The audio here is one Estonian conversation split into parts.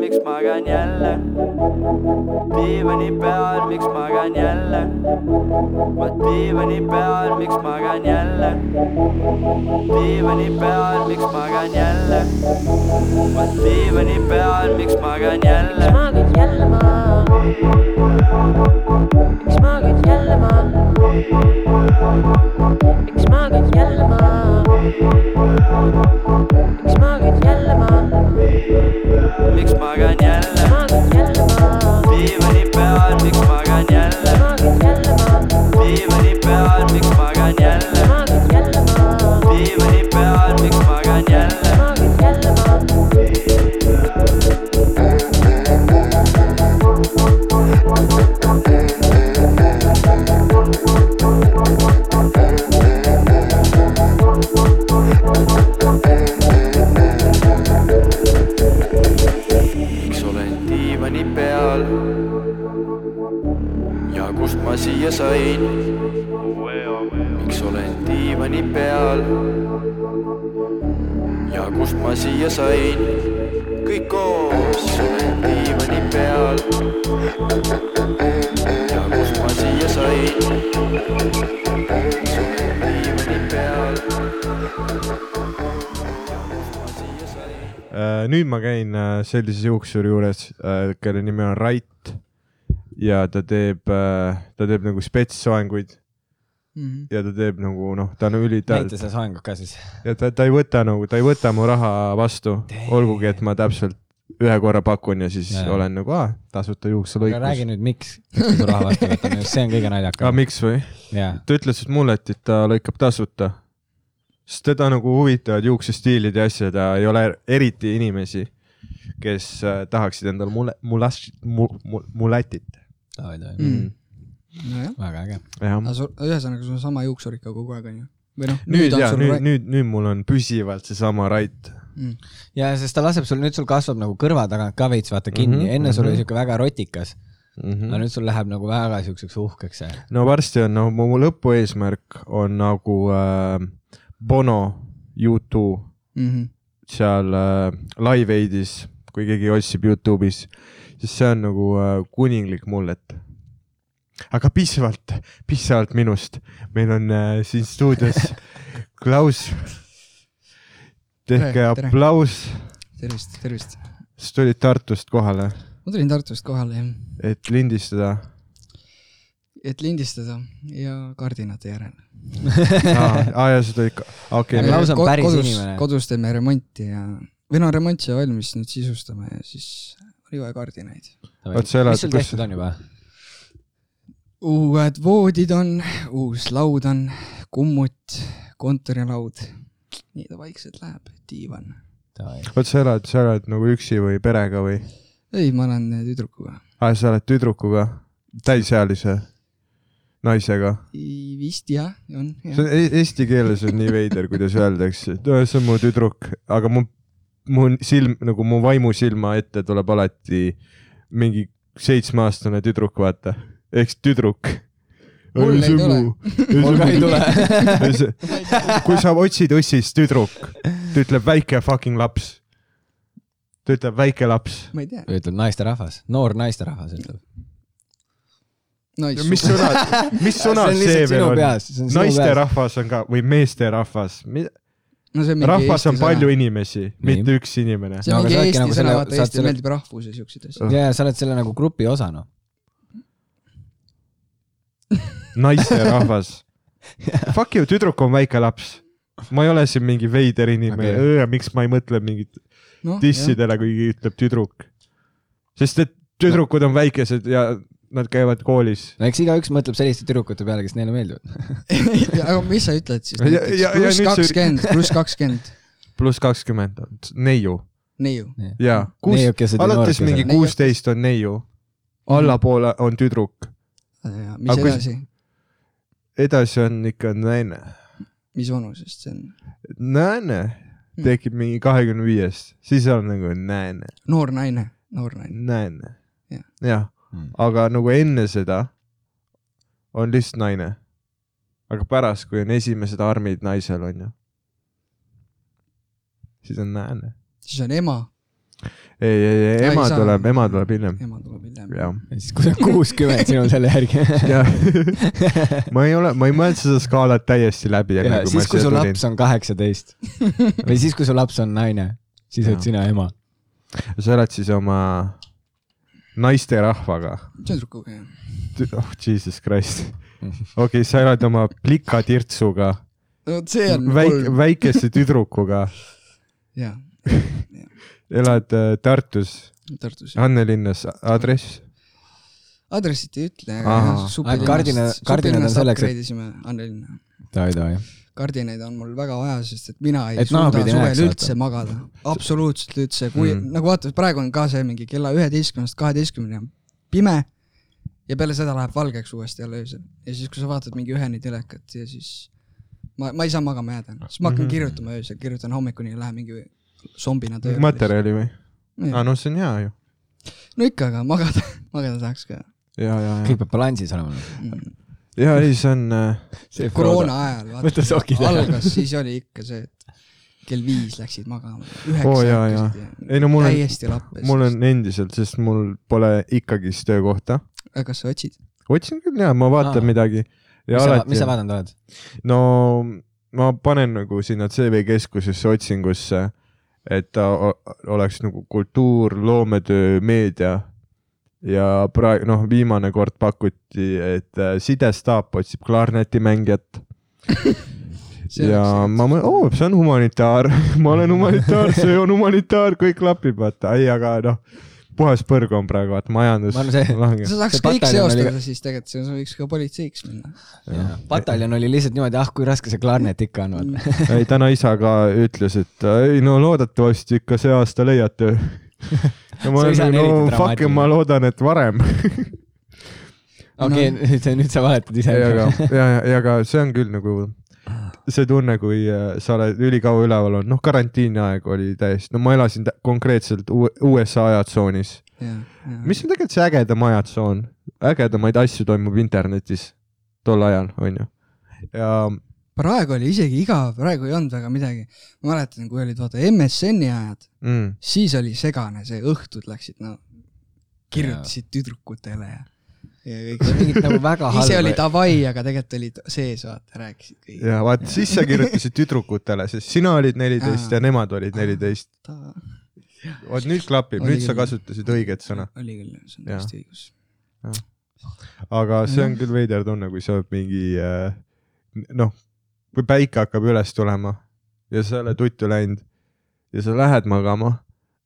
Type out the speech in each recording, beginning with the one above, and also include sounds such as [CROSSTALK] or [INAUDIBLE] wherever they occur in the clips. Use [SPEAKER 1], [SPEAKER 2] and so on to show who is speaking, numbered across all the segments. [SPEAKER 1] miks magan jälle diivani peal , miks magan jälle ma diivani peal , miks magan jälle diivani peal , miks magan jälle ma diivani peal , miks magan jälle
[SPEAKER 2] miks ma käin jälle maal ? miks ma käin jälle maal ? miks ma käin jälle maal ? miks ma käin jälle maal ?
[SPEAKER 1] miks magan jälle
[SPEAKER 2] miks ma käin jälle maal ?
[SPEAKER 1] diivani peal , miks magan jälle
[SPEAKER 2] miks ma käin jälle maal ?
[SPEAKER 1] diivani peal , miks magan jälle
[SPEAKER 2] miks ma käin jälle maal ?
[SPEAKER 1] diivani peal , miks magan jälle
[SPEAKER 2] miks ma käin jälle maal ?
[SPEAKER 1] miks olen diivani peal ja kust ma siia sain ? miks olen diivani peal ja kust ma siia sain ? kõik koos olen diivani peal ja kust ma siia sain ? diivani peal ja kust ma siia sain ?
[SPEAKER 3] Äh, nüüd ma käin äh, sellise juuksuri juures , kelle nimi on Rait ja ta teeb , ta teeb nagu spetssoenguid
[SPEAKER 4] näita
[SPEAKER 3] ja ta teeb nagu noh , ta on üli , ta ,
[SPEAKER 4] seda soengut ka siis .
[SPEAKER 3] ja ta , ta ei võta nagu , ta ei võta mu raha vastu , olgugi et ma täpselt ühe korra pakun ja siis
[SPEAKER 4] Jaa.
[SPEAKER 3] ja. olen nagu , aa , tasuta
[SPEAKER 4] aga räägi
[SPEAKER 3] juukselõikus .
[SPEAKER 4] nüüd , miks miks su raha vastu võtame , see on kõige
[SPEAKER 3] aga
[SPEAKER 4] naljakam .
[SPEAKER 3] miks või ?
[SPEAKER 4] jaa ,
[SPEAKER 3] ta ütles et mulle , et ta lõikab tasuta . sest teda nagu huvitavad juuksestiilid ja asjad ja ei ole er-, eriti inimesi , kes äh, tahaksid endale mule- , mulašit , mulatit .
[SPEAKER 4] davai , davai ,
[SPEAKER 5] mm. . nojah ,
[SPEAKER 4] väga äge .
[SPEAKER 3] jah ,
[SPEAKER 5] aga sul , ühesõnaga sul on sama juuksur ikka kogu aeg onju ? või noh ,
[SPEAKER 3] nüüd ja nüüd , nüüd , nüüd mul on püsivalt seesama Rait .
[SPEAKER 5] nüüd .
[SPEAKER 4] ja sest ta laseb sul , nüüd sul kasvab nagu kõrva tagant ka veits vaata kinni mm ,
[SPEAKER 3] Mhm,
[SPEAKER 4] -hmm, enne sul
[SPEAKER 3] mhm.
[SPEAKER 4] oli siuke väga rotikas mm , -hmm. aga
[SPEAKER 3] no
[SPEAKER 4] nüüd sul läheb nagu väga siukseks uhkeks see .
[SPEAKER 3] varsti on , no mu mu lõpueesmärk on nagu äh, Bono , U2
[SPEAKER 5] Mhm.
[SPEAKER 3] seal äh, Live Aidis , kui keegi otsib Youtube'is , siis see on nagu äh, kuninglik mullet . aga piisavalt , piisavalt minust . meil on äh, siin
[SPEAKER 5] [LAUGHS]
[SPEAKER 3] stuudios Klaus . tehke
[SPEAKER 5] Tere, tere.
[SPEAKER 3] aplaus ,
[SPEAKER 5] tervist , tervist .
[SPEAKER 3] sa tulid Tartust kohale ,
[SPEAKER 5] ma tulin Tartust kohale jah ,
[SPEAKER 3] et lindistada .
[SPEAKER 5] et lindistada ja kardinate järele . [LAUGHS]
[SPEAKER 3] aa ah, , ja sa tulid ka , okei
[SPEAKER 4] Aga
[SPEAKER 3] okay, ,
[SPEAKER 4] Klaus on päris inimene.
[SPEAKER 5] kodus teeme remonti ja , või no remont sai valmis , nüüd sisustame ja siis oli vaja kardinaid .
[SPEAKER 3] Oot, sa elad-
[SPEAKER 4] mis sul
[SPEAKER 3] kus-
[SPEAKER 4] tehtud on juba ?
[SPEAKER 5] uued voodid on , uus laud on , kummut , kontorilaud . nii ta vaikselt läheb , diivan .
[SPEAKER 3] oot sa elad , sa elad nagu üksi või perega või ?
[SPEAKER 5] ei , ma olen tüdrukuga .
[SPEAKER 3] aa , sa oled tüdrukuga , täisealise naisega ?
[SPEAKER 5] vist jah , on
[SPEAKER 3] see on
[SPEAKER 5] jah .
[SPEAKER 3] e- eesti keeles on nii veider , kuidas öeldakse , et "Aa, see on mu tüdruk , aga mu , mu silm nagu mu vaimusilma ette tuleb alati mingi seitsmeaastane tüdruk , vaata , ehk siis tüdruk .
[SPEAKER 5] Mul ei tule.
[SPEAKER 4] mul ka ei tule . [LAUGHS]
[SPEAKER 3] kui sa otsid õssis tüdruk , ta ütleb väike fucking laps . ta ütleb väike laps .
[SPEAKER 5] ma ei tea .
[SPEAKER 4] ütleb naisterahvas , noor naisterahvas ütleb .
[SPEAKER 3] mis sõna , mis sõna see veel on ?? naisterahvas on ka või meesterahvas ,
[SPEAKER 5] no see on mingi
[SPEAKER 3] rahvas
[SPEAKER 5] eesti
[SPEAKER 3] on
[SPEAKER 5] sõna.
[SPEAKER 3] palju inimesi , mitte üks inimene .
[SPEAKER 5] see
[SPEAKER 4] No
[SPEAKER 5] on
[SPEAKER 4] aga
[SPEAKER 5] mingi
[SPEAKER 4] sa oledki
[SPEAKER 5] eesti
[SPEAKER 4] nagu
[SPEAKER 5] sõna ,
[SPEAKER 4] selle-
[SPEAKER 5] vaata
[SPEAKER 4] sa oled
[SPEAKER 5] Eestile
[SPEAKER 4] selle-
[SPEAKER 5] meeldib rahvus ja siuksed asjad .
[SPEAKER 4] ja , ja sa oled selle nagu grupi osa noh . [LAUGHS]
[SPEAKER 3] naisterahvas . Fuck you , tüdruk on väike laps . ma ei ole siin mingi veider inimene
[SPEAKER 4] Okei.
[SPEAKER 3] okay. , miks ma ei mõtle mingit
[SPEAKER 5] noh ,
[SPEAKER 3] dissidele , kui keegi ütleb tüdruk . sest et tüdrukud on väikesed ja nad käivad koolis .
[SPEAKER 4] no eks igaüks mõtleb selliste tüdrukute peale , kes neile meeldivad . [LAUGHS]
[SPEAKER 5] [LAUGHS] aga mis sa ütled siis
[SPEAKER 3] Ja- ja- ja
[SPEAKER 5] näiteks ,
[SPEAKER 3] nüüd
[SPEAKER 5] pluss
[SPEAKER 3] see-
[SPEAKER 5] kakskümmend , pluss kakskümmend ,
[SPEAKER 3] pluss kakskümmend on neiu
[SPEAKER 5] neiu .
[SPEAKER 3] ja kuus ,
[SPEAKER 4] Neiukesed Mhm. ja
[SPEAKER 3] alates
[SPEAKER 4] noorkesed.
[SPEAKER 3] mingi
[SPEAKER 5] Neiu-
[SPEAKER 3] kuusteist on neiu , allapoole on tüdruk ,
[SPEAKER 5] mis
[SPEAKER 3] Aga kui-
[SPEAKER 5] edasi ,
[SPEAKER 3] edasi on ikka naine .
[SPEAKER 5] mis vanusest see on ?
[SPEAKER 3] naine
[SPEAKER 4] Mhm.
[SPEAKER 3] tekib mingi kahekümne viiest , siis on nagu naine .
[SPEAKER 5] noor naine , noor naine .
[SPEAKER 3] näen
[SPEAKER 5] Jah. .
[SPEAKER 3] jah , aga nagu enne seda on lihtsalt naine . aga pärast , kui on esimesed armid naisel , onju , siis on naine .
[SPEAKER 5] siis on ema ,
[SPEAKER 3] ei , ei , ei ,
[SPEAKER 5] Ai,
[SPEAKER 3] ema
[SPEAKER 5] sa-
[SPEAKER 3] tuleb , ema tuleb hiljem ,
[SPEAKER 5] ema tuleb hiljem .
[SPEAKER 3] jah .
[SPEAKER 4] siis kui sa kuuskümmend , siis on selle järgi . [LAUGHS]
[SPEAKER 3] jah , ma ei ole , ma ei mõelnud seda skaalat täiesti läbi , enne kui ma
[SPEAKER 4] siis , kui
[SPEAKER 3] siia
[SPEAKER 4] su
[SPEAKER 3] tulin
[SPEAKER 4] laps . on
[SPEAKER 3] [LAUGHS]
[SPEAKER 4] kaheksateist või siis , kui su laps on naine , siis
[SPEAKER 3] Jaa.
[SPEAKER 4] oled sina ema .
[SPEAKER 3] sa elad siis oma naisterahvaga
[SPEAKER 5] tüdrukuga jah .
[SPEAKER 3] Tü- oh Jesus Christ . okei okay, , sa elad oma plikatirtsuga ,
[SPEAKER 5] no vot see on
[SPEAKER 3] Mm, väike ,
[SPEAKER 5] kolm ,
[SPEAKER 3] väikese tüdrukuga ,
[SPEAKER 5] jah ,
[SPEAKER 3] elad äh, Tartus ,
[SPEAKER 5] Tartus .
[SPEAKER 3] Annelinnas , aadress ?
[SPEAKER 5] aadressit ei ütle ,
[SPEAKER 3] Ahah.
[SPEAKER 5] aga
[SPEAKER 4] Aga kardina-
[SPEAKER 5] supilinnast ,
[SPEAKER 4] kardinad on
[SPEAKER 5] supilinnast
[SPEAKER 4] selleks, et-
[SPEAKER 5] upgrade'isime Annelinna .
[SPEAKER 4] davai-davai .
[SPEAKER 5] kardinaid on mul väga vaja , sest et mina ei
[SPEAKER 4] Et
[SPEAKER 5] et suuda
[SPEAKER 4] naabrid ei näeks,
[SPEAKER 5] suvel
[SPEAKER 4] vaata.
[SPEAKER 5] üldse magada , absoluutselt üldse , kui
[SPEAKER 3] Mm.
[SPEAKER 5] mm. nagu vaata , praegu on ka see mingi kella üheteistkümnest kaheteistkümneni on pime ja peale seda läheb valgeks uuesti jälle öösel ja siis , kui sa vaatad mingi üheni telekat ja siis ma , ma ei saa magama jääda , siis ma
[SPEAKER 3] Mhm.
[SPEAKER 5] hakkan mm -hmm. kirjutama öösel , kirjutan hommikuni ja lähen mingi zombina tööle .
[SPEAKER 3] materjali või ? aa ,
[SPEAKER 5] no
[SPEAKER 3] no see on hea ju .
[SPEAKER 5] ikka , aga magada , [LAUGHS] magada tahaks ka
[SPEAKER 3] ja , ja , ja ,
[SPEAKER 4] kõik peab balansis olema .
[SPEAKER 5] mm. .
[SPEAKER 3] ja ei , see on , äh,
[SPEAKER 5] koroona ajal ,
[SPEAKER 4] Võta
[SPEAKER 5] vaata
[SPEAKER 4] sokid , ära.
[SPEAKER 5] algas , siis oli ikka see , et kell viis läksid magama , üheksa
[SPEAKER 3] Oo, Oh, jaa,
[SPEAKER 5] hakkasid ja
[SPEAKER 3] ei no mul on ,
[SPEAKER 5] täiesti lappes .
[SPEAKER 3] mul on endiselt , sest mul pole ikkagist töökohta .
[SPEAKER 5] kas sa otsid ?
[SPEAKER 3] otsin küll ja ma vaatan
[SPEAKER 4] Aa.
[SPEAKER 3] aa. midagi . ja
[SPEAKER 4] mis
[SPEAKER 3] alati
[SPEAKER 4] sa , vaadanud oled ?
[SPEAKER 3] no ma panen nagu sinna CV keskusesse otsingusse , et ta o- oleks nagu kultuur , loometöö , meedia ja praegu noh , viimane kord pakuti , et äh, sidestaap otsib klarnetimängijat
[SPEAKER 5] See
[SPEAKER 3] ja
[SPEAKER 5] oleks
[SPEAKER 3] ma mõtlen , oo , see on humanitaar , [LAUGHS] ma olen
[SPEAKER 4] [LAUGHS]
[SPEAKER 3] humanitaar , see on humanitaar , kõik klapib , vaata , ei , aga noh , puhas põrg on praegu , vaata majandus
[SPEAKER 4] Ma arvan, see-
[SPEAKER 3] langeb .
[SPEAKER 5] sa saaks
[SPEAKER 4] see
[SPEAKER 5] kõik
[SPEAKER 4] pataljon oli
[SPEAKER 5] seostada oli... siis tegelikult , siis võiks ka politseiks minna .
[SPEAKER 4] pataljon oli lihtsalt niimoodi , ah kui raske see klarnet ikka on , vaata .
[SPEAKER 3] [LAUGHS] ei , täna isa ka ütles , et ei no loodetavasti ikka see aasta leiad
[SPEAKER 4] [LAUGHS]
[SPEAKER 3] töö . ja ma
[SPEAKER 4] Su
[SPEAKER 3] olen
[SPEAKER 4] isa on
[SPEAKER 3] nagu
[SPEAKER 4] eriti
[SPEAKER 3] no fuck ,
[SPEAKER 4] dramaatiline.
[SPEAKER 3] ma loodan , et
[SPEAKER 4] [LAUGHS]
[SPEAKER 3] varem .
[SPEAKER 4] [LAUGHS] okei , nüüd sa , nüüd sa valetad ise
[SPEAKER 3] ei , aga , ja , ja , aga see on küll nagu see tunne , kui äh, sa oled ülikaua üleval olnud , noh , karantiini aeg oli täiesti , no ma elasin tä- konkreetselt U- USA ajatsoonis , mis on tegelikult see ägedam ajatsoon , ägedamaid asju toimub internetis tol ajal , onju . ja
[SPEAKER 5] praegu oli isegi igav , praegu ei olnud väga midagi . ma mäletan , kui olid vaata MSN-i ajad ,
[SPEAKER 3] mm,
[SPEAKER 5] siis oli segane see , õhtud läksid , no kirjutasid tüdrukutele ja , ja kõik see .
[SPEAKER 4] [LAUGHS] mingit nagu väga
[SPEAKER 5] [LAUGHS] ise oli
[SPEAKER 4] halba .
[SPEAKER 5] davai , aga tegelikult olid sees , vaata , rääkisid kõik .
[SPEAKER 3] ja vaat siis sa kirjutasid tüdrukutele , sest sina olid neliteist ja nemad olid neliteist . vot nüüd klapib ,
[SPEAKER 5] Oli
[SPEAKER 3] nüüd sa
[SPEAKER 5] küll.
[SPEAKER 3] kasutasid õiget sõna ,
[SPEAKER 5] oli küll , see on
[SPEAKER 3] Jaa.
[SPEAKER 5] täiesti õigus .
[SPEAKER 3] aga see on küll veider tunne , kui sa oled mingi äh, noh , kui päike hakkab üles tulema ja sa oled uttu läinud ja sa lähed magama ,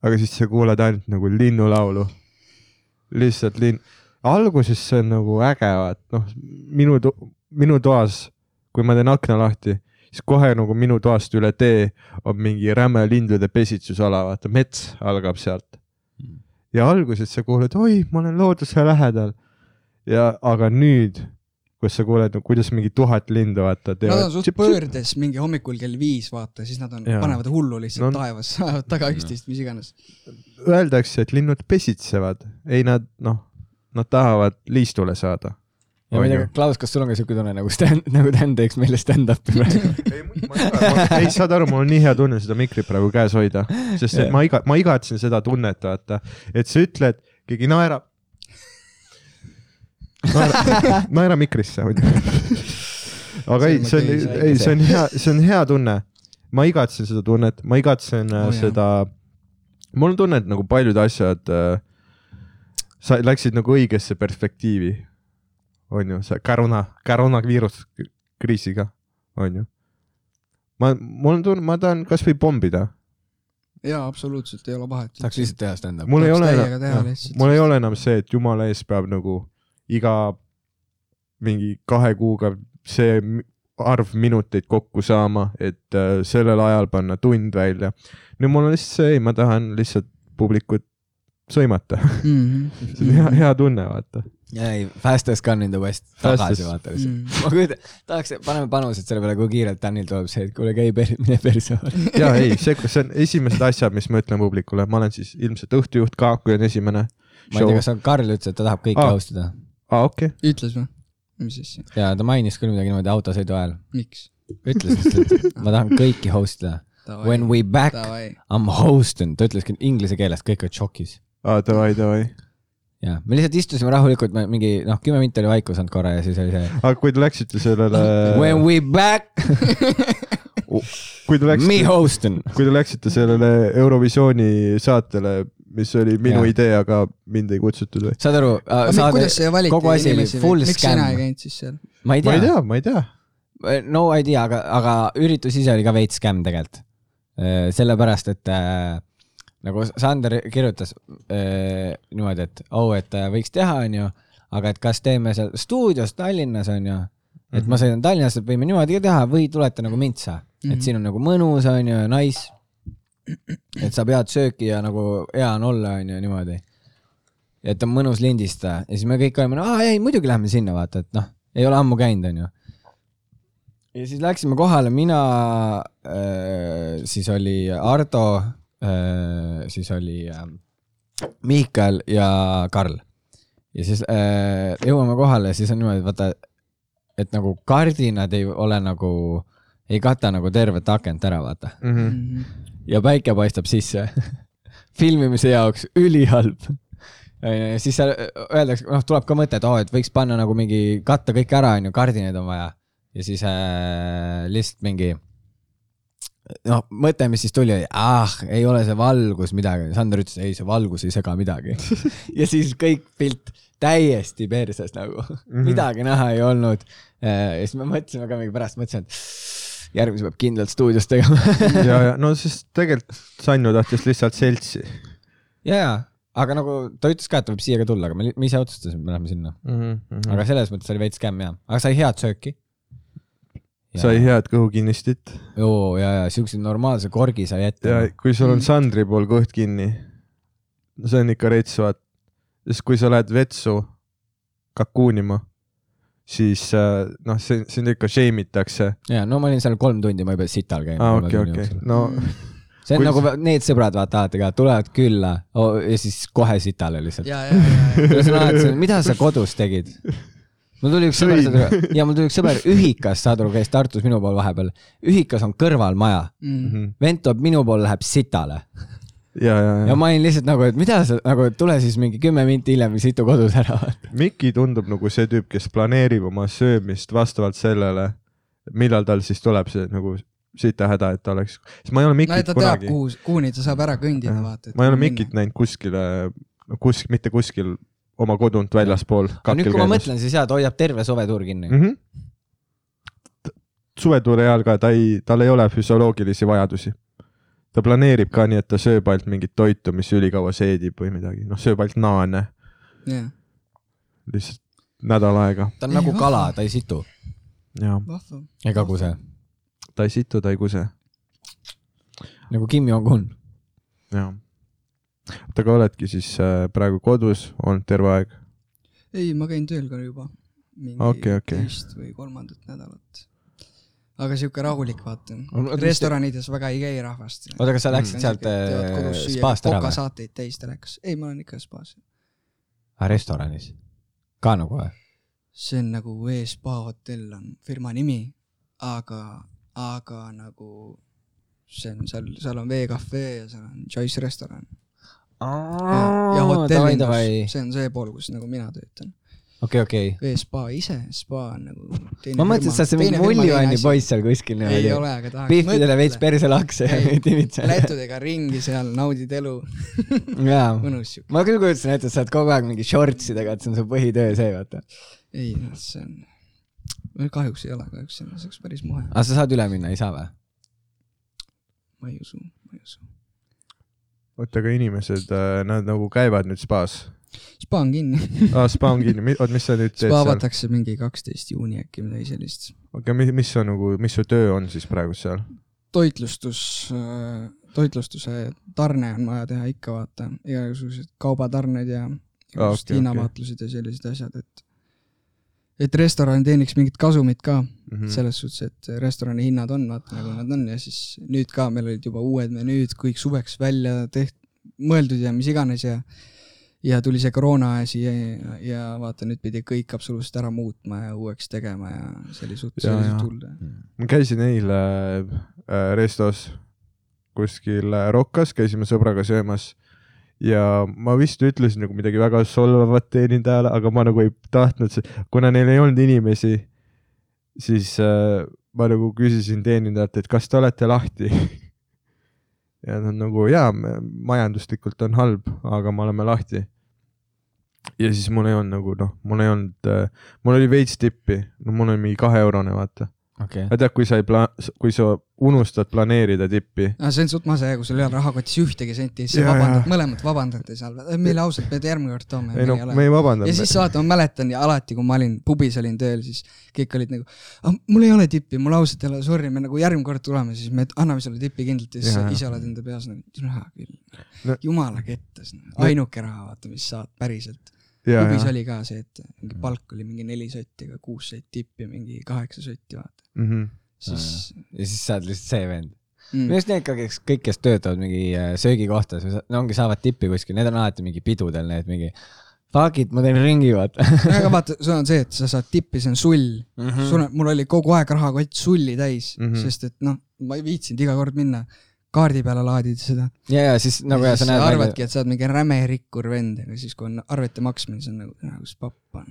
[SPEAKER 3] aga siis sa kuuled ainult nagu linnulaulu . lihtsalt linn , alguses see on nagu äge , vaat noh , minu , minu toas , kui ma teen akna lahti , siis kohe nagu minu toast üle tee on mingi räme lindude pesitsusala , vaata mets algab sealt .
[SPEAKER 5] Mm.
[SPEAKER 3] ja alguses sa kuuled , oi , ma olen looduse lähedal . ja , aga nüüd , kus sa kuuled , kuidas mingi tuhat lindu vaata
[SPEAKER 5] Nad on
[SPEAKER 3] teevad .
[SPEAKER 5] suht pöördes mingi hommikul kell viis , vaata , siis nad on ,
[SPEAKER 3] Jaa.
[SPEAKER 5] panevad hullu lihtsalt
[SPEAKER 3] No-
[SPEAKER 5] no, taevas , ajavad taga üksteist , mis iganes .
[SPEAKER 3] Öeldakse , et linnud pesitsevad , ei nad noh , nad tahavad liistule saada .
[SPEAKER 4] ma ei tea , Klaus , kas sul on ka siuke tunne nagu stand , [LAUGHS] nagu Dan teeks meile stand-up'i
[SPEAKER 3] [LAUGHS]
[SPEAKER 4] praegu ?
[SPEAKER 3] ei , ma ei ole , ma ei saad aru , mul on nii hea tunne seda mikrit praegu käes hoida , sest et ma iga , ma igatsen seda tunnet , vaata , et sa ütled , keegi naerab . naera, naera mikrisse muidu . aga ei , see on , ei , see on hea , see on hea tunne . ma igatsen seda tunnet , ma igatsen
[SPEAKER 5] Oo,
[SPEAKER 3] oh,
[SPEAKER 5] jaa.
[SPEAKER 3] seda , mul on tunne , et nagu paljud asjad äh, , sa läksid nagu õigesse perspektiivi , on ju , see koroona , koroonaviirus kriisiga , on ju . ma , mul on tunne , ma tahan kasvõi pommida ,
[SPEAKER 5] jaa , absoluutselt ei ole vahet .
[SPEAKER 4] saaks lihtsalt teha stand-up'i .
[SPEAKER 3] mul ei
[SPEAKER 5] Tahaks
[SPEAKER 3] ole
[SPEAKER 5] täiega teha
[SPEAKER 3] enam ,
[SPEAKER 5] lihtsalt.
[SPEAKER 3] mul ei ole enam see , et jumala eest peab nagu iga mingi kahe kuuga see m- arv minuteid kokku saama , et äh, sellel ajal panna tund välja . nüüd mul on lihtsalt see , ei , ma tahan lihtsalt publikut sõimata , [LAUGHS]
[SPEAKER 5] mm .
[SPEAKER 3] see on hea , hea tunne , vaata .
[SPEAKER 4] jaa , ei , fastest gun in the west , tagasi
[SPEAKER 3] Fastest.
[SPEAKER 4] vaata lihtsalt .
[SPEAKER 5] -hmm.
[SPEAKER 3] Mm.
[SPEAKER 4] ma kujutan , tahaks , paneme panused selle peale , kui kiirelt Danil tuleb see , et kuule , käi per- , mine perse .
[SPEAKER 3] ja ei , see , see on esimesed asjad , mis ma ütlen publikule , ma olen siis ilmselt õhtujuht ka , kui on esimene
[SPEAKER 4] ma ei tea ,
[SPEAKER 3] show .
[SPEAKER 4] kas on , Karl ütles , et ta tahab
[SPEAKER 5] Ah.
[SPEAKER 4] kõiki
[SPEAKER 3] Aa.
[SPEAKER 4] austada
[SPEAKER 3] aa , okei ,
[SPEAKER 5] ütles või ? mis asja ?
[SPEAKER 4] ja ta mainis küll midagi niimoodi autosõidu ajal .
[SPEAKER 5] miks ?
[SPEAKER 4] [LAUGHS] ütles lihtsalt , et ma tahan kõiki host ida . When we back ,
[SPEAKER 5] davai ,
[SPEAKER 4] I m hosting , ta ütleski inglise keeles , kõik olid šokis .
[SPEAKER 3] aa , Ah, davai , davai .
[SPEAKER 4] ja me lihtsalt istusime rahulikult , me mingi noh , kümme minti oli vaikus olnud korra ja siis oli see
[SPEAKER 3] aga Ah, kui te läksite sellele ,
[SPEAKER 5] Äh,
[SPEAKER 4] When we back ,
[SPEAKER 3] kui te
[SPEAKER 4] me
[SPEAKER 3] läksite ,
[SPEAKER 4] hosting .
[SPEAKER 3] kui te läksite sellele Eurovisiooni saatele , mis oli minu
[SPEAKER 4] Jah.
[SPEAKER 3] idee , aga mind ei kutsutud või ?
[SPEAKER 4] saad aru ,
[SPEAKER 5] aga
[SPEAKER 4] saade
[SPEAKER 5] kuidas , see valiti
[SPEAKER 4] kogu asi oli
[SPEAKER 5] inimesi ,
[SPEAKER 4] full
[SPEAKER 5] miks sina ei
[SPEAKER 4] scam .
[SPEAKER 5] käinud siis
[SPEAKER 3] [LAUGHS]
[SPEAKER 5] seal ?
[SPEAKER 4] ma ei
[SPEAKER 3] ma ei
[SPEAKER 4] tea ,
[SPEAKER 3] tea , ma ei tea .
[SPEAKER 4] Äh, no idea , aga , aga üritus ise oli ka veits scam tegelikult . sellepärast , et äh, nagu Sander kirjutas äh, niimoodi , et oh , et äh, võiks teha , onju , aga et kas teeme seal stuudios Tallinnas , onju , et ma sõidan Tallinnasse , et võime niimoodi ka teha või tulete nagu Mintsa , et siin on nagu mõnus , onju , nice . et saab head sööki ja nagu hea on olla , onju , niimoodi . et on mõnus lindistada ja siis me kõik olime , no aa ei , muidugi lähme sinna , vaata , et noh , ei ole ammu käinud , onju ja siis läksime kohale , mina äh, , siis oli Ardo äh, , siis oli äh, Miikal ja Karl . ja siis äh, jõuame kohale , siis on niimoodi , vaata , et nagu kardinad ei ole nagu , ei kata nagu tervet akent ära , vaata . ja päike paistab sisse . [LAUGHS] filmimise jaoks ülihalb . siis seal öeldakse , noh , tuleb ka mõte , et oo , et võiks panna nagu mingi , katta kõik ära , onju , kardinaid on vaja . ja siis äh, lihtsalt mingi , noh , mõte , mis siis tuli , ah , ei ole see valgus midagi , Sander ütles , ei , see valgus ei sega midagi . [LAUGHS] ja siis kõik pilt täiesti perses nagu mm , -hmm. midagi näha ei olnud . ja siis me mõtlesime ka mingi pärast , mõtlesin , et järgmise peab kindlalt stuudios tegema
[SPEAKER 3] [LAUGHS]
[SPEAKER 4] [LAUGHS]
[SPEAKER 3] ja , ja no siis tegelikult Sannu tahtis lihtsalt seltsi
[SPEAKER 4] ja , ja , aga nagu ta ütles ka , et ta võib siia ka tulla , aga me, li- me ise otsustasime , me läheme sinna .
[SPEAKER 3] mm . -hmm.
[SPEAKER 4] aga selles mõttes oli veits skämm ja , aga sai head sööki .
[SPEAKER 3] sai . head kõhukinnistit
[SPEAKER 4] joo , ja , ja siukse normaalse korgi sai ette
[SPEAKER 3] ja . kui sul on Sandri pool kõht kinni , no see on ikka rets , vaat . sest kui sa lähed vetsu kakuunima , siis äh, noh , see , sind ikka shame itakse .
[SPEAKER 4] ja no ma olin seal kolm tundi , ma ei pea sital käima
[SPEAKER 3] aa , Ah, okei , okei , [LAUGHS] no
[SPEAKER 4] see on
[SPEAKER 3] Kui-
[SPEAKER 4] nagu need sõbrad , vaata , alati ka tulevad külla oh, ja siis kohe sitale lihtsalt .
[SPEAKER 5] ja , ja , ja , ja ,
[SPEAKER 4] mida sa kodus tegid ? mul tuli üks sõber , ja mul tuli üks sõber Ühikas , saad aru , käis Tartus minu pool vahepeal . Ühikas on kõrvalmaja ,
[SPEAKER 3] Mhm.
[SPEAKER 5] Mhm.
[SPEAKER 4] vend tuleb minu pool , läheb sitale
[SPEAKER 3] ja , ja ,
[SPEAKER 4] ja
[SPEAKER 3] ja
[SPEAKER 4] ma olin lihtsalt nagu , et mida sa nagu tule siis mingi kümme minti hiljem või situ kodus ära .
[SPEAKER 3] Miki tundub nagu see tüüp , kes planeerib oma söömist vastavalt sellele , millal tal siis tuleb see nagu sita häda , et ta oleks , sest ma ei ole
[SPEAKER 5] no ja
[SPEAKER 3] Mikit
[SPEAKER 5] ta teab ,
[SPEAKER 3] kunagi ,
[SPEAKER 5] kuhu , kuhuni ta saab ära kõndida , vaata .
[SPEAKER 3] ma ei ole Mikit . näinud kuskile , kusk- , mitte kuskil oma kodunt väljaspool .
[SPEAKER 4] aga nüüd , kui ma mõtlen , siis jaa , ta hoiab terve suvetuur kinni .
[SPEAKER 3] mm . -hmm. suvetuure ajal ka ta ei , tal ei ole füsioloogilisi vajadusi . ta planeerib ka nii , et ta sööb ainult mingit toitu , mis ülikaua seedib või midagi , noh , sööb ainult naane
[SPEAKER 5] jah ,
[SPEAKER 3] lihtsalt nädal aega
[SPEAKER 4] ta on nagu kala , ta ei situ
[SPEAKER 3] ja
[SPEAKER 5] vahva .
[SPEAKER 4] ei kaguse ,
[SPEAKER 3] ta ei situ , ta ei kuse
[SPEAKER 4] nagu Kim Jong-un .
[SPEAKER 3] ja . oota , aga oledki siis äh, praegu kodus olnud terve aeg ?
[SPEAKER 5] ei , ma käin tööl ka juba . mingi
[SPEAKER 3] Okei, okei.
[SPEAKER 5] teist või kolmandat nädalat . aga sihuke rahulik , vaata
[SPEAKER 4] On- oota, . mis te-
[SPEAKER 5] restoranides väga ei käi rahvast .
[SPEAKER 4] oota , kas sa
[SPEAKER 5] Mhm.
[SPEAKER 4] läksid sealt äh, spaast ära või ?
[SPEAKER 5] kokasaateid täis telekas , ei , ma olen ikka spaas .
[SPEAKER 4] Ah, restoranis ? ka nagu või ?
[SPEAKER 5] see on nagu E-spa hotell on firma nimi , aga , aga nagu see on seal , seal on veekahvee ja seal on Choice restoran . ja hotellindus ,
[SPEAKER 4] okei ,
[SPEAKER 5] see on see pool , kus nagu mina töötan .
[SPEAKER 4] okei .
[SPEAKER 5] E-spa ise , spa on nagu .
[SPEAKER 4] ma mõtlesin , et sa oled see mingi mullivanni . poiss seal kuskil
[SPEAKER 5] ei
[SPEAKER 4] niimoodi .
[SPEAKER 5] ole , aga tahaks .
[SPEAKER 4] pihvidele veits . perse lakse ja [LAUGHS]
[SPEAKER 3] [LAUGHS]
[SPEAKER 5] Ei.
[SPEAKER 4] timitse .
[SPEAKER 5] lätudega ringi seal , naudid elu ,
[SPEAKER 4] jaa .
[SPEAKER 5] mõnus siuke .
[SPEAKER 4] ma küll kujutasin ette , et sa oled kogu aeg mingi shortsidega , et see on su põhitöö see , vaata .
[SPEAKER 5] ei , see on , kahjuks ei ole , kahjuks see on , see oleks päris muhe ,
[SPEAKER 3] Ah.
[SPEAKER 4] aga Ah, sa saad üle minna , ei saa või ?
[SPEAKER 5] ma ei usu , ma ei usu .
[SPEAKER 3] oota , aga inimesed , nad nagu käivad nüüd spaas ?
[SPEAKER 5] spa on
[SPEAKER 3] [LAUGHS]
[SPEAKER 5] kinni .
[SPEAKER 3] aa , spa on kinni , oot , mis sa nüüd teed
[SPEAKER 5] spa
[SPEAKER 3] seal ?
[SPEAKER 5] avatakse mingi kaksteist juuni äkki midagi sellist .
[SPEAKER 3] aga mis , mis on nagu , mis su töö on siis praegu seal ?
[SPEAKER 5] toitlustus , toitlustuse tarne on vaja teha ikka vaata , igasugused kaubatarned ja
[SPEAKER 3] Aa, Ah,
[SPEAKER 5] just
[SPEAKER 3] okei,
[SPEAKER 5] hinnavaatlused okay, okay. ja sellised asjad , et et restoran teeniks mingit kasumit ka mm.
[SPEAKER 3] Mhm.
[SPEAKER 5] selles suhtes , et restorani hinnad on vaata nagu nad on ja siis nüüd ka meil olid juba uued menüüd kõik suveks välja teht- , mõeldud ja mis iganes ja ja tuli see koroona asi ja, ja, ja vaata nüüd pidi kõik absoluutselt ära muutma ja uueks tegema ja see oli suht- , see
[SPEAKER 3] Jaa,
[SPEAKER 5] oli
[SPEAKER 3] jaa.
[SPEAKER 5] suht hull .
[SPEAKER 3] ma käisin eile äh, restos kuskil äh, Rokas , käisime sõbraga söömas ja ma vist ütlesin nagu midagi väga solvavat teenindajale , aga ma nagu ei tahtnud , kuna neil ei olnud inimesi , siis äh, ma nagu küsisin teenindajalt , et kas te olete lahti . [LAUGHS] ja nad nagu jaa , majanduslikult on halb , aga me oleme lahti . ja siis mul ei olnud nagu noh , mul ei olnud äh, , mul oli veits tippi , no mul oli mingi kaheeurone , vaata .
[SPEAKER 4] okei okay. .
[SPEAKER 3] aga tead , kui sa ei pla- , kui sa unustad planeerida tippi ,
[SPEAKER 5] no Ah, see on suht mase , kui sul ei ole rahakotis ühtegi senti , siis
[SPEAKER 3] Jaa,
[SPEAKER 5] sa vabandad ,
[SPEAKER 3] jaa.
[SPEAKER 5] mõlemad vabandate seal , meile ausalt , me järgmine kord toome .
[SPEAKER 3] ei no me ei vabanda .
[SPEAKER 5] ja siis vaata , ma mäletan ja alati , kui ma olin pubis olin tööl , siis kõik olid nagu , mul ei ole tippi , mul ausalt ei ole , sorry , me nagu järgmine kord tuleme , siis me anname sulle tippi kindlalt ja siis sa
[SPEAKER 3] Jaa.
[SPEAKER 5] ise oled enda peas nagu , raha küll
[SPEAKER 3] No- .
[SPEAKER 5] jumala kettas , ainuke raha , vaata , mis saad päriselt .
[SPEAKER 3] ja ,
[SPEAKER 5] pubis
[SPEAKER 3] ja ,
[SPEAKER 5] oli ka see , et mingi palk oli mingi neli sotti või kuus sotti tippi , mingi kaheksa sotti , vaata .
[SPEAKER 3] Mhm.
[SPEAKER 5] siis
[SPEAKER 4] ja siis sa oled lihtsalt see vend . minu
[SPEAKER 5] mm,
[SPEAKER 4] arust need ka , kes kõik , kes töötavad mingi äh, söögikohtades , no ongi , saavad tippi kuskil , need on alati mingi pidudel need mingi . Fuck it , ma teen ringi , vaata .
[SPEAKER 5] aga vaata , sul on see , et sa saad tippi , see on sull mm
[SPEAKER 4] Mhm.
[SPEAKER 5] -hmm. . sul on , mul oli kogu aeg rahakott sulli täis mm ,
[SPEAKER 3] Mhm.
[SPEAKER 5] -hmm. sest et noh , ma ei viitsinud iga kord minna kaardi peale laadida seda
[SPEAKER 4] [LAUGHS] ja , ja siis nagu ja
[SPEAKER 5] ja
[SPEAKER 4] sa
[SPEAKER 5] siis sa
[SPEAKER 4] näed välja ,
[SPEAKER 5] arvadki , et sa oled mingi räme rikkur vend , aga siis , kui on arvete maksmine , siis on nagu , kus papp on .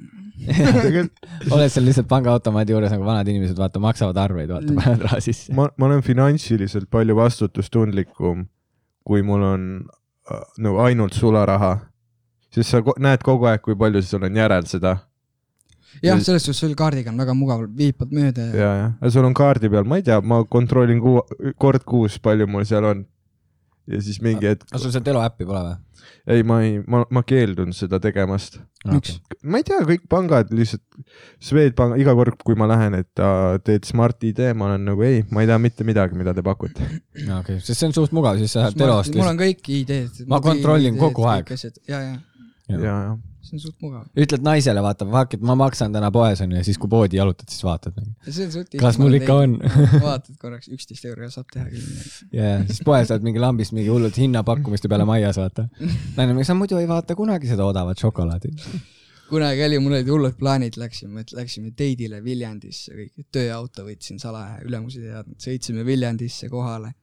[SPEAKER 4] oled seal lihtsalt pangaautomaadi juures nagu vanad inimesed , vaata , maksavad arveid , vaata ,
[SPEAKER 5] Mm.
[SPEAKER 4] paned raha sisse .
[SPEAKER 3] ma , ma olen finantsiliselt palju vastutustundlikum , kui mul on äh, nagu ainult sularaha , sest sa ko- näed kogu aeg , kui palju sul on järel seda
[SPEAKER 5] jah , selles suhtes sul kaardiga on väga mugav , viipad mööda ja,
[SPEAKER 3] ja , ja , ja sul on kaardi peal , ma ei tea , ma kontrollin kuu , kord kuus , palju mul seal on . ja siis mingi hetk ,
[SPEAKER 4] aga sul seal teloäppi pole või ?
[SPEAKER 3] ei , ma ei , ma , ma keeldun seda tegemast .
[SPEAKER 5] miks ?
[SPEAKER 3] ma ei tea , kõik pangad lihtsalt , Swedbank , iga kord , kui ma lähen , et äh, teed Smart ID , ma olen nagu ei , ma ei tea mitte midagi , mida te pakute .
[SPEAKER 4] okei okay. , sest see on suht mugav , siis sa saad telost
[SPEAKER 5] mul
[SPEAKER 4] lihtsalt ,
[SPEAKER 5] on kõik ideed .
[SPEAKER 4] Ma kontrollin kogu aeg.
[SPEAKER 5] ja , ja ,
[SPEAKER 3] ja ,
[SPEAKER 4] Jah.
[SPEAKER 3] ja ,
[SPEAKER 5] see on suht mugav .
[SPEAKER 4] ütled naisele , vaata , fuck it , ma maksan täna poes onju , ja siis kui poodi jalutad , siis vaatad .
[SPEAKER 5] see on suht
[SPEAKER 4] kas mul ikka on ?
[SPEAKER 5] vaatad korraks , üksteist euroga saab teha küll .
[SPEAKER 4] ja siis poes oled mingi lambist mingi hullult hinnapakkumiste peale majas , vaata . naine , miks sa muidu ei vaata kunagi seda odavat šokolaadi ? Noh,
[SPEAKER 5] kunagi oli , mul olid hullud plaanid , läksime , läksime teidile Viljandisse , kõik tööauto võtsin salaja , ülemused ei teadnud , sõitsime Viljandisse kohale .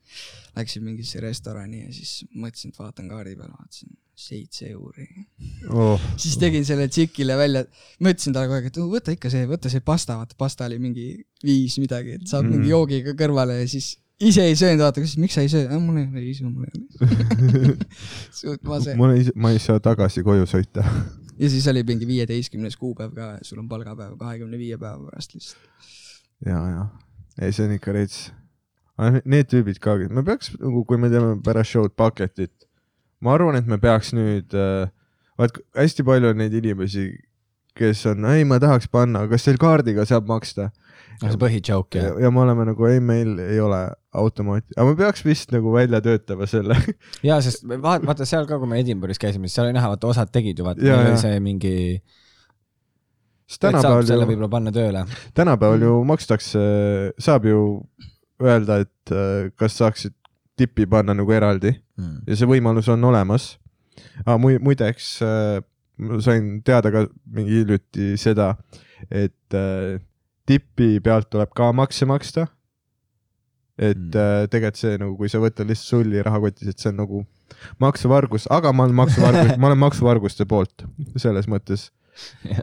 [SPEAKER 5] Läksin mingisse restorani ja siis mõtlesin , et vaatan kaardi peale , vaatasin seitse euri .
[SPEAKER 3] oh ,
[SPEAKER 5] siis tegin selle tšikile välja , ma ütlesin talle kogu aeg , et "Oh, võta ikka see , võta see pasta , vaata pasta oli mingi viis midagi , et saab mm. mingi joogiga kõrvale ja siis ise ei söönud , vaata , küsis miks sa ei söö , mul ei ole isu , mul ei ole . [LAUGHS] suht mase .
[SPEAKER 3] mul ei , ma ei saa tagasi koju sõita . [LAUGHS]
[SPEAKER 5] ja siis oli mingi viieteistkümnes kuupäev ka , sul on palgapäev kahekümne viie päeva pärast lihtsalt .
[SPEAKER 3] ja , ja , ei see on ikka reits . Need tüübid ka , me peaks nagu , kui me teeme pärast show'd bucket'it , ma arvan , et me peaks nüüd , vaat hästi palju on neid inimesi , kes on , ei , ma tahaks panna , kas teil kaardiga saab maksta ?
[SPEAKER 4] see on põhi-joke
[SPEAKER 3] ja,
[SPEAKER 4] jah .
[SPEAKER 3] ja me oleme nagu , ei , meil ei ole automaati , aga me peaks vist nagu välja töötama selle .
[SPEAKER 4] ja sest me vaat- , vaata seal ka , kui me Edinburgh'is käisime , siis seal oli näha , vaata osad tegid ju vaata ,
[SPEAKER 3] Jaa,
[SPEAKER 4] neil
[SPEAKER 3] jaa.
[SPEAKER 4] oli see mingi ,
[SPEAKER 3] sest
[SPEAKER 4] et saab selle
[SPEAKER 3] tänapäeval ju ,
[SPEAKER 4] võib-olla panna tööle .
[SPEAKER 3] tänapäeval ju makstakse , saab ju öelda , et äh, kas saaksid tippi panna nagu eraldi ja see võimalus on olemas . aga mu- muideks äh, ma sain teada ka mingi hiljuti seda , et äh, tipi pealt tuleb ka makse maksta . et
[SPEAKER 4] Mm.
[SPEAKER 3] mm. tegelikult see nagu , kui sa võtad lihtsalt sulli rahakotis , et see on nagu maksuvargus , aga ma olen maksuvargus , ma olen maksuvarguste poolt selles mõttes .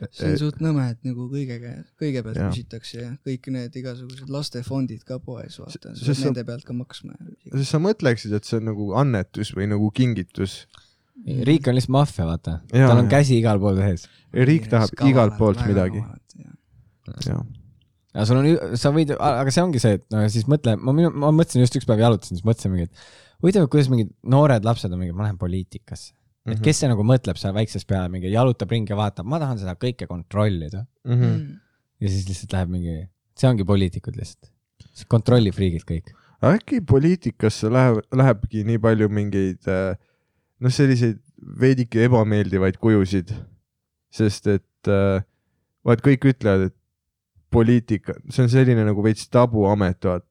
[SPEAKER 5] see on suht nõme , et nagu kõigega , kõigepealt
[SPEAKER 3] Jaa.
[SPEAKER 5] küsitakse ja kõik need igasugused lastefondid ka poes , vaata , sa
[SPEAKER 3] sest
[SPEAKER 5] pead
[SPEAKER 3] sa-
[SPEAKER 5] nende pealt ka maksma .
[SPEAKER 3] sest sa mõtleksid , et see on nagu annetus või nagu kingitus .
[SPEAKER 4] riik on lihtsalt maffia , vaata .
[SPEAKER 3] Jaa,
[SPEAKER 4] tal on
[SPEAKER 3] jaa.
[SPEAKER 4] käsi igal pool sees .
[SPEAKER 3] riik tahab igalt poolt midagi . jah ,
[SPEAKER 4] aga sul on , sa võid , aga see ongi see , et no siis mõtle , ma , ma mõtlesin just üks päev jalutasin , siis mõtlesin mingi , et huvitav , kuidas mingid noored lapsed on mingi , ma lähen poliitikasse . et kes see nagu mõtleb seal väikses peale mingi , jalutab ringi ja vaatab , ma tahan seda kõike kontrollida .
[SPEAKER 5] mhm.
[SPEAKER 3] Mhm.
[SPEAKER 4] Mhm.
[SPEAKER 5] Mm.
[SPEAKER 4] ja siis lihtsalt läheb mingi , see ongi poliitikud lihtsalt . kontrollifriigid kõik .
[SPEAKER 3] äkki poliitikasse läheb , lähebki nii palju mingeid äh, noh , selliseid veidike ebameeldivaid kujusid , sest et äh, vaat kõik ütlevad , et poliitika , see on selline nagu veits tabuamet , vaat .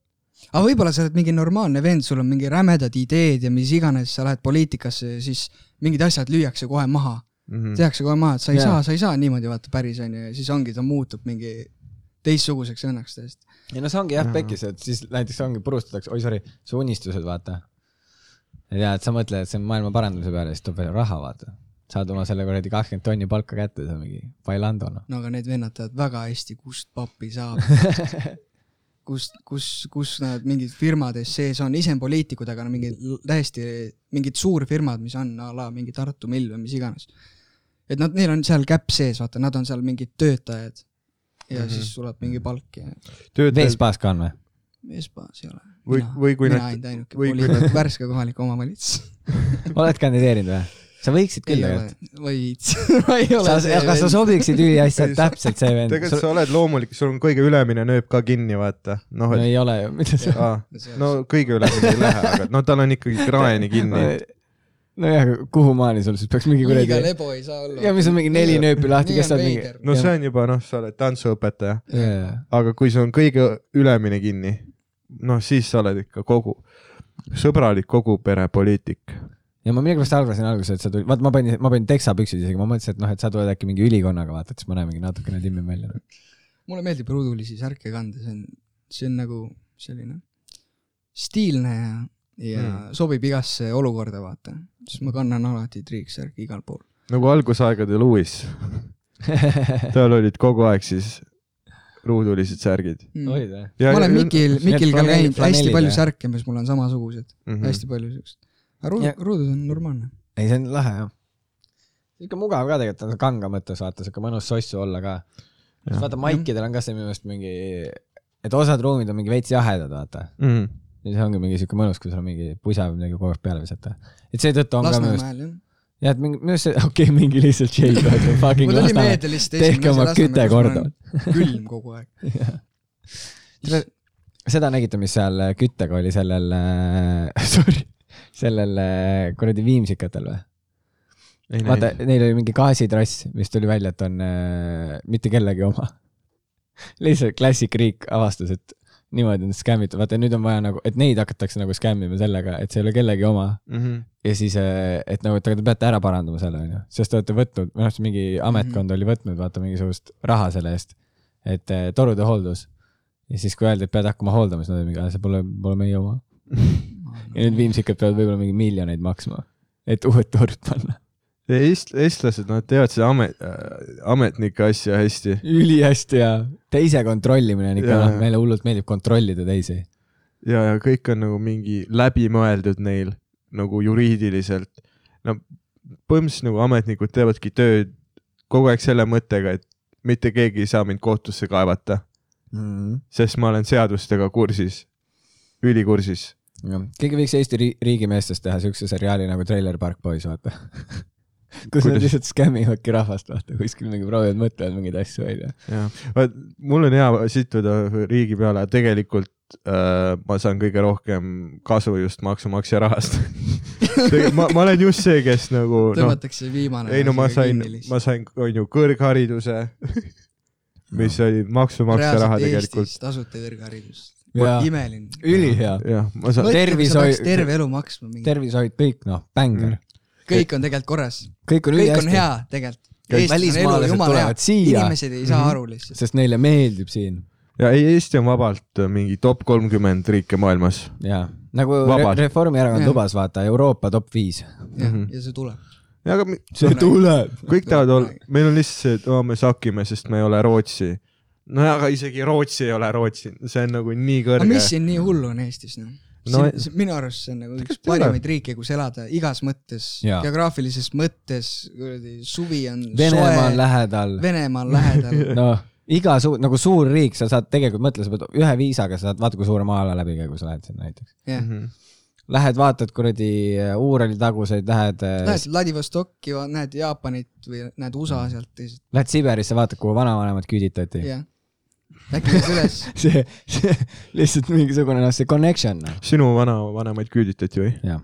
[SPEAKER 5] aga võib-olla sa oled mingi normaalne vend , sul on mingi rämedad ideed ja mis iganes , sa lähed poliitikasse ja siis mingid asjad lüüakse kohe maha ,
[SPEAKER 3] Mhm.
[SPEAKER 5] tehakse kohe maha , et sa ei
[SPEAKER 4] Jaa.
[SPEAKER 5] saa , sa ei saa niimoodi vaata päris onju ja siis ongi , ta muutub mingi teistsuguseks õnneks täiesti . Mhm.
[SPEAKER 4] ja no see ongi jah
[SPEAKER 3] Jaa.
[SPEAKER 4] pekkis , et siis näiteks ongi purustatakse , oi sorry , su unistused , vaata . ja et sa mõtled , et see on maailma parandamise peale , siis tuleb veel raha , vaata . saad oma selle kuradi kakskümmend tonni palka kätte , see on mingi bailando , noh .
[SPEAKER 5] no aga need vennad teavad väga hästi , kust pappi
[SPEAKER 4] [LAUGHS]
[SPEAKER 5] saab . kus , kus , kus nad mingid firmades sees on , ise on poliitikud , aga no mingid l- täiesti mingid suurfirmad , mis on a la mingi Tartu Mill või mis iganes . et nad , neil on seal käpp sees , vaata , nad on seal mingid töötajad
[SPEAKER 4] Mhm.
[SPEAKER 5] ja mm -hmm. siis tuleb mingi palk ja
[SPEAKER 3] töötajad
[SPEAKER 4] veespaas ka on või ?
[SPEAKER 5] Vespas ei ole .
[SPEAKER 3] Või- või kui
[SPEAKER 5] mina
[SPEAKER 3] nad-
[SPEAKER 5] ainult ainuke
[SPEAKER 3] või kui
[SPEAKER 5] poliitik , Värske kohalik omavalitsus .
[SPEAKER 4] [LAUGHS] oled kandideerinud või ? sa võiksid
[SPEAKER 5] ei
[SPEAKER 4] küll
[SPEAKER 5] ole
[SPEAKER 4] tegelikult .,
[SPEAKER 5] võits . [LAUGHS] ma ei ole
[SPEAKER 4] sa , kas sa sobiksid üliasjalt täpselt see vend ?
[SPEAKER 3] tegelikult sa oled loomulik , sul on kõige ülemine nööb ka kinni , vaata . noh ,
[SPEAKER 4] no
[SPEAKER 3] et
[SPEAKER 4] ei ole ju , mida sa .
[SPEAKER 3] aa, no kõige ülemine ei lähe , aga no tal on ikkagi kraeni kinni .
[SPEAKER 4] nojah , kuhu maani sul siis peaks mingi
[SPEAKER 5] liiga
[SPEAKER 4] kuradi .
[SPEAKER 5] lebo ei saa olla .
[SPEAKER 4] ja mis on mingi neli nööpi lahti , kes saab mingi .
[SPEAKER 3] no see on juba noh , sa oled tantsuõpetaja ,
[SPEAKER 4] jaa ,
[SPEAKER 3] aga kui sul on kõige ülemine kinni , noh siis sa oled ikka kogu , sõbralik kogu pere poliitik .
[SPEAKER 4] ja ma millegipärast arvasin alguses , et sa tulid , vaata ma panin , ma panin teksapüksid isegi , ma mõtlesin , et noh , et sa tuled äkki mingi ülikonnaga , vaata , et siis ma näen mingi natukene timmi välja .
[SPEAKER 5] mulle meeldib ruudulisi särke kanda , see on , see on nagu selline stiilne ja , ja mm. sobib igasse olukorda , vaata . siis ma kannan alati triiksärki igal pool .
[SPEAKER 3] nagu algusaegade
[SPEAKER 5] [LAUGHS]
[SPEAKER 3] Lewis . tal olid kogu aeg siis ruudulised särgid
[SPEAKER 5] Mm.
[SPEAKER 4] olid või ?
[SPEAKER 5] ma olen Mikil ,
[SPEAKER 4] need
[SPEAKER 5] Mikil ka
[SPEAKER 4] flanellid-
[SPEAKER 5] käinud hästi
[SPEAKER 4] flanellid,
[SPEAKER 5] palju
[SPEAKER 4] jah?
[SPEAKER 5] särke , mis mul on samasugused mm ,
[SPEAKER 3] Mhm.
[SPEAKER 5] -hmm. hästi palju siuksed . aga
[SPEAKER 4] Ja-
[SPEAKER 5] ruud , ruudud on normaalne .
[SPEAKER 4] ei , see on lahe jah . sihuke mugav ka tegelikult , kanga mõttes vaata , sihuke mõnus sossu olla ka . vaata , maikidel on ka see minu meelest mingi , et osad ruumid on mingi veits jahedad , vaata .
[SPEAKER 3] mm .
[SPEAKER 4] ja see ongi mingi sihuke mõnus , kui sul on mingi pusa või midagi kogu aeg peale visata . et seetõttu on ka minu meelest ,
[SPEAKER 5] Lasnamäel jah .
[SPEAKER 4] jah , et mingi , minu meelest see , [LAUGHS] okei okay, , mingi lihtsalt shake , aga fucking
[SPEAKER 5] mul oli
[SPEAKER 4] Lasnamäe . [LAUGHS]
[SPEAKER 5] meelde lihtsalt
[SPEAKER 4] Tehke oma küte korda. .
[SPEAKER 5] külm kogu aeg .
[SPEAKER 4] Tere- seda nägite , mis seal äh, küttega oli sellel , [LAUGHS] sorry , sellel äh, kuradi viimsikatel või ? vaata , neil oli mingi gaasitrass , mis tuli välja , et on äh, mitte kellegi oma . [LAUGHS] lihtsalt Classic Riik avastas , et niimoodi on skämmitud , vaata nüüd on vaja nagu , et neid hakatakse nagu skämmima sellega , et see ei ole kellegi oma
[SPEAKER 3] Mhm.
[SPEAKER 4] ja siis , et nagu , et aga te peate ära parandama selle , onju , sest te olete võtnud , minu arust mingi ametkond oli võtnud , vaata mingisugust raha selle eest , et eh, torude hooldus . ja siis , kui öeldi , et pead hakkama hooldama , siis nad olid mingi , see pole , pole meie oma . ja nüüd viimsikad peavad võib-olla mingi miljoneid maksma , et uued torud panna . [LAUGHS]
[SPEAKER 3] Eest- , eestlased , nad teevad seda amet , ametnike asja hästi .
[SPEAKER 4] ülihästi ja teise kontrollimine on ikka ,
[SPEAKER 3] Jaa.
[SPEAKER 4] noh , meile hullult meeldib kontrollida teisi .
[SPEAKER 3] ja , ja kõik on nagu mingi läbimõeldud neil nagu juriidiliselt . no põhimõtteliselt nagu ametnikud teevadki tööd kogu aeg selle mõttega , et mitte keegi ei saa mind kohtusse kaevata , sest ma olen seadustega kursis , ülikursis .
[SPEAKER 4] keegi võiks Eesti ri- riigimeestest teha siukse seriaali nagu Trailer Park Boys , vaata . [LAUGHS] kus nad
[SPEAKER 3] Kuidas?
[SPEAKER 4] lihtsalt skämmivadki rahvast , vaata , kuskil mingi proovivad , mõtlevad mingeid asju välja .
[SPEAKER 3] vaat mul on hea sittuda riigi peale , tegelikult äh, ma saan kõige rohkem kasu just maksumaksja rahast . ma , ma olen just see , kes nagu noh ,
[SPEAKER 5] tõmmatakse viimane .
[SPEAKER 3] ei no ma sain , ma sain , on ju , kõrghariduse , mis oli maksumaksja raha tegelikult .
[SPEAKER 5] tasuta kõrgharidus .
[SPEAKER 4] Jaa.
[SPEAKER 5] imeline .
[SPEAKER 4] ülihea ,
[SPEAKER 3] jah , ma saan ,
[SPEAKER 4] Tervishoid-
[SPEAKER 5] tervishoid . terve elu maksma mingi .
[SPEAKER 4] tervishoid , kõik noh , bängar ,
[SPEAKER 5] kõik on tegelikult korras
[SPEAKER 4] kõik on
[SPEAKER 5] kõik on
[SPEAKER 4] ülihästi ,
[SPEAKER 5] hea tegelikult .
[SPEAKER 4] Kõik välismaalased tulevad siia. Mhm.
[SPEAKER 5] inimesed ei saa aru lihtsalt .
[SPEAKER 4] sest neile meeldib siin
[SPEAKER 3] ja ei , Eesti on vabalt äh, mingi top kolmkümmend riike maailmas .
[SPEAKER 4] ja nagu re
[SPEAKER 3] Vabalt.
[SPEAKER 4] Reformierakond
[SPEAKER 5] Jah.
[SPEAKER 4] lubas , vaata Euroopa top viis .
[SPEAKER 5] jah
[SPEAKER 3] Mhm. ,
[SPEAKER 5] ja see tuleb .
[SPEAKER 3] aga mi- see
[SPEAKER 4] tuleb .
[SPEAKER 3] kõik tahavad olla , meil on lihtsalt see , et aa , me sakime , sest me ei ole Rootsi . nojah , aga isegi Rootsi ei ole Rootsi , see on nagu nii
[SPEAKER 5] aga
[SPEAKER 3] kõrge
[SPEAKER 5] mis . siin nii hullu on Eestis noh ?
[SPEAKER 3] No-
[SPEAKER 5] siin , minu arust see on nagu üks
[SPEAKER 3] Tegelikult ei ole.
[SPEAKER 5] parimaid riike , kus elada igas mõttes ,
[SPEAKER 4] Jaa.
[SPEAKER 5] geograafilises mõttes , kuradi suvi on
[SPEAKER 4] Venemaa on
[SPEAKER 5] soe ,
[SPEAKER 4] lähedal ,
[SPEAKER 5] Venemaa on
[SPEAKER 4] [LAUGHS]
[SPEAKER 5] lähedal .
[SPEAKER 4] noh , iga suur , nagu suur riik , sa saad tegelikult mõtle , sa pead ühe viisaga , sa saad , vaata kui suure maa-ala läbi käia , kui sa lähed sinna näiteks .
[SPEAKER 5] jah ,
[SPEAKER 3] Mhm.
[SPEAKER 4] Lähed vaatad kuradi äh, Uurali taguseid , lähed äh,
[SPEAKER 5] lähed Vladivostoki , näed Jaapanit või näed USA sealt teised ,
[SPEAKER 4] Lähed Siberisse , vaatad , kuhu vanavanemad küüditati .
[SPEAKER 5] jah . äkki lähed üles ,
[SPEAKER 4] see , see lihtsalt mingisugune noh , see connection noh .
[SPEAKER 3] sinu vanavanemaid küüditati või ?
[SPEAKER 4] jah .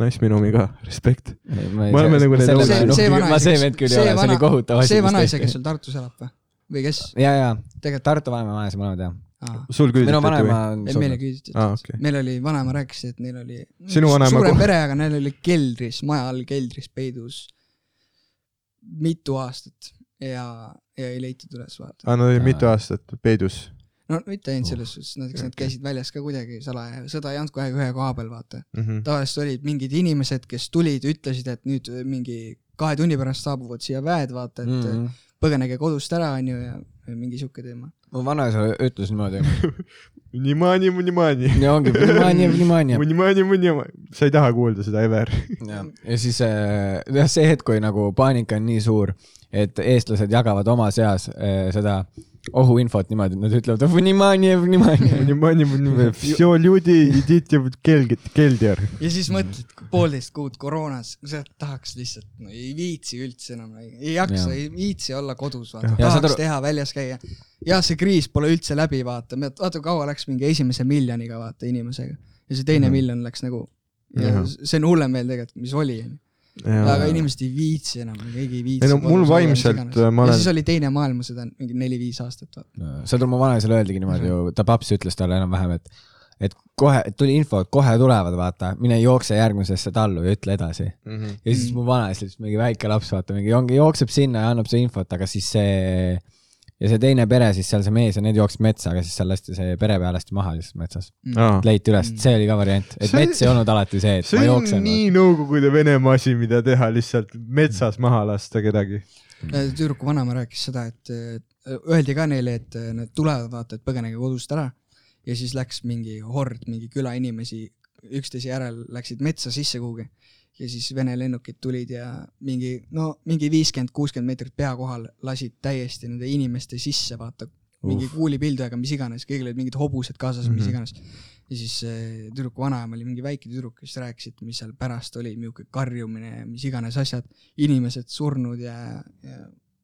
[SPEAKER 3] Nice , minu omi ka , respekt . Me oleme nagu need
[SPEAKER 5] see ,
[SPEAKER 3] Ei, no,
[SPEAKER 5] see vanaisa ,
[SPEAKER 4] ma see vend küll ei ole , see oli kohutav [LAUGHS] asi .
[SPEAKER 5] see vanaisa , kes sul Tartus elab või , või kes ?
[SPEAKER 4] ja , ja ,
[SPEAKER 5] tegelikult
[SPEAKER 4] Tartu vanema vanaisa mõlemad jah .
[SPEAKER 5] aa.
[SPEAKER 3] sul
[SPEAKER 4] minu
[SPEAKER 3] küüditati
[SPEAKER 4] vanaema
[SPEAKER 3] või ?
[SPEAKER 4] on
[SPEAKER 5] ei , meile
[SPEAKER 4] surnud .
[SPEAKER 5] küüditati
[SPEAKER 3] Aa, okei.
[SPEAKER 5] meil oli , vanaema rääkis , et neil oli
[SPEAKER 3] Sinu vanaema
[SPEAKER 5] suurem
[SPEAKER 3] koht-
[SPEAKER 5] pere , aga neil oli keldris , maja all keldris peidus mitu aastat ja , ja ei leitud üles vaata .
[SPEAKER 3] Ah. aa , nad olid mitu aastat peidus .
[SPEAKER 5] no mitte ainult
[SPEAKER 3] Oh.
[SPEAKER 5] selles suhtes , näiteks nad käisid väljas ka kuidagi salaja , sõda ei olnud kohe ühe koha peal , vaata .
[SPEAKER 3] mm .
[SPEAKER 5] tavaliselt olid mingid inimesed , kes tulid , ütlesid , et nüüd mingi kahe tunni pärast saabuvad siia väed , vaata , et mm -hmm.
[SPEAKER 4] -hmm.
[SPEAKER 5] põgenege kodust ära , onju , ja mingi sihuke teema .
[SPEAKER 4] mu vanaisa ütles niimoodi .
[SPEAKER 3] Vнимание , vнимание .
[SPEAKER 4] ja ongi , vнимание , vнимание .
[SPEAKER 3] Vнимание , vнимание . sa ei taha kuulda seda
[SPEAKER 4] [LAUGHS]
[SPEAKER 3] ever .
[SPEAKER 4] ja , ja siis äh, jah , see hetk , kui nagu paanika on nii suur , et eestlased jagavad oma seas äh, seda ohuinfot niimoodi , et nad ütlevad vнимание , vнимание .
[SPEAKER 3] [LAUGHS] Внимание , внимание . Все люди , идите в келgi- , keldjar .
[SPEAKER 5] ja
[SPEAKER 3] Mhm.
[SPEAKER 5] siis mõtled , poolteist kuud koroonas , sa tahaks lihtsalt , no ei viitsi üldse enam , ei jaksa ,
[SPEAKER 4] Jaa.
[SPEAKER 5] ei viitsi olla kodus , vaata ,
[SPEAKER 4] Ja saad
[SPEAKER 5] tahaks
[SPEAKER 4] aru-
[SPEAKER 5] teha , väljas käia . jah , see kriis pole üldse läbi , vaata , vaata kui kaua läks mingi esimese miljoniga , vaata , inimesega . ja see teine
[SPEAKER 3] Mhm.
[SPEAKER 5] mm. miljon läks nagu ,
[SPEAKER 3] Jah.
[SPEAKER 5] see on hullem veel tegelikult , mis oli , onju . aga inimesed ei viitsi enam , keegi ei viitsi .
[SPEAKER 3] ei no mul vaimselt, äh, ma
[SPEAKER 5] olen .
[SPEAKER 3] olen-
[SPEAKER 5] ja siis oli teine maailmasõda , mingi neli-viis aastat , vaata .
[SPEAKER 4] saad aru , mu vanaisale öeldigi niimoodi ju , ta paps ütles talle enam-vähem , et , et kohe tuli info , et kohe tulevad , vaata , mine jookse järgmisesse tallu ja ütle edasi . ja siis mu vanaisa lihtsalt mingi väike laps , vaata , mingi ongi , jookseb sinna ja annab see infot , aga siis see ja see teine pere siis seal , see mees ja need jooksid metsa , aga siis seal lasti see pere peal lasti maha lihtsalt metsas . leiti üles , et see oli ka variant , et
[SPEAKER 3] See-
[SPEAKER 4] mets ei olnud alati see , et
[SPEAKER 3] see
[SPEAKER 4] ma
[SPEAKER 3] on
[SPEAKER 4] jooksen .
[SPEAKER 3] nii Nõukogude Venemaa asi , mida teha lihtsalt metsas maha lasta kedagi .
[SPEAKER 5] Äh, tüdruku vanaema rääkis seda , et eh, öeldi ka neile , et eh, nad tulevad , vaata , et põgenege kodust ära . ja siis läks mingi hord , mingi küla inimesi üksteise järel läksid metsa sisse kuhugi . ja siis Vene lennukid tulid ja mingi , no mingi viiskümmend , kuuskümmend meetrit pea kohal lasid täiesti nende inimeste sisse , vaata . mingi kuulipildujaga , mis iganes , kõigil olid mingid hobused kaasas mm , -hmm. mis
[SPEAKER 3] Mhm.
[SPEAKER 5] iganes . ja siis eh, tüdruku vanaema oli mingi väike tüdruk , kes rääkis , et mis seal pärast oli , niisugune karjumine ja mis iganes asjad , inimesed surnud ja , ja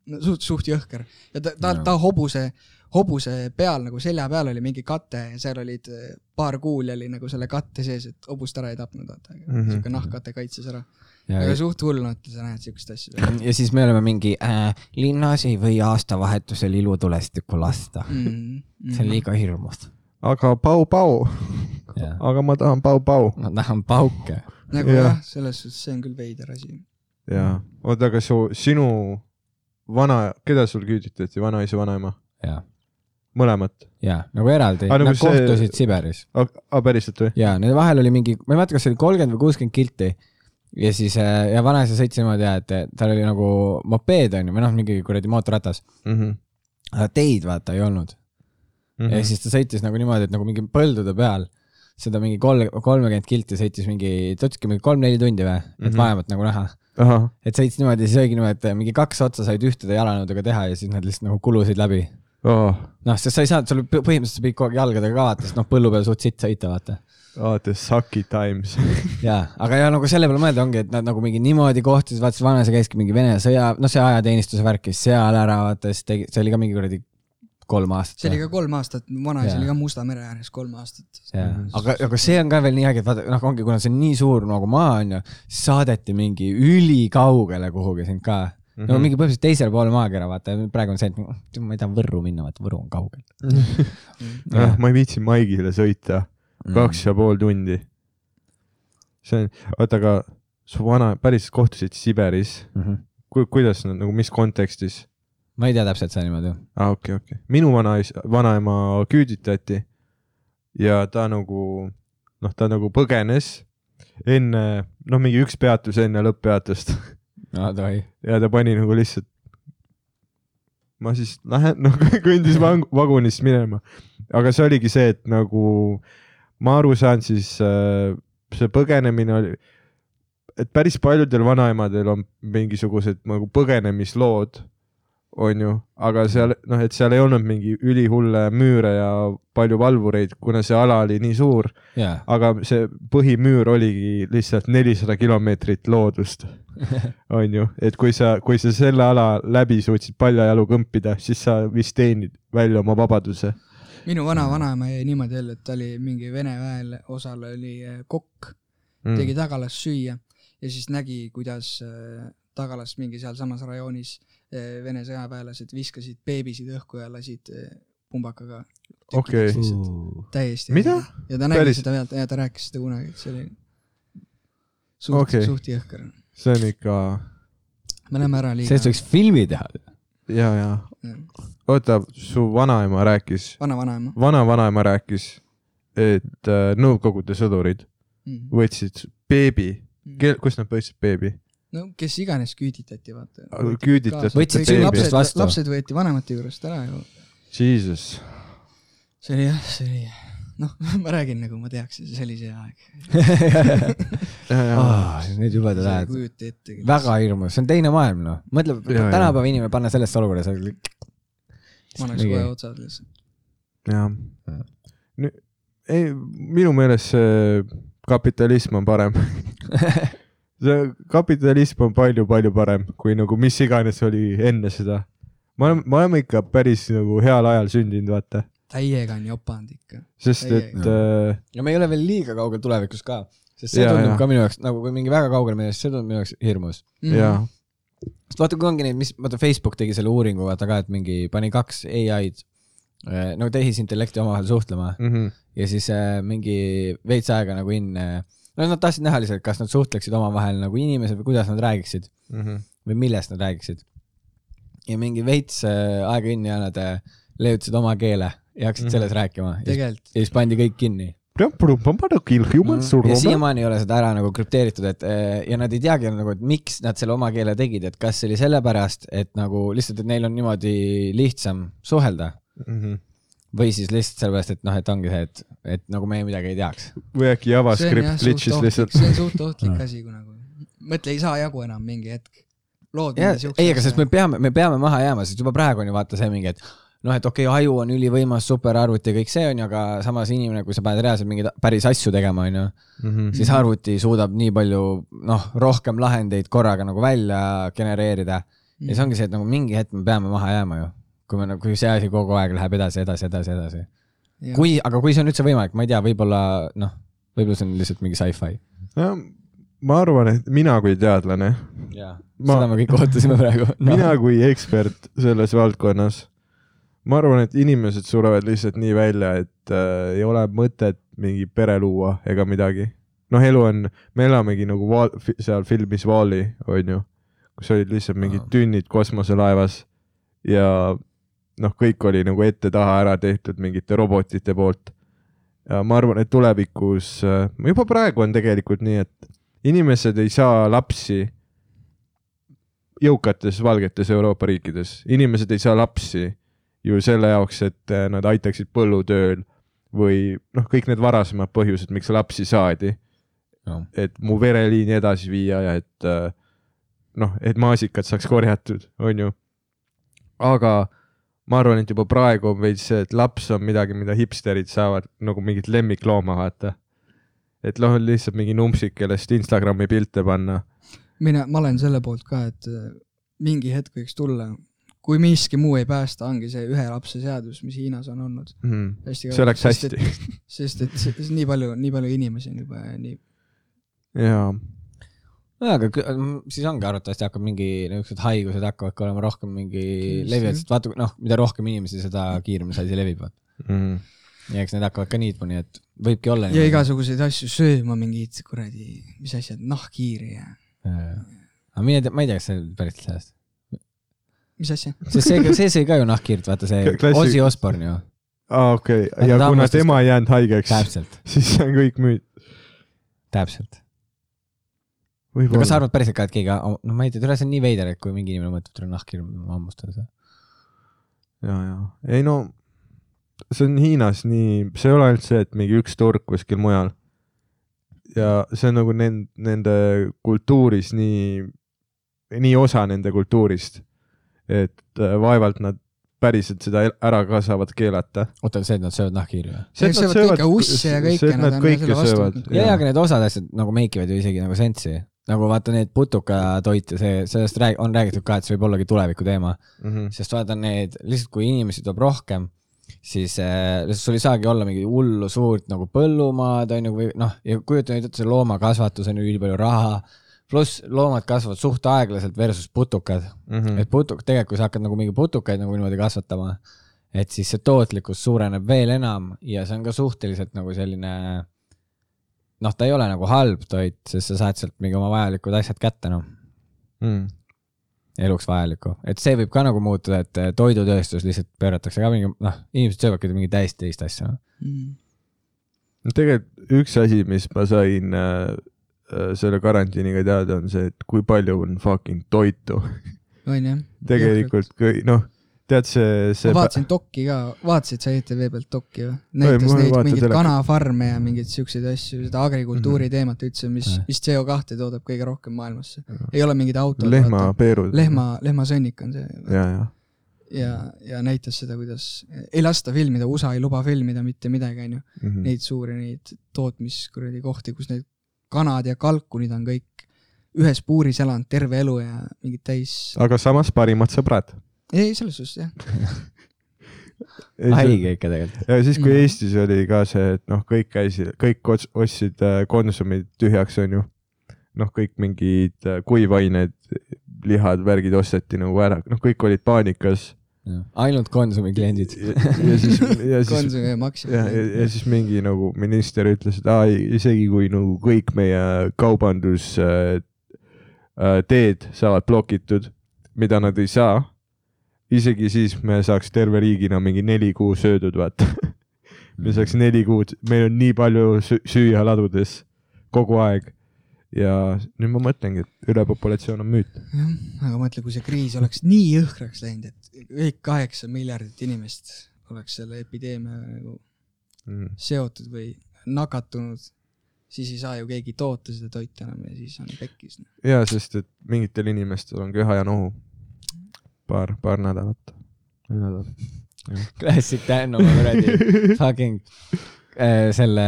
[SPEAKER 5] no suht , suht jõhker . ja ta , ta
[SPEAKER 4] Jaa. ,
[SPEAKER 5] ta hobuse , hobuse peal nagu selja peal oli mingi kate ja seal olid eh, paar kuuli oli nagu selle katte sees , et hobust ära ei tapnud , vaata mm
[SPEAKER 3] Mhm.
[SPEAKER 5] -hmm. . sihuke nahkkate kaitses ära .
[SPEAKER 4] ja,
[SPEAKER 5] aga suht hull , noh , et sa näed siukest asja
[SPEAKER 4] ja siis me oleme mingi äh, linnas ei või aastavahetusel ilutulestikku lasta mm. . [LAUGHS]
[SPEAKER 5] mm .
[SPEAKER 4] see on
[SPEAKER 5] -hmm.
[SPEAKER 4] liiga hirmus .
[SPEAKER 3] aga Pau-Pau , aga ma tahan Pau-Pau .
[SPEAKER 4] ma tahan pauke .
[SPEAKER 5] nagu
[SPEAKER 3] jah.
[SPEAKER 5] jah ja, , selles suhtes see on küll veider asi .
[SPEAKER 3] jaa , oota , aga su , sinu vana , keda sul küüditati , vanaisa , vanaema ?
[SPEAKER 4] ja ,
[SPEAKER 3] mõlemat ?
[SPEAKER 4] ja nagu eraldi ,
[SPEAKER 3] Aga
[SPEAKER 4] nad
[SPEAKER 3] nagu
[SPEAKER 4] see...
[SPEAKER 3] see-
[SPEAKER 4] kohtusid Siberis
[SPEAKER 3] aga päriselt või ?
[SPEAKER 4] ja nende vahel oli mingi , ma ei mäleta , kas see oli kolmkümmend või kuuskümmend kilti . ja siis äh, ja vanaisa sõitis niimoodi , et tal oli nagu mopeed onju või noh , mingi kuradi mootorratas , aga teid vaata ei olnud ja
[SPEAKER 3] Mhm.
[SPEAKER 4] siis ta sõitis nagu niimoodi , et nagu mingi põldude peal seda mingi kolm , kolmekümmend kilti sõitis mingi , ta ütleski mingi kolm-neli tundi või , et mm
[SPEAKER 3] Mhm.
[SPEAKER 4] -hmm. vaevat nagu näha .
[SPEAKER 3] ahah ,
[SPEAKER 4] et sõits niimoodi , siis oligi niimoodi , et mingi kaks otsa said ühtede jalanõudega teha ja siis nad lihtsalt nagu kulusid läbi . noh , sest sa ei saanud , sul põ- põhimõtteliselt sa pidid kogu aeg jalgadega ka vaata , sest noh , põllu peal suht sitt sõita , vaata .
[SPEAKER 3] vaata , sucky times .
[SPEAKER 4] jaa , aga ja nagu selle peale mõelda ongi , et nad nagu mingi niimoodi kohtusid , vaata siis vanaisa käiski mingi Vene sõja , noh , see ajateenistuse värk käis seal ära , vaata , siis tegi , see oli ka mingi kuradi kolm aastat .
[SPEAKER 5] see oli ka kolm aastat , vanaisa
[SPEAKER 4] Jaa.
[SPEAKER 5] oli ka Musta mere ääres kolm aastat . Mhm.
[SPEAKER 4] Jaa. aga , aga see on ka veel nii äge , et vaata , noh , ongi , kuna see on nii suur nagu maa on ju , saadeti mingi ülikaugele kuhugi sind ka mm . -hmm. no
[SPEAKER 3] Mhm.
[SPEAKER 4] mingi põhimõtteliselt teisele poole maakera , vaata , praegu on see , et noh, tüüd, ma ei taha Võrru minna , vaata Võru on kaugel .
[SPEAKER 5] Mhm.
[SPEAKER 3] jah , Ah, ma ei viitsi Maigile sõita ,
[SPEAKER 4] Mm.
[SPEAKER 3] kaks ja pool tundi . see on , oota , aga su vana , päriselt kohtusid Siberis
[SPEAKER 4] mm . -hmm.
[SPEAKER 3] Ku, ? kuidas nad nagu , mis kontekstis ?
[SPEAKER 4] ma ei tea täpselt seda niimoodi .
[SPEAKER 3] aa ah, , okei okay, , okei okay. . minu vanaisa , vanaema küüditati ja ta nagu , noh , ta nagu põgenes enne , noh , mingi üks peatus enne lõpppeatust [LAUGHS]
[SPEAKER 4] no tohi .
[SPEAKER 3] ja ta pani nagu lihtsalt , ma siis lähen , [LAUGHS] noh , kõndis vang- vagunist minema . aga see oligi see , et nagu ma aru saan , siis äh, see põgenemine oli , et päris paljudel vanaemadel on mingisugused nagu põgenemislood , on ju , aga seal , noh , et seal ei olnud mingi ülihulle müüre ja palju valvureid , kuna see ala oli nii suur ,
[SPEAKER 4] jaa ,
[SPEAKER 3] aga see põhimüür oligi lihtsalt nelisada kilomeetrit
[SPEAKER 4] [LAUGHS]
[SPEAKER 3] loodust , on ju , et kui sa , kui sa selle ala läbi suutsid paljajalu kõmpida , siis sa vist teenid välja oma vabaduse .
[SPEAKER 5] minu
[SPEAKER 4] Mhm.
[SPEAKER 5] vana vanaema jäi niimoodi jälle , et ta oli mingi Vene väel osal oli eh, kokk mm. , tegi tagalas süüa ja siis nägi , kuidas eh, tagalas mingi sealsamas rajoonis eh, Vene sõjaväelased viskasid beebisid õhku ja lasid eh, pumbakaga .
[SPEAKER 3] Okei.
[SPEAKER 5] täiesti .
[SPEAKER 3] Mida?
[SPEAKER 5] ja ta
[SPEAKER 3] Päris?
[SPEAKER 5] nägi Päris. seda pealt ja ta rääkis seda kunagi , et see oli suht
[SPEAKER 3] Okei.
[SPEAKER 5] okay. , suht jõhker .
[SPEAKER 3] see on ikka ,
[SPEAKER 5] me läheme ära
[SPEAKER 3] [LAUGHS]
[SPEAKER 5] liiga .
[SPEAKER 4] sellest võiks filmi teha .
[SPEAKER 3] ja , ja oota , su vanaema rääkis ,
[SPEAKER 5] vana-vanaema
[SPEAKER 3] vana-vanaema rääkis , et äh, Nõukogude sõdurid
[SPEAKER 5] mm. .
[SPEAKER 3] võtsid beebi , kust nad võtsid beebi ?
[SPEAKER 5] Mhm. no kes iganes küüditati , vaata .
[SPEAKER 3] küüditati
[SPEAKER 4] Võtsid
[SPEAKER 3] beebi.
[SPEAKER 4] lapsed- vastu.
[SPEAKER 5] lapsed võeti vanemate juurest ära ju .
[SPEAKER 3] Jesus ,
[SPEAKER 5] see oli jah , see oli , noh , [LAUGHS] ma räägin nagu ma teaks , see oli see aeg .
[SPEAKER 4] Ah, Need jubedad
[SPEAKER 5] sa ei
[SPEAKER 4] ajad ,
[SPEAKER 5] kujuta ette .
[SPEAKER 4] väga hirmus , see on teine maailm noh , mõtle
[SPEAKER 3] Jaa,
[SPEAKER 4] tänapäeva inimene panna sellesse olukorda , sa oled
[SPEAKER 5] ma oleks kohe otsad lihtsalt .
[SPEAKER 3] jah .
[SPEAKER 5] Mm.
[SPEAKER 3] ei , minu meelest see kapitalism on parem .
[SPEAKER 5] [LAUGHS]
[SPEAKER 3] see kapitalism on palju-palju parem kui nagu mis iganes oli enne seda . me oleme , me oleme ikka päris nagu heal ajal sündinud , vaata ,
[SPEAKER 5] täiega on jopanud ikka .
[SPEAKER 3] sest
[SPEAKER 5] Ei, ei.
[SPEAKER 3] et äh,
[SPEAKER 4] ja me ei ole veel liiga kaugel tulevikus ka , sest see
[SPEAKER 3] Jaa,
[SPEAKER 4] tundub
[SPEAKER 3] jaa.
[SPEAKER 4] ka minu jaoks nagu kui mingi väga kaugel meie , see tundub minu jaoks hirmus .
[SPEAKER 5] Mhm,
[SPEAKER 3] ja ,
[SPEAKER 4] sest vaata , kui ongi neid , mis , vaata Facebook tegi selle uuringu , vaata ka , et mingi pani kaks ai-d eh, nagu tehisintellekti omavahel suhtlema
[SPEAKER 3] Mhm.
[SPEAKER 4] ja siis äh, mingi veits aega nagu enne , no nad tahtsid näha lihtsalt , kas nad suhtleksid omavahel nagu inimesed või kuidas nad räägiksid
[SPEAKER 3] Mhm.
[SPEAKER 4] või millest nad räägiksid . ja mingi veits äh, aega enne ja nad äh, leiutasid oma keele ja
[SPEAKER 3] Mhm.
[SPEAKER 4] hakkasid selles rääkima ja siis-
[SPEAKER 5] tegelikult
[SPEAKER 4] ja siis pandi kõik kinni Mm.
[SPEAKER 5] Mm.
[SPEAKER 4] ja
[SPEAKER 3] mhm .
[SPEAKER 4] siiamaani ei ole seda ära nagu krüpteeritud , et eh, ja nad ei teagi nagu , et miks nad selle oma keele tegid , et kas see oli sellepärast , et nagu lihtsalt , et neil on niimoodi lihtsam suhelda
[SPEAKER 3] Mhm.
[SPEAKER 4] või siis lihtsalt sellepärast , et noh , et ongi see , et , et nagu meie midagi ei teaks .
[SPEAKER 3] või äkki JavaScript glitch'is lihtsalt .
[SPEAKER 5] see on suht ohtlik asi , kui nagu , mõtle , ei saa jagu enam mingi hetk . lood
[SPEAKER 4] ei , aga sest me peame , me peame maha jääma , sest juba praegu on ju vaata see mingi , et noh , et okei okay, , aju on ülivõimas superarvuti ja kõik see on ju , aga samas inimene , kui sa paned reaalselt mingeid päris asju tegema , on ju
[SPEAKER 3] Mhm.
[SPEAKER 4] siis arvuti suudab nii palju noh , rohkem lahendeid korraga nagu välja genereerida . ja see ongi see , et nagu mingi hetk me peame maha jääma ju , kui me nagu , kui see asi kogu aeg läheb edasi , edasi , edasi , edasi .
[SPEAKER 5] kui .
[SPEAKER 4] kui , aga kui see on üldse võimalik , ma ei tea , võib-olla noh , võib-olla see on lihtsalt mingi sci-fi .
[SPEAKER 3] ma arvan , et mina kui teadlane ,
[SPEAKER 4] jaa ,
[SPEAKER 3] Ma-
[SPEAKER 4] seda me kõik ootasime praegu no. .
[SPEAKER 3] [LAUGHS] mina kui ekspert selles valdkonnas , ma arvan , et inimesed surevad lihtsalt nii välja , et äh, ei ole mõtet mingi pere luua ega midagi . noh , elu on , me elamegi nagu vaal, fi, seal filmis Wall-E , onju , kus olid lihtsalt mingid
[SPEAKER 4] Aa.
[SPEAKER 3] tünnid kosmoselaevas ja noh , kõik oli nagu ette-taha ära tehtud mingite robotite poolt . ja ma arvan , et tulevikus , juba praegu on tegelikult nii , et inimesed ei saa lapsi jõukates valgetes Euroopa riikides , inimesed ei saa lapsi ju selle jaoks , et äh, nad aitaksid põllutööl või noh , kõik need varasemad põhjused , miks lapsi saadi ,
[SPEAKER 4] no.
[SPEAKER 3] et mu vereliini edasi viia ja et äh, noh , et maasikad saaks korjatud , on ju . aga ma arvan , et juba praegu on veits see , et laps on midagi , mida hipsterid saavad nagu mingit lemmiklooma , vaata . et noh , lihtsalt mingi numpsik , kellest Instagrami pilte panna .
[SPEAKER 5] mina , ma olen selle poolt ka , et äh, mingi hetk võiks tulla , kui miski muu ei päästa , ongi see ühe lapse seadus , mis Hiinas on olnud .
[SPEAKER 3] Hmm.
[SPEAKER 5] hästi
[SPEAKER 3] see oleks
[SPEAKER 4] [LAUGHS]
[SPEAKER 5] sest
[SPEAKER 3] hästi .
[SPEAKER 5] et- sest et see- see- nii palju , nii palju inimesi on juba ja nii .
[SPEAKER 3] jaa
[SPEAKER 4] nojah , aga kü- m- siis ongi arvatavasti hakkab mingi niisugused haigused hakkavad ka olema rohkem mingi
[SPEAKER 5] Kindlasti.
[SPEAKER 4] levivad , sest vaata noh , mida rohkem inimesi , seda kiiremini see asi levib .
[SPEAKER 3] mm. .
[SPEAKER 4] ja eks need hakkavad ka niitma , nii et võibki olla .
[SPEAKER 5] ja igasuguseid asju sööma , mingeid kuradi , mis asjad , nahkhiiri ja
[SPEAKER 4] aga mine tea , ma ei tea , kas see oli päris sellest .
[SPEAKER 5] mis asja .
[SPEAKER 4] sest see , see sõi ka ju nahkhiirt , vaata see
[SPEAKER 3] K- klassi-
[SPEAKER 4] Ossi Osborn ju ,
[SPEAKER 3] aa , Ah, okei
[SPEAKER 4] Aga
[SPEAKER 3] okay. , ja
[SPEAKER 4] ta
[SPEAKER 3] kuna
[SPEAKER 4] hammustas-
[SPEAKER 3] tema ei jäänud haigeks ,
[SPEAKER 4] täpselt ,
[SPEAKER 3] siis see on kõik müüt .
[SPEAKER 4] täpselt . no kas sa
[SPEAKER 3] võib-olla .
[SPEAKER 4] arvad päriselt ka , et keegi , no ma ei tea , tule see on nii veider , et kui mingi inimene mõtleb , et tal on nahkhiir , ma hammustan seda .
[SPEAKER 3] ja , ja , ei no see on Hiinas nii , see ei ole ainult see , et mingi üks turg kuskil mujal . ja see on nagu nend- , nende kultuuris nii , nii osa nende kultuurist , et äh, vaevalt nad päriselt seda el- ära ka saavad keelata .
[SPEAKER 4] oota , see , et nad söövad nahkhiiri või ?
[SPEAKER 5] Nad söövad kõike, usse ja kõike, nad
[SPEAKER 3] nad
[SPEAKER 5] on
[SPEAKER 3] kõike
[SPEAKER 5] selle vastu
[SPEAKER 3] söövad .
[SPEAKER 5] võtnud.
[SPEAKER 4] ja , ja aga need osad asjad nagu make ivad ju isegi nagu sensi . nagu vaata need putukatoit ja see , sellest rääg- , on räägitud ka , et see võib ollagi tuleviku teema .
[SPEAKER 3] Mhm,
[SPEAKER 4] sest vaata need , lihtsalt kui inimesi tuleb rohkem , siis äh, lihtsalt sul ei saagi olla mingi hullu suurt nagu põllumaad on ju , või noh , ja kujuta nüüd ette , see loomakasvatus on ju ülipalju raha , pluss loomad kasvavad suht aeglaselt versus putukad
[SPEAKER 3] mhm,
[SPEAKER 4] mm. , et putuk- , tegelikult kui sa hakkad nagu mingi putukaid nagu niimoodi kasvatama , et siis see tootlikkus suureneb veel enam ja see on ka suhteliselt nagu selline noh , ta ei
[SPEAKER 3] mhm.
[SPEAKER 4] ole nagu halb toit , sest sa saad sealt mingi oma vajalikud asjad kätte , noh . eluks vajalikku , et see võib ka nagu muutuda , et äh, toidutööstus lihtsalt pööratakse ka mingi , noh , inimesed söövadki mingi täiesti teist asja .
[SPEAKER 5] mm. .
[SPEAKER 3] no tegelikult üks asi , mis ma sain äh, äh, selle karantiiniga teada , on see , et kui palju on fucking toitu . [LAUGHS]
[SPEAKER 5] on jah ?
[SPEAKER 3] tegelikult kõik , noh , tead see , see
[SPEAKER 5] ma . vaatasin dokki ka , vaatasid sa ETV pealt dokki või ?
[SPEAKER 3] ma
[SPEAKER 5] näitas
[SPEAKER 3] ei
[SPEAKER 5] neid
[SPEAKER 3] vaata
[SPEAKER 5] mingeid
[SPEAKER 3] telekat.
[SPEAKER 5] kanafarme ja mingeid siukseid asju , seda
[SPEAKER 3] Mhm.
[SPEAKER 5] agrikultuuri teemat üldse , mis
[SPEAKER 4] Jah. ,
[SPEAKER 5] mis CO2 toodab kõige rohkem maailmasse . ei ole mingeid autod .
[SPEAKER 3] lehmapeerud .
[SPEAKER 5] lehma , lehmasõnnik on see .
[SPEAKER 3] ja , ja .
[SPEAKER 5] ja , ja näitas seda , kuidas ei lasta filmida , USA ei luba filmida mitte midagi , onju .
[SPEAKER 3] Mhm. Mm.
[SPEAKER 5] neid suuri neid tootmiskuradi kohti , kus need kanad ja kalkunid on kõik ühes puuris elanud terve elu ja mingid täis ,
[SPEAKER 3] aga samas parimad sõbrad .
[SPEAKER 5] ei selles suhtes jah ,
[SPEAKER 4] haige ikka tegelikult .
[SPEAKER 3] ja siis , kui
[SPEAKER 5] Mhm.
[SPEAKER 3] Eestis oli ka see , et noh , kõik käisid , kõik ots- ostsid äh, Konsumid tühjaks , onju . noh , kõik mingid äh, kuivained , lihad , värgid osteti nagu ära , noh , kõik olid paanikas .
[SPEAKER 4] ainult Konsumi kliendid . [LAUGHS]
[SPEAKER 3] ja siis ,
[SPEAKER 5] [LAUGHS]
[SPEAKER 3] ja siis ,
[SPEAKER 5] Konsumi
[SPEAKER 3] ja, ja,
[SPEAKER 5] ja Maxima .
[SPEAKER 3] ja siis mingi nagu minister ütles , et aa , isegi kui nagu kõik meie kaubandus äh, äh, teed saavad blokitud , mida nad ei saa , isegi siis me saaks terve riigina mingi neli kuu söödud , vaata . [LAUGHS] me saaks neli kuud , meil on nii palju sü- süüa ladudes kogu aeg ja nüüd ma mõtlengi , et ülepopulatsioon on müüt .
[SPEAKER 5] jah , aga mõtle , kui see kriis oleks nii jõhkraks läinud , et kõik kaheksa miljardit inimest oleks selle epideemiaga nagu
[SPEAKER 3] Mm.
[SPEAKER 5] seotud või nakatunud , siis ei saa ju keegi toota seda toitu enam ja siis on pekkis .
[SPEAKER 3] ja sest , et mingitel inimestel on köha ja nohu . paar , paar nädalat , nädal .
[SPEAKER 4] Classic Dan oma kuradi fucking äh, selle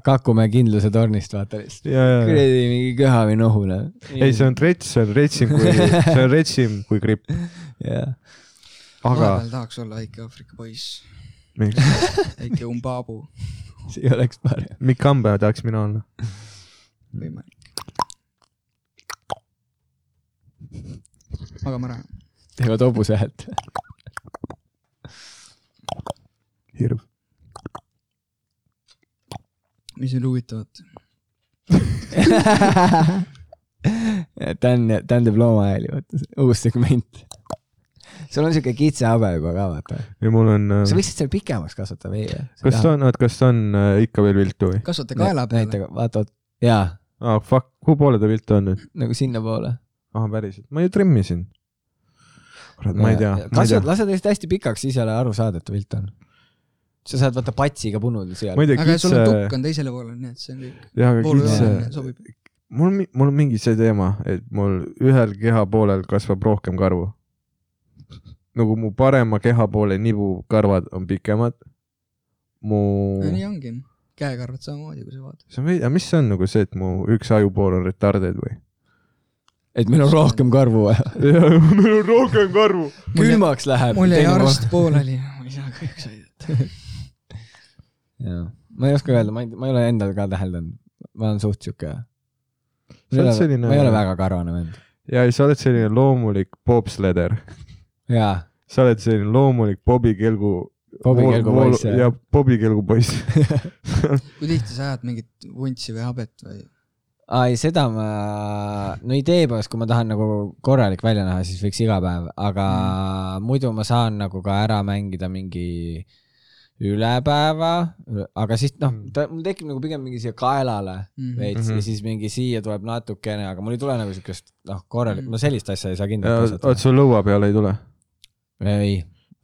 [SPEAKER 4] Kakumäe kindluse tornist vaata lihtsalt .
[SPEAKER 3] ja , ja , ja .
[SPEAKER 4] kuradi mingi köha või nohule .
[SPEAKER 3] Äh. ei , see on rets , see on retsim
[SPEAKER 5] [LAUGHS]
[SPEAKER 3] kui , see on retsim kui gripp ,
[SPEAKER 4] jah ,
[SPEAKER 3] aga
[SPEAKER 5] vahepeal tahaks olla väike Aafrika poiss ,
[SPEAKER 3] miks ,
[SPEAKER 5] väike umbabu ,
[SPEAKER 4] see oleks parem .
[SPEAKER 3] Mikk Kambe tahaks mina olla .
[SPEAKER 5] võimalik . magame ära .
[SPEAKER 4] teevad hobuse häält . [LAUGHS]
[SPEAKER 3] hirm .
[SPEAKER 5] mis oli huvitavat ?
[SPEAKER 4] Dan , Dan teeb loomahääli , vaata , uus segment . sul on siuke kitsehabe juba ka , vaata .
[SPEAKER 3] ja mul on ,
[SPEAKER 4] sa võiksid selle pikemaks kasvatada või ?
[SPEAKER 3] kas ta on , oot , kas ta on äh, ikka veel viltu või ?
[SPEAKER 5] kasvata kaela peale .
[SPEAKER 4] näita , vaata , jaa ,
[SPEAKER 3] aa , fuck , kuhu poole ta viltu on nüüd ?
[SPEAKER 4] nagu sinnapoole .
[SPEAKER 3] aa , päriselt , ma ju trimmisin . kurat , ma ei tea , ma ei
[SPEAKER 4] kasvad ,
[SPEAKER 3] tea ,
[SPEAKER 4] lase teist hästi pikaks , siis ei ole aru saada , et vilt on . sa saad vaata patsiga punuda seal .
[SPEAKER 3] ma ei tea ,
[SPEAKER 5] aga sul
[SPEAKER 4] äh,
[SPEAKER 5] on tukk
[SPEAKER 3] kitse ,
[SPEAKER 5] on teisele poole , nii et see on kõik .
[SPEAKER 3] jah , aga
[SPEAKER 5] pool
[SPEAKER 3] kitse ,
[SPEAKER 5] üle sobib .
[SPEAKER 3] mul , mul on mingi see teema , et mul ühel kehapoolel kasvab rohkem karvu . nagu mu parema kehapoole nibu karvad on pikemad , mu
[SPEAKER 5] no nii ongi . käekarvad samamoodi , kui sa vaatad .
[SPEAKER 3] see on veidi , aga mis see on nagu see , et mu üks ajupool on retarded [LAUGHS] või ?
[SPEAKER 4] et meil on rohkem karvu vaja .
[SPEAKER 3] jah , meil on rohkem karvu .
[SPEAKER 5] Mul jäi-
[SPEAKER 4] külmaks läheb .
[SPEAKER 5] mul jäi . arst pooleli , ma ei saa kahjuks aidata .
[SPEAKER 4] ma ei oska öelda , ma ei , ma ei ole endal ka täheldanud . ma olen suht sihuke .
[SPEAKER 3] sa oled selline .
[SPEAKER 4] ma ei ole . väga karvane vend .
[SPEAKER 3] ja sa oled selline loomulik popsleder ,
[SPEAKER 4] jaa ,
[SPEAKER 3] sa oled selline loomulik Bobi Kelgu .
[SPEAKER 4] Bobi Kelgu poiss
[SPEAKER 3] ja . Bobi Kelgu poiss .
[SPEAKER 4] [LAUGHS]
[SPEAKER 5] kui tihti sa ajad mingit vuntsi või habet või ?
[SPEAKER 4] aa ei , seda ma , no idee poolest , kui ma tahan nagu korralik välja näha , siis võiks iga päev , aga mm. muidu ma saan nagu ka ära mängida mingi üle päeva , aga siis noh , ta , mul tekib nagu pigem mingi siia kaelale
[SPEAKER 5] Mhm.
[SPEAKER 4] veits mm -hmm.
[SPEAKER 3] Mm. Mhm.
[SPEAKER 4] ja siis mingi siia tuleb natukene , aga mul ei tule nagu siukest noh , korralik , ma sellist asja ei saa kindlalt
[SPEAKER 3] oot ,
[SPEAKER 4] kasvatada .
[SPEAKER 3] sul lõua peale ei tule ?
[SPEAKER 4] ei ,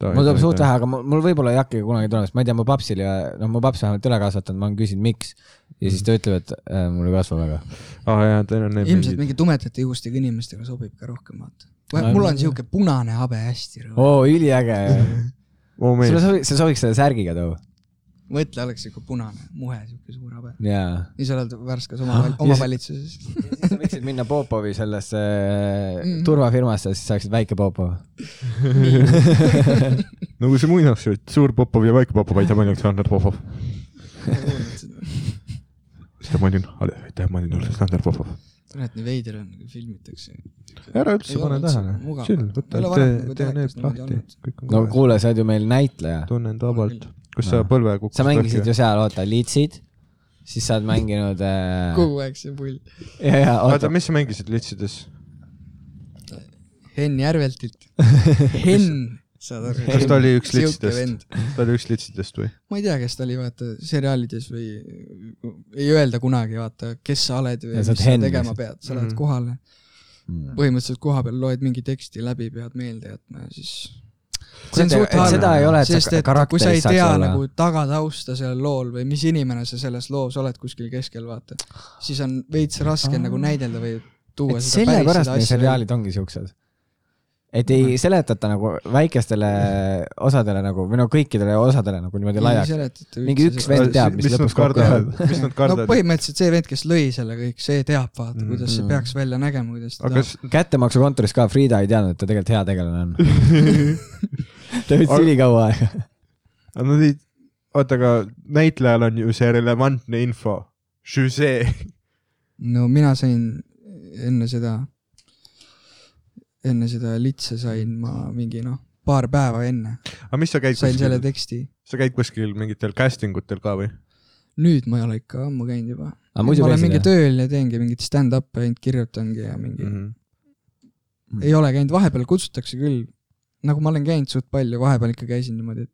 [SPEAKER 4] mul tuleb suht . vähe , aga mul, mul võib-olla ei hakkagi kunagi tulema , sest ma ei tea , mu papsil ja noh , mu paps vähemalt üle kasvatanud , ma olen küsinud , miks ja siis ta ütleb , et äh, mul ei kasva väga .
[SPEAKER 3] aa Ah, jaa , teil on need
[SPEAKER 5] ilmselt
[SPEAKER 3] mingid .
[SPEAKER 5] mingi tumedate juustega inimestega sobib ka rohkem vaata
[SPEAKER 4] Ai, . Oh.
[SPEAKER 5] mul
[SPEAKER 4] jah.
[SPEAKER 5] on siuke punane habe hästi rõõm .
[SPEAKER 4] oo , [LAUGHS] üliäge
[SPEAKER 3] oo meil
[SPEAKER 4] sulle , sobiks , sa sobiks selle särgiga too .
[SPEAKER 5] mõtle , oleks siuke punane , muhe , siuke suur habe .
[SPEAKER 4] jaa .
[SPEAKER 5] ja sa oled
[SPEAKER 4] Ah,
[SPEAKER 5] Värskas oma , omavalitsuses .
[SPEAKER 4] sa võiksid minna Popovi sellesse mm.
[SPEAKER 5] Mm.
[SPEAKER 4] turvafirmasse , siis saaksid väike Popov . [LAUGHS]
[SPEAKER 3] nagu see muinasjutt , suur Popov ja väike Popov , aitäh , ma olin Aleksander Popov . aitäh , ma olin , aitäh , ma olin Aleksander Popov .
[SPEAKER 5] kurat , nii veider on , kui filmitakse .
[SPEAKER 3] ära üldse
[SPEAKER 5] Ei
[SPEAKER 3] pane
[SPEAKER 5] ole üldse
[SPEAKER 3] tähele
[SPEAKER 5] mugav. ,
[SPEAKER 3] chill ,
[SPEAKER 5] Ei
[SPEAKER 3] võta
[SPEAKER 5] ole , varem
[SPEAKER 3] tee
[SPEAKER 5] nagu ,
[SPEAKER 3] tee
[SPEAKER 5] telekas
[SPEAKER 3] need
[SPEAKER 5] niimoodi
[SPEAKER 3] lahti
[SPEAKER 5] olnud. ,
[SPEAKER 3] kõik on
[SPEAKER 4] no
[SPEAKER 3] korras .
[SPEAKER 4] kuule , sa oled ju meil näitleja .
[SPEAKER 3] tunnen vabalt . kus
[SPEAKER 4] Aa.
[SPEAKER 3] sa põlve kukkus
[SPEAKER 4] sa mängisid ju seal , oota , litsid , siis sa oled mänginud äh... .
[SPEAKER 5] kogu aeg see pull .
[SPEAKER 4] ja , ja ,
[SPEAKER 3] oota ,
[SPEAKER 4] oota ,
[SPEAKER 3] mis sa mängisid litsides ?
[SPEAKER 5] Henn
[SPEAKER 4] [LAUGHS]
[SPEAKER 5] Järveltilt . Henn , saad aru .
[SPEAKER 3] kas ta oli üks
[SPEAKER 5] Siuke
[SPEAKER 3] litsidest
[SPEAKER 5] vend. ,
[SPEAKER 3] ta oli üks litsidest või ?
[SPEAKER 5] ma ei tea , kes ta oli , vaata seriaalides või ei öelda kunagi , vaata , kes sa oled või
[SPEAKER 4] Ja
[SPEAKER 5] mis
[SPEAKER 4] sa
[SPEAKER 5] sa
[SPEAKER 4] oled Henn
[SPEAKER 5] tegema
[SPEAKER 4] lihtsalt.
[SPEAKER 5] pead , sa lähed
[SPEAKER 3] Mhm.
[SPEAKER 5] kohale .
[SPEAKER 4] Mm.
[SPEAKER 5] põhimõtteliselt koha peal loed mingi teksti läbi , pead meelde jätma ja siis . see
[SPEAKER 4] Kurat,
[SPEAKER 5] on suht
[SPEAKER 4] et
[SPEAKER 5] halb
[SPEAKER 4] seda ei ole, , et sa
[SPEAKER 5] sest et
[SPEAKER 4] karakteris
[SPEAKER 5] kui sa ei
[SPEAKER 4] saaks
[SPEAKER 5] tea
[SPEAKER 4] olla.
[SPEAKER 5] nagu tagatausta sellel lool või mis inimene sa selles loos oled kuskil keskel , vaata , siis on veits raske
[SPEAKER 4] Aa.
[SPEAKER 5] nagu näidelda või
[SPEAKER 4] et
[SPEAKER 5] tuua seda päris
[SPEAKER 4] sellepärast need
[SPEAKER 5] seda asja Mhm. välja.
[SPEAKER 4] seriaalid ongi siuksed . et ei seletata nagu väikestele osadele nagu või no kõikidele osadele nagu niimoodi laiaks .
[SPEAKER 5] seletata
[SPEAKER 4] Mingi
[SPEAKER 5] üldse
[SPEAKER 4] üks
[SPEAKER 5] seda.
[SPEAKER 4] vend teab, mis
[SPEAKER 3] nad
[SPEAKER 4] lõpuks kokku
[SPEAKER 3] kardavad
[SPEAKER 4] läheb. ,
[SPEAKER 3] mis nad
[SPEAKER 5] [LAUGHS] no
[SPEAKER 3] kardavad .
[SPEAKER 5] põhimõtteliselt see vend , kes lõi selle kõik , see teab , vaata , kuidas see
[SPEAKER 4] Mhm.
[SPEAKER 5] peaks välja nägema , kuidas ta
[SPEAKER 3] aga kas ,
[SPEAKER 4] kättemaksukontoris ka Frieda ei teadnud , et ta tegelikult hea tegelane on . ta võttis
[SPEAKER 3] Aga-
[SPEAKER 4] ülikaua aega .
[SPEAKER 3] [LAUGHS] aga nad ei , oota , aga näitlejal on ju see relevantne info . Jüzee ,
[SPEAKER 5] no mina sain enne seda , enne seda litse sain ma mingi noh , paar päeva enne
[SPEAKER 3] aga mis sa käid
[SPEAKER 5] sain selle
[SPEAKER 3] kuskil ,
[SPEAKER 5] teksti .
[SPEAKER 3] sa käid kuskil mingitel casting utel ka või ?
[SPEAKER 5] nüüd ma ei ole ikka ammu käinud juba .
[SPEAKER 4] aga
[SPEAKER 5] ma
[SPEAKER 4] muidu
[SPEAKER 5] olen mingi
[SPEAKER 4] käisid jah ?
[SPEAKER 5] tööl ja teengi mingit stand-up'e ainult kirjutangi ja mingi
[SPEAKER 3] Mhm.
[SPEAKER 5] mm , -hmm. ei ole käinud , vahepeal kutsutakse küll . nagu ma olen käinud suht palju , vahepeal ikka käisin niimoodi , et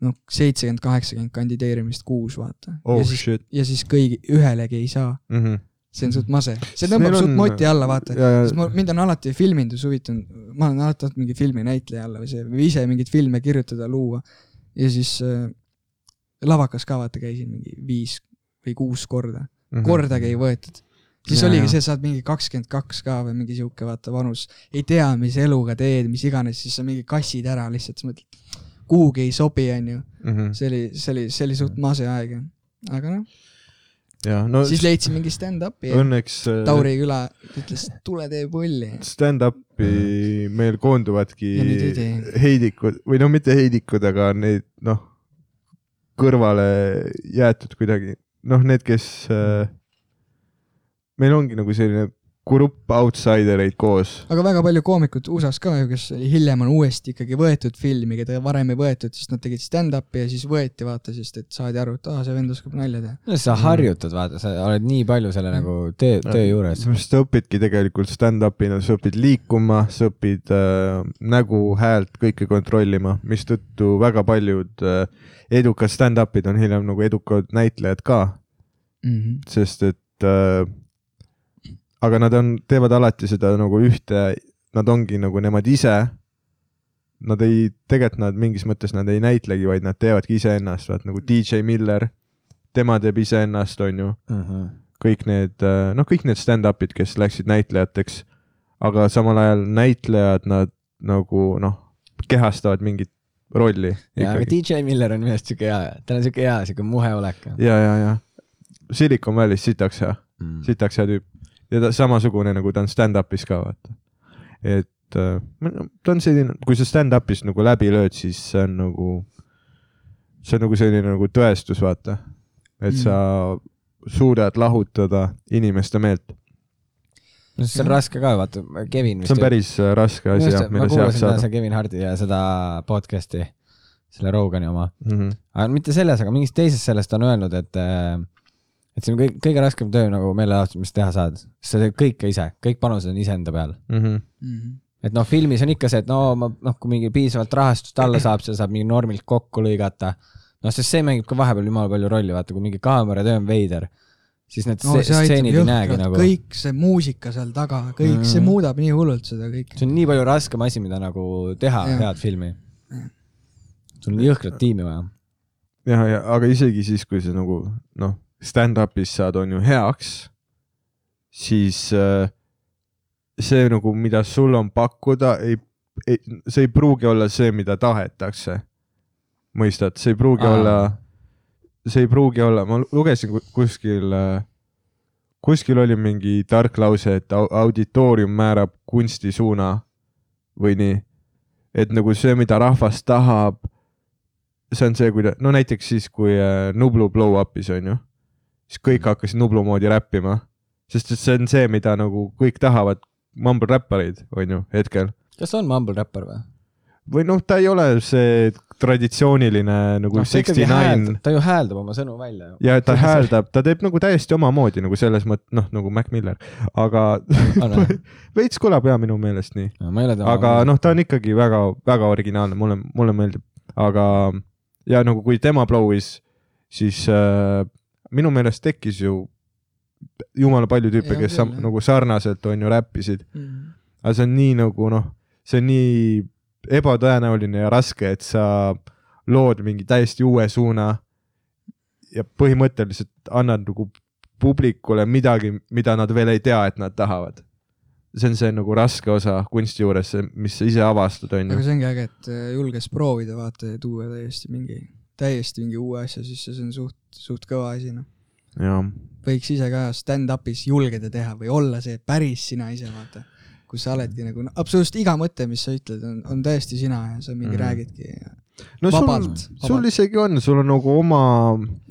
[SPEAKER 5] noh , seitsekümmend , kaheksakümmend kandideerimist kuus , vaata
[SPEAKER 3] oh
[SPEAKER 5] ja siis ,
[SPEAKER 3] shit .
[SPEAKER 5] ja siis kõigi , ühelegi ei saa . see on suht mase , see
[SPEAKER 3] Sest
[SPEAKER 5] tõmbab
[SPEAKER 3] neil
[SPEAKER 5] suht
[SPEAKER 3] Mhm. on-
[SPEAKER 5] moti alla , vaata . sest
[SPEAKER 3] ja
[SPEAKER 5] ma , mind on alati filmindus huvitanud , ma olen alati tahtnud mingi filminäitleja olla või see , või ise mingeid filme kirjutada , luua . ja siis äh, lavakas ka vaata käisin mingi viis või kuus korda ,
[SPEAKER 3] Mhm.
[SPEAKER 5] kordagi ei võetud . siis
[SPEAKER 4] Jaa,
[SPEAKER 5] ja, oligi
[SPEAKER 4] jaa.
[SPEAKER 5] see , sa oled mingi kakskümmend kaks ka või mingi sihuke vaata vanus , ei tea , mis eluga teed , mis iganes , siis sa mingi kassid ära lihtsalt , sa mõtled , kuhugi ei sobi , onju .
[SPEAKER 3] Mhm.
[SPEAKER 5] see oli , see oli , see oli suht mase aeg , aga noh ,
[SPEAKER 3] ja no
[SPEAKER 5] siis leidsin mingi stand-up'i ,
[SPEAKER 3] õnneks äh,
[SPEAKER 5] Tauri küla , ütles , tule tee pulli
[SPEAKER 3] stand-up'i meil koonduvadki
[SPEAKER 5] Mhm. Ja nüüd ei tee.
[SPEAKER 3] heidikud või no mitte heidikud , aga need noh , kõrvale jäetud kuidagi , noh , need , kes äh, . meil ongi nagu selline grupp outsider eid koos .
[SPEAKER 5] aga väga palju koomikuid USA-s ka ju , kes hiljem on uuesti ikkagi võetud filmi , keda varem ei võetud , sest nad tegid stand-up'i ja siis võeti vaata , sest et saadi aru , et aa , see vend oskab nalja teha .
[SPEAKER 4] sa harjutad , vaata , sa oled nii palju
[SPEAKER 5] Mhm.
[SPEAKER 4] selle nagu töö , töö juures .
[SPEAKER 3] Noh, sa õpidki tegelikult stand-up'ina , sa õpid liikuma , sa õpid äh, nägu , häält , kõike kontrollima , mistõttu väga paljud äh, edukad stand-up'id on hiljem nagu edukad näitlejad ka
[SPEAKER 4] Mhm.
[SPEAKER 3] sest et äh, aga nad on , teevad alati seda nagu ühte , nad ongi nagu nemad ise . Nad ei , tegelikult nad mingis mõttes nad ei näitlegi , vaid nad teevadki iseennast , vaat nagu DJ Miller , tema teeb iseennast , onju ,
[SPEAKER 4] Mhm.
[SPEAKER 3] kõik need , noh , kõik need stand-up'id , kes läksid näitlejateks , aga samal ajal näitlejad , nad nagu noh , kehastavad mingit rolli
[SPEAKER 4] ja , aga
[SPEAKER 3] ikkagi .
[SPEAKER 4] DJ Miller on minu arust siuke hea , tal on siuke hea siuke muhe olek .
[SPEAKER 3] ja , ja , ja Silicon Valley's sitaks hea .
[SPEAKER 4] Mhm.
[SPEAKER 3] sitaks Mm. hea tüüp ja ta samasugune nagu ta on stand-up'is ka vaata . et äh, no ta on selline , kui sa stand-up'is nagu läbi lööd , siis see on nagu , see on nagu selline nagu tõestus , vaata . et
[SPEAKER 4] Mm.
[SPEAKER 3] sa suudad lahutada inimeste meelt ,
[SPEAKER 4] no see on raske ka , vaata , Kevin
[SPEAKER 3] see on päris äh, raske asi jah ,
[SPEAKER 4] ma
[SPEAKER 3] mille
[SPEAKER 4] kuulasin
[SPEAKER 3] seaks
[SPEAKER 4] täna
[SPEAKER 3] saada
[SPEAKER 4] seda Kevin Hardi ja seda podcast'i , selle Rogani oma ,
[SPEAKER 3] mm . -hmm.
[SPEAKER 4] aga mitte selles , aga mingis teises selles ta on öelnud , et äh, et see on kõige , kõige raskem töö nagu meelelahutus , mis teha saad , sest sa teed kõike ise , kõik panused on iseenda peal .
[SPEAKER 3] Mm -hmm.
[SPEAKER 5] Mhm.
[SPEAKER 4] et noh , filmis on ikka see , et no ma noh , kui mingi piisavalt rahastust alla saab , seda saab mingi normilt kokku lõigata . noh , sest see mängib ka vahepeal jumala palju rolli , vaata , kui mingi kaameratöö on veider , siis need
[SPEAKER 5] no
[SPEAKER 4] no,
[SPEAKER 5] see aitab
[SPEAKER 4] stseenid ei näegi
[SPEAKER 5] jõhkralt
[SPEAKER 4] nagu ,,
[SPEAKER 5] kõik see muusika seal taga , kõik , see
[SPEAKER 4] Mhm.
[SPEAKER 5] muudab nii hullult seda kõike .
[SPEAKER 4] see on nii palju raskem asi , mida nagu teha
[SPEAKER 5] Jah.
[SPEAKER 4] head filmi . sul on jõhkrat tiimi vaja
[SPEAKER 3] ja , ja aga isegi siis , kui sa nagu noh , stand-up'is saad , on ju heaks , siis äh, see nagu , mida sul on pakkuda , ei, ei , see ei pruugi olla see , mida tahetakse . mõistad , see ei pruugi
[SPEAKER 4] Aa.
[SPEAKER 3] Aa. olla , see ei pruugi olla , ma lu- lugesin ku- kuskil äh, kuskil oli mingi tark lause , et au- auditoorium määrab kunsti suuna või nii . et nagu see , mida rahvas tahab , see on see , kui ta , no näiteks siis , kui äh, Nublu blow up'is on ju , siis kõik hakkasid Nublu moodi räppima , sest et see on see , mida nagu kõik tahavad , mumble räppareid on ju hetkel .
[SPEAKER 4] kas on Mumble Rapper või ?
[SPEAKER 3] või noh , ta ei ole see traditsiooniline nagu sixty nine
[SPEAKER 4] Noh, ta ju hääldab oma sõnu välja ju .
[SPEAKER 3] ja et ta hääldab , ta teeb nagu täiesti omamoodi nagu selles mõttes , noh nagu Mac Miller , aga
[SPEAKER 4] Ole.
[SPEAKER 3] [LAUGHS] veits kõlab ja minu meelest nii ,
[SPEAKER 4] ma ei ole tema .
[SPEAKER 3] aga noh , ta on ikkagi väga-väga originaalne , mulle , mulle meeldib , aga ja nagu kui tema blow'is , siis äh, minu meelest tekkis ju jumala palju tüüpe ,
[SPEAKER 5] Jah,
[SPEAKER 3] kes
[SPEAKER 5] küll,
[SPEAKER 3] sam-
[SPEAKER 5] jah. Mm.
[SPEAKER 3] nagu sarnaselt on ju räppisid ,
[SPEAKER 5] Mhm.
[SPEAKER 3] aga see on nii nagu noh , see on nii ebatõenäoline ja raske , et sa lood mingi täiesti uue suuna ja põhimõtteliselt annad nagu publikule midagi , mida nad veel ei tea , et nad tahavad . see on see nagu raske osa kunsti juures , mis sa ise avastad ,
[SPEAKER 5] aga
[SPEAKER 3] onju .
[SPEAKER 5] see ongi äge , et äh, julges proovida , vaata ja tuua täiesti mingi , täiesti mingi uue asja sisse , see on suht , suht kõva asi , noh .
[SPEAKER 3] jah ,
[SPEAKER 5] võiks ise ka stand-up'is julgeda teha või olla see päris sina ise , vaata . kus sa oledki nagu no, absoluutselt iga mõte , mis sa ütled , on , on täiesti sina ja sa mingi
[SPEAKER 3] Mhm.
[SPEAKER 5] mm. räägidki ja
[SPEAKER 3] no sul ,
[SPEAKER 5] vabalt ,
[SPEAKER 3] sul
[SPEAKER 5] vabalt .
[SPEAKER 3] isegi on , sul on nagu oma ,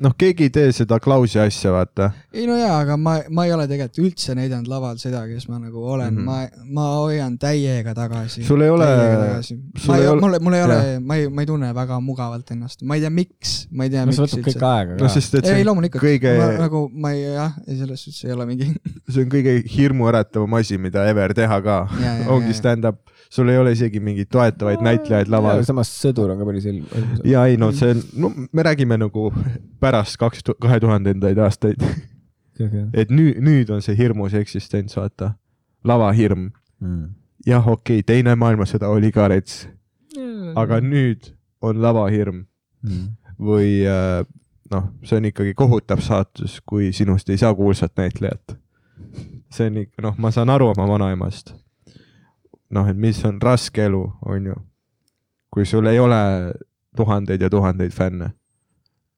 [SPEAKER 3] noh , keegi ei tee seda Klausi asja , vaata .
[SPEAKER 5] ei no jaa , aga ma , ma ei ole tegelikult üldse näidanud laval seda , kes ma nagu olen
[SPEAKER 3] Mhm.
[SPEAKER 5] mm , -hmm. ma , ma hoian täiega tagasi .
[SPEAKER 3] Sul ei ole- sul
[SPEAKER 5] ma
[SPEAKER 3] ei
[SPEAKER 5] ei
[SPEAKER 3] ole-
[SPEAKER 5] ole , mul , mul ei ole
[SPEAKER 3] jah. ,
[SPEAKER 5] ma ei , ma ei tunne väga mugavalt ennast , ma ei tea , miks , ma ei tea ,
[SPEAKER 4] no
[SPEAKER 5] miks
[SPEAKER 4] see võtab kõik
[SPEAKER 5] üldse .
[SPEAKER 4] aega
[SPEAKER 3] no
[SPEAKER 4] ka .
[SPEAKER 3] sest , et
[SPEAKER 5] ei ,
[SPEAKER 3] see on
[SPEAKER 5] loomulikult
[SPEAKER 3] kõige-
[SPEAKER 5] kõige... , nagu ma ei jah , ei selles suhtes ei ole mingi
[SPEAKER 3] see on kõige hirmuäratavam asi , mida ever teha ka
[SPEAKER 5] Jaa, jaa, . jaa,
[SPEAKER 3] ongi
[SPEAKER 5] jaa.
[SPEAKER 3] stand-up , sul ei ole isegi mingeid toetavaid näitlejaid laval .
[SPEAKER 4] samas sõdur on ka päris ilm- ilmselt .
[SPEAKER 3] ja ei no see on , no me räägime nagu pärast kaks , kahe tuhandendaid aastaid , [LAUGHS] et nüüd , nüüd on see hirmus eksistents , vaata , lavahirm . jah , okei okay, , teine maailmasõda oli ka rets , aga nüüd on lavahirm või äh, noh , see on ikkagi kohutav saatus , kui sinust ei saa kuulsat näitlejat . see on ikka , noh , ma saan aru oma vanaemast . noh , et mis on raske elu , on ju , kui sul ei ole tuhandeid ja tuhandeid fänne .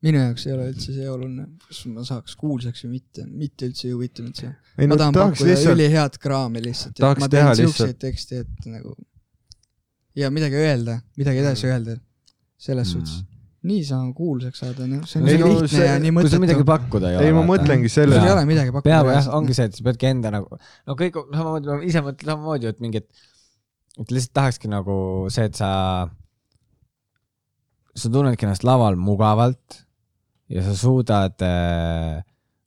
[SPEAKER 5] minu jaoks ei ole üldse see oluline , kas ma saaks kuulsaks või mitte , mitte üldse ei huvita mind see .
[SPEAKER 3] ei
[SPEAKER 5] ma
[SPEAKER 3] no
[SPEAKER 5] tahan
[SPEAKER 3] tahaks
[SPEAKER 5] pakkuda lihtsalt...
[SPEAKER 3] lihtsalt ,
[SPEAKER 5] ülihead kraami lihtsalt ,
[SPEAKER 3] Tahaks
[SPEAKER 5] et ma
[SPEAKER 3] teha
[SPEAKER 5] teen
[SPEAKER 3] lihtsalt-
[SPEAKER 5] siukseid tekste , et nagu ja midagi öelda , midagi edasi öelda , selles suhtes . niisama kuulsaks saada , noh , see on
[SPEAKER 4] Ei
[SPEAKER 5] nii
[SPEAKER 4] no
[SPEAKER 5] lihtne
[SPEAKER 3] see-
[SPEAKER 5] see... ja nii
[SPEAKER 4] kui sul midagi
[SPEAKER 5] mõttetu .
[SPEAKER 4] pakkuda ei ole .
[SPEAKER 3] ei ma . mõtlengi
[SPEAKER 5] sul
[SPEAKER 3] selle
[SPEAKER 5] ei , ole midagi pakkuda .
[SPEAKER 4] peab jah , ongi see , et sa peadki enda nagu , no kõik samamoodi , ma ise mõtlen samamoodi , et mingit , et lihtsalt tahakski nagu see , et sa , sa tunnedki ennast laval mugavalt ja sa suudad äh,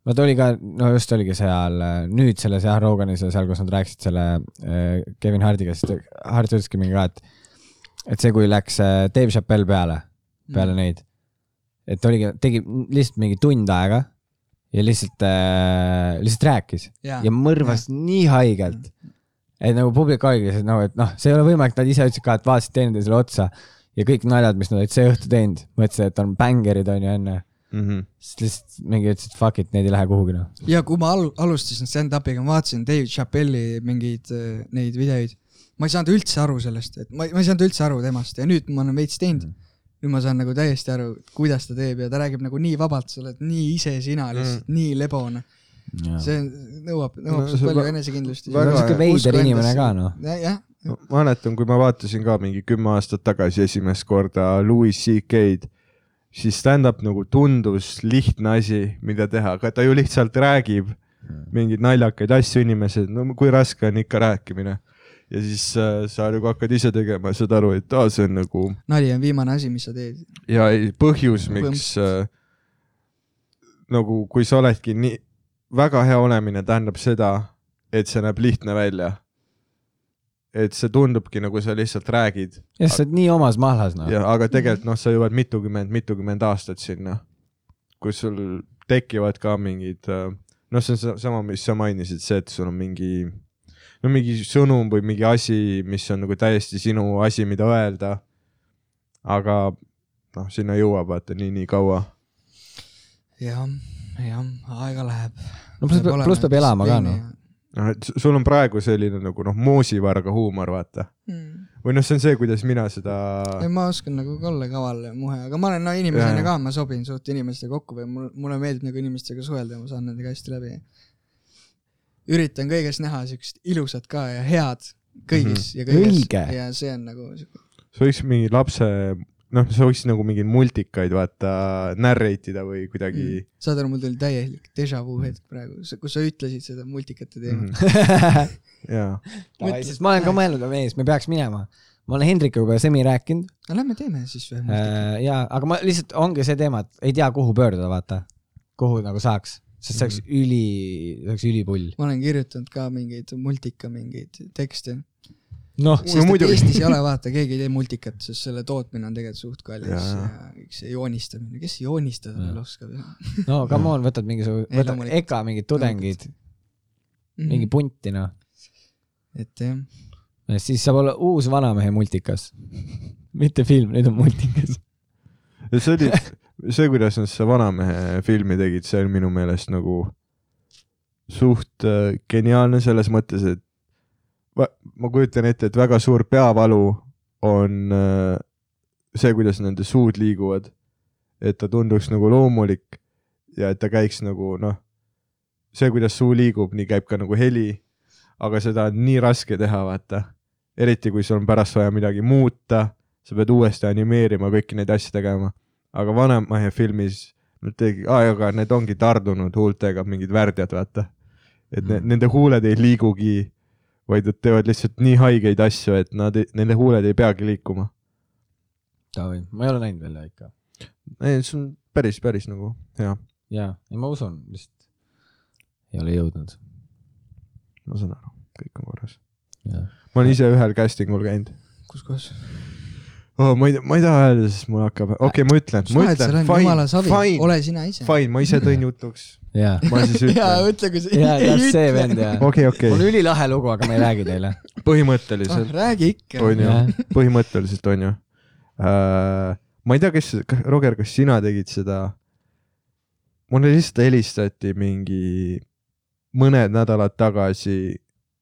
[SPEAKER 4] vot oli ka , no just oligi seal äh, nüüd selles jah , Roganis ja seal , kus nad rääkisid selle äh, Kevin Hardiga , siis ta- Hard ütleski mingi ka , et , et see , kui läks äh, Dave Chappelle peale , peale neid , et oligi , tegi lihtsalt mingi tund aega ja lihtsalt äh, , lihtsalt rääkis ja, ja mõrvas ja. nii haigelt , et nagu publik oligi lihtsalt nagu , et noh , see ei ole võimalik , nad ise ütlesid ka , et vaatasid teineteisele otsa ja kõik naljad , mis nad olid see õhtu teinud , mõtlesid , et on bängerid on ju enne ,
[SPEAKER 3] mm . -hmm.
[SPEAKER 4] siis lihtsalt mingi ütles , et fuck it , need ei lähe kuhugi noh .
[SPEAKER 5] ja kui ma al- , alustasin stand-up'iga , ma vaatasin Dave Chappelli mingeid äh, neid videoid , ma ei saanud üldse aru sellest , et ma , ma ei saanud üldse aru temast ja nüüd ma olen veits teinud .
[SPEAKER 3] Mm.
[SPEAKER 5] nüüd ma saan nagu täiesti aru , kuidas ta teeb ja ta räägib nagu nii vabalt , sa oled nii ise sina lihtsalt mm. , nii lebone . see nõuab , nõuab
[SPEAKER 3] No
[SPEAKER 5] no,
[SPEAKER 3] see
[SPEAKER 5] palju
[SPEAKER 3] va-
[SPEAKER 5] enesekindlust .
[SPEAKER 3] väga hea. Sihuke
[SPEAKER 4] veider inimene ka, noh.
[SPEAKER 5] jah ,
[SPEAKER 3] ma mäletan , kui ma vaatasin ka mingi kümme aastat tagasi esimest korda Louis CK-d , siis stand-up nagu tundus lihtne asi , mida teha , aga ta ju lihtsalt räägib mingeid naljakaid asju inimesed , no kui raske on ikka rääkimine . ja siis äh, sa nagu hakkad ise tegema , saad aru , et aa , see on nagu
[SPEAKER 5] nali on viimane asi , mis sa teed .
[SPEAKER 3] ja ei- põhjus , miks äh, nagu , kui sa oledki nii , väga hea olemine tähendab seda , et see näeb lihtne välja . et see tundubki nagu sa lihtsalt räägid
[SPEAKER 4] jah , sa oled nii omas mahlas noh .
[SPEAKER 3] ja , aga tegelikult noh , sa jõuad mitukümmend , mitukümmend aastat sinna , kus sul tekivad ka mingid , noh , see on sa- sama , mis sa mainisid , see , et sul on mingi , no mingi sõnum või mingi asi , mis on nagu täiesti sinu asi , mida öelda . aga noh , sinna jõuab vaata nii-nii kaua .
[SPEAKER 5] jah , jah , aega läheb .
[SPEAKER 4] no pluss , pluss peab elama ka noh .
[SPEAKER 3] noh , et su- sul on praegu selline nagu noh , moosivarga huumor , vaata .
[SPEAKER 5] Mm.
[SPEAKER 3] või noh , see on see , kuidas mina seda ,
[SPEAKER 5] ei , ma oskan nagu ka olla kaval ja muhe , aga ma olen no,
[SPEAKER 3] Jaa,
[SPEAKER 5] inimesena
[SPEAKER 3] jaa.
[SPEAKER 5] ka , ma sobin suht inimestega kokku või mul , mulle meeldib nagu inimestega suhelda ja ma saan nendega hästi läbi . üritan kõiges näha siukest ilusat ka ja head kõigis mm -hmm. ja
[SPEAKER 4] Mhm. Õige.
[SPEAKER 5] kõiges . ja see on nagu siuke ,
[SPEAKER 3] sa võiks mingi lapse , noh , sa võiksid nagu mingeid multikaid vaata narrate ida või kuidagi mm.
[SPEAKER 5] saad aru , mul tuli täielik déjà vu hetk praegu , kus sa ütlesid seda
[SPEAKER 4] Mhm.
[SPEAKER 5] multikate teemat mm .
[SPEAKER 3] Mhm.
[SPEAKER 4] [LAUGHS]
[SPEAKER 3] jaa ,
[SPEAKER 4] sest ma olen ka mõelnud , et mees , me peaks minema . ma olen Hendrikuga juba semi rääkinud
[SPEAKER 5] aga lähme teeme siis või ?
[SPEAKER 4] äh, ja , aga ma lihtsalt ongi see teema , et ei tea , kuhu pöörduda , vaata , kuhu nagu saaks , sest see oleks üli , see oleks ülipull .
[SPEAKER 5] ma olen kirjutanud ka mingeid multika mingeid tekste .
[SPEAKER 4] noh ,
[SPEAKER 5] sest et
[SPEAKER 3] muidugi.
[SPEAKER 5] Eestis ei ole vaata , keegi ei tee multikat , sest selle tootmine on tegelikult suht kallis ja,
[SPEAKER 3] Jaa, jaa.
[SPEAKER 5] ja kõik see joonistamine , kes joonistada veel oskab ja
[SPEAKER 4] no come on , võtad mingisuguse ,
[SPEAKER 5] Ei,
[SPEAKER 4] võtad
[SPEAKER 5] loomulikult.
[SPEAKER 4] EKA mingid tudengid , mingi . punti noh ,
[SPEAKER 5] Mm. et jah ,
[SPEAKER 4] siis saab olla uus vanamehe multikas . [LAUGHS] mitte film , nüüd on multikas .
[SPEAKER 3] ja see oli see , kuidas nad seda vanamehe filmi tegid , see on minu meelest nagu suht äh, geniaalne selles mõttes , et va- ma kujutan ette , et väga suur peavalu on äh, see , kuidas nende suud liiguvad . et ta tunduks nagu loomulik ja et ta käiks nagu noh , see , kuidas suu liigub , nii käib ka nagu heli . aga seda on nii raske teha , vaata . eriti kui sul on pärast vaja midagi muuta , sa pead uuesti animeerima , kõiki neid asju tegema . aga Vanemahe filmis nad tegid , aga need ongi tardunud huultega mingid värdjad , vaata . et ne,
[SPEAKER 4] Mm.
[SPEAKER 3] nende huuled ei liigugi , vaid nad teevad lihtsalt nii haigeid asju , et nad , nende huuled ei peagi liikuma .
[SPEAKER 4] ma ei ole näinud veel ikka .
[SPEAKER 3] ei , see on päris , päris nagu hea ,
[SPEAKER 4] jaa , ei ma usun , lihtsalt ei ole jõudnud .
[SPEAKER 3] ma saan aru , kõik on korras . ma olen ise ühel casting ul käinud
[SPEAKER 5] kus kohas .
[SPEAKER 3] oh, . ma ei , ma ei taha öelda , sest mul hakkab ,
[SPEAKER 5] Äh,
[SPEAKER 3] okei okay, , ma ütlen , ma ütlen ,
[SPEAKER 5] jumala
[SPEAKER 3] fine ,
[SPEAKER 5] savi ,
[SPEAKER 3] fine ,
[SPEAKER 5] ole sina ise .
[SPEAKER 3] fine , ma ise tõin jutuks ,
[SPEAKER 4] [LAUGHS] jaa ,
[SPEAKER 3] ma siis
[SPEAKER 5] [LAUGHS] jaa ,
[SPEAKER 3] ütlen .
[SPEAKER 5] ütle , kui sa
[SPEAKER 4] jaa , just see vend jaa .
[SPEAKER 3] okei ,
[SPEAKER 4] mul on
[SPEAKER 3] okei ,
[SPEAKER 4] ülilahe lugu , aga ma ei räägi teile .
[SPEAKER 5] ah,
[SPEAKER 3] põhimõtteliselt
[SPEAKER 5] räägi ikka .
[SPEAKER 3] on ju
[SPEAKER 4] Jah. ,
[SPEAKER 3] põhimõtteliselt on ju uh, . ma ei tea , kes , Roger , kas sina tegid seda ? mulle lihtsalt helistati mingi mõned nädalad tagasi ,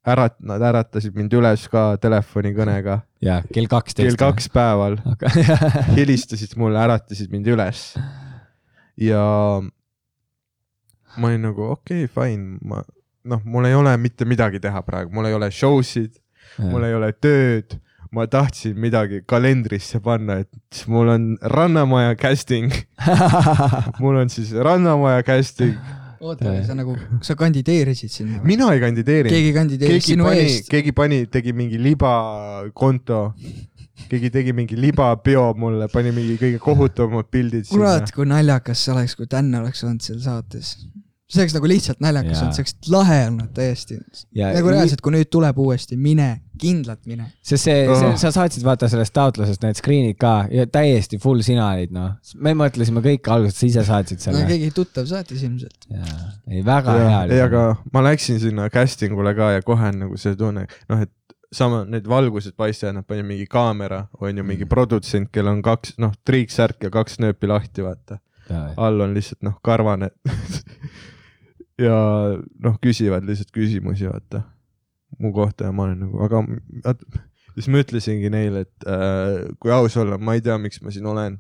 [SPEAKER 3] ärat- , nad äratasid mind üles ka telefonikõnega
[SPEAKER 4] jaa , kell kaksteist .
[SPEAKER 3] kell . kaks
[SPEAKER 5] [LAUGHS]
[SPEAKER 3] päeval
[SPEAKER 4] [LAUGHS]
[SPEAKER 3] helistasid mulle , äratasid mind üles . ja ma olin nagu okei okay, , fine , ma noh , mul ei ole mitte midagi teha praegu , mul ei ole show sid , mul ei ole tööd , ma tahtsin midagi kalendrisse panna , et mul on Rannamaja casting , [LAUGHS] mul on siis Rannamaja casting ,
[SPEAKER 5] oota , sa nagu , sa kandideerisid sinna ?
[SPEAKER 3] mina ei kandideerinud ,
[SPEAKER 5] keegi kandideeris
[SPEAKER 3] keegi
[SPEAKER 5] sinu
[SPEAKER 3] pani
[SPEAKER 5] eest ,.
[SPEAKER 3] keegi pani , tegi mingi libakonto keegi tegi mingi libapeo mulle , pani mingi kõige kohutavamad pildid sinna
[SPEAKER 5] kurat ,. kui naljakas see oleks , kui Dan oleks olnud seal saates . see oleks nagu lihtsalt naljakas
[SPEAKER 4] Jaa.
[SPEAKER 5] olnud , see oleks lahe olnud täiesti .
[SPEAKER 4] Ja
[SPEAKER 5] nagu
[SPEAKER 4] nii-
[SPEAKER 5] reaalselt , kui nüüd tuleb uuesti , mine , kindlalt mine .
[SPEAKER 4] [LAUGHS] sest see, see
[SPEAKER 3] Oh. ,
[SPEAKER 4] sa saatsid vaata sellest taotlusest need screen'id ka ja täiesti full sina olid noh . me mõtlesime kõik alguses , sa ise saatsid
[SPEAKER 5] no
[SPEAKER 4] selle .
[SPEAKER 5] Nagu keegi tuttav saatis ilmselt .
[SPEAKER 4] ei , väga hea
[SPEAKER 3] ja ,
[SPEAKER 4] oli
[SPEAKER 3] ei , aga . ma läksin sinna casting ule ka ja kohe on nagu see tunne , noh , et sama , need valgused paistavad , nad panid mingi kaamera , on ju ,
[SPEAKER 4] Mm.
[SPEAKER 3] mingi produtsent , kellel on kaks , noh , triiksärk ja kaks nööpi lahti , vaata . all on lihtsalt , noh , karvane . [LAUGHS] ja noh , küsivad lihtsalt küsimusi , vaata , mu kohta ja ma olen nagu , aga vaat- siis ma ütlesingi neile , et äh, kui aus olla , ma ei tea , miks ma siin olen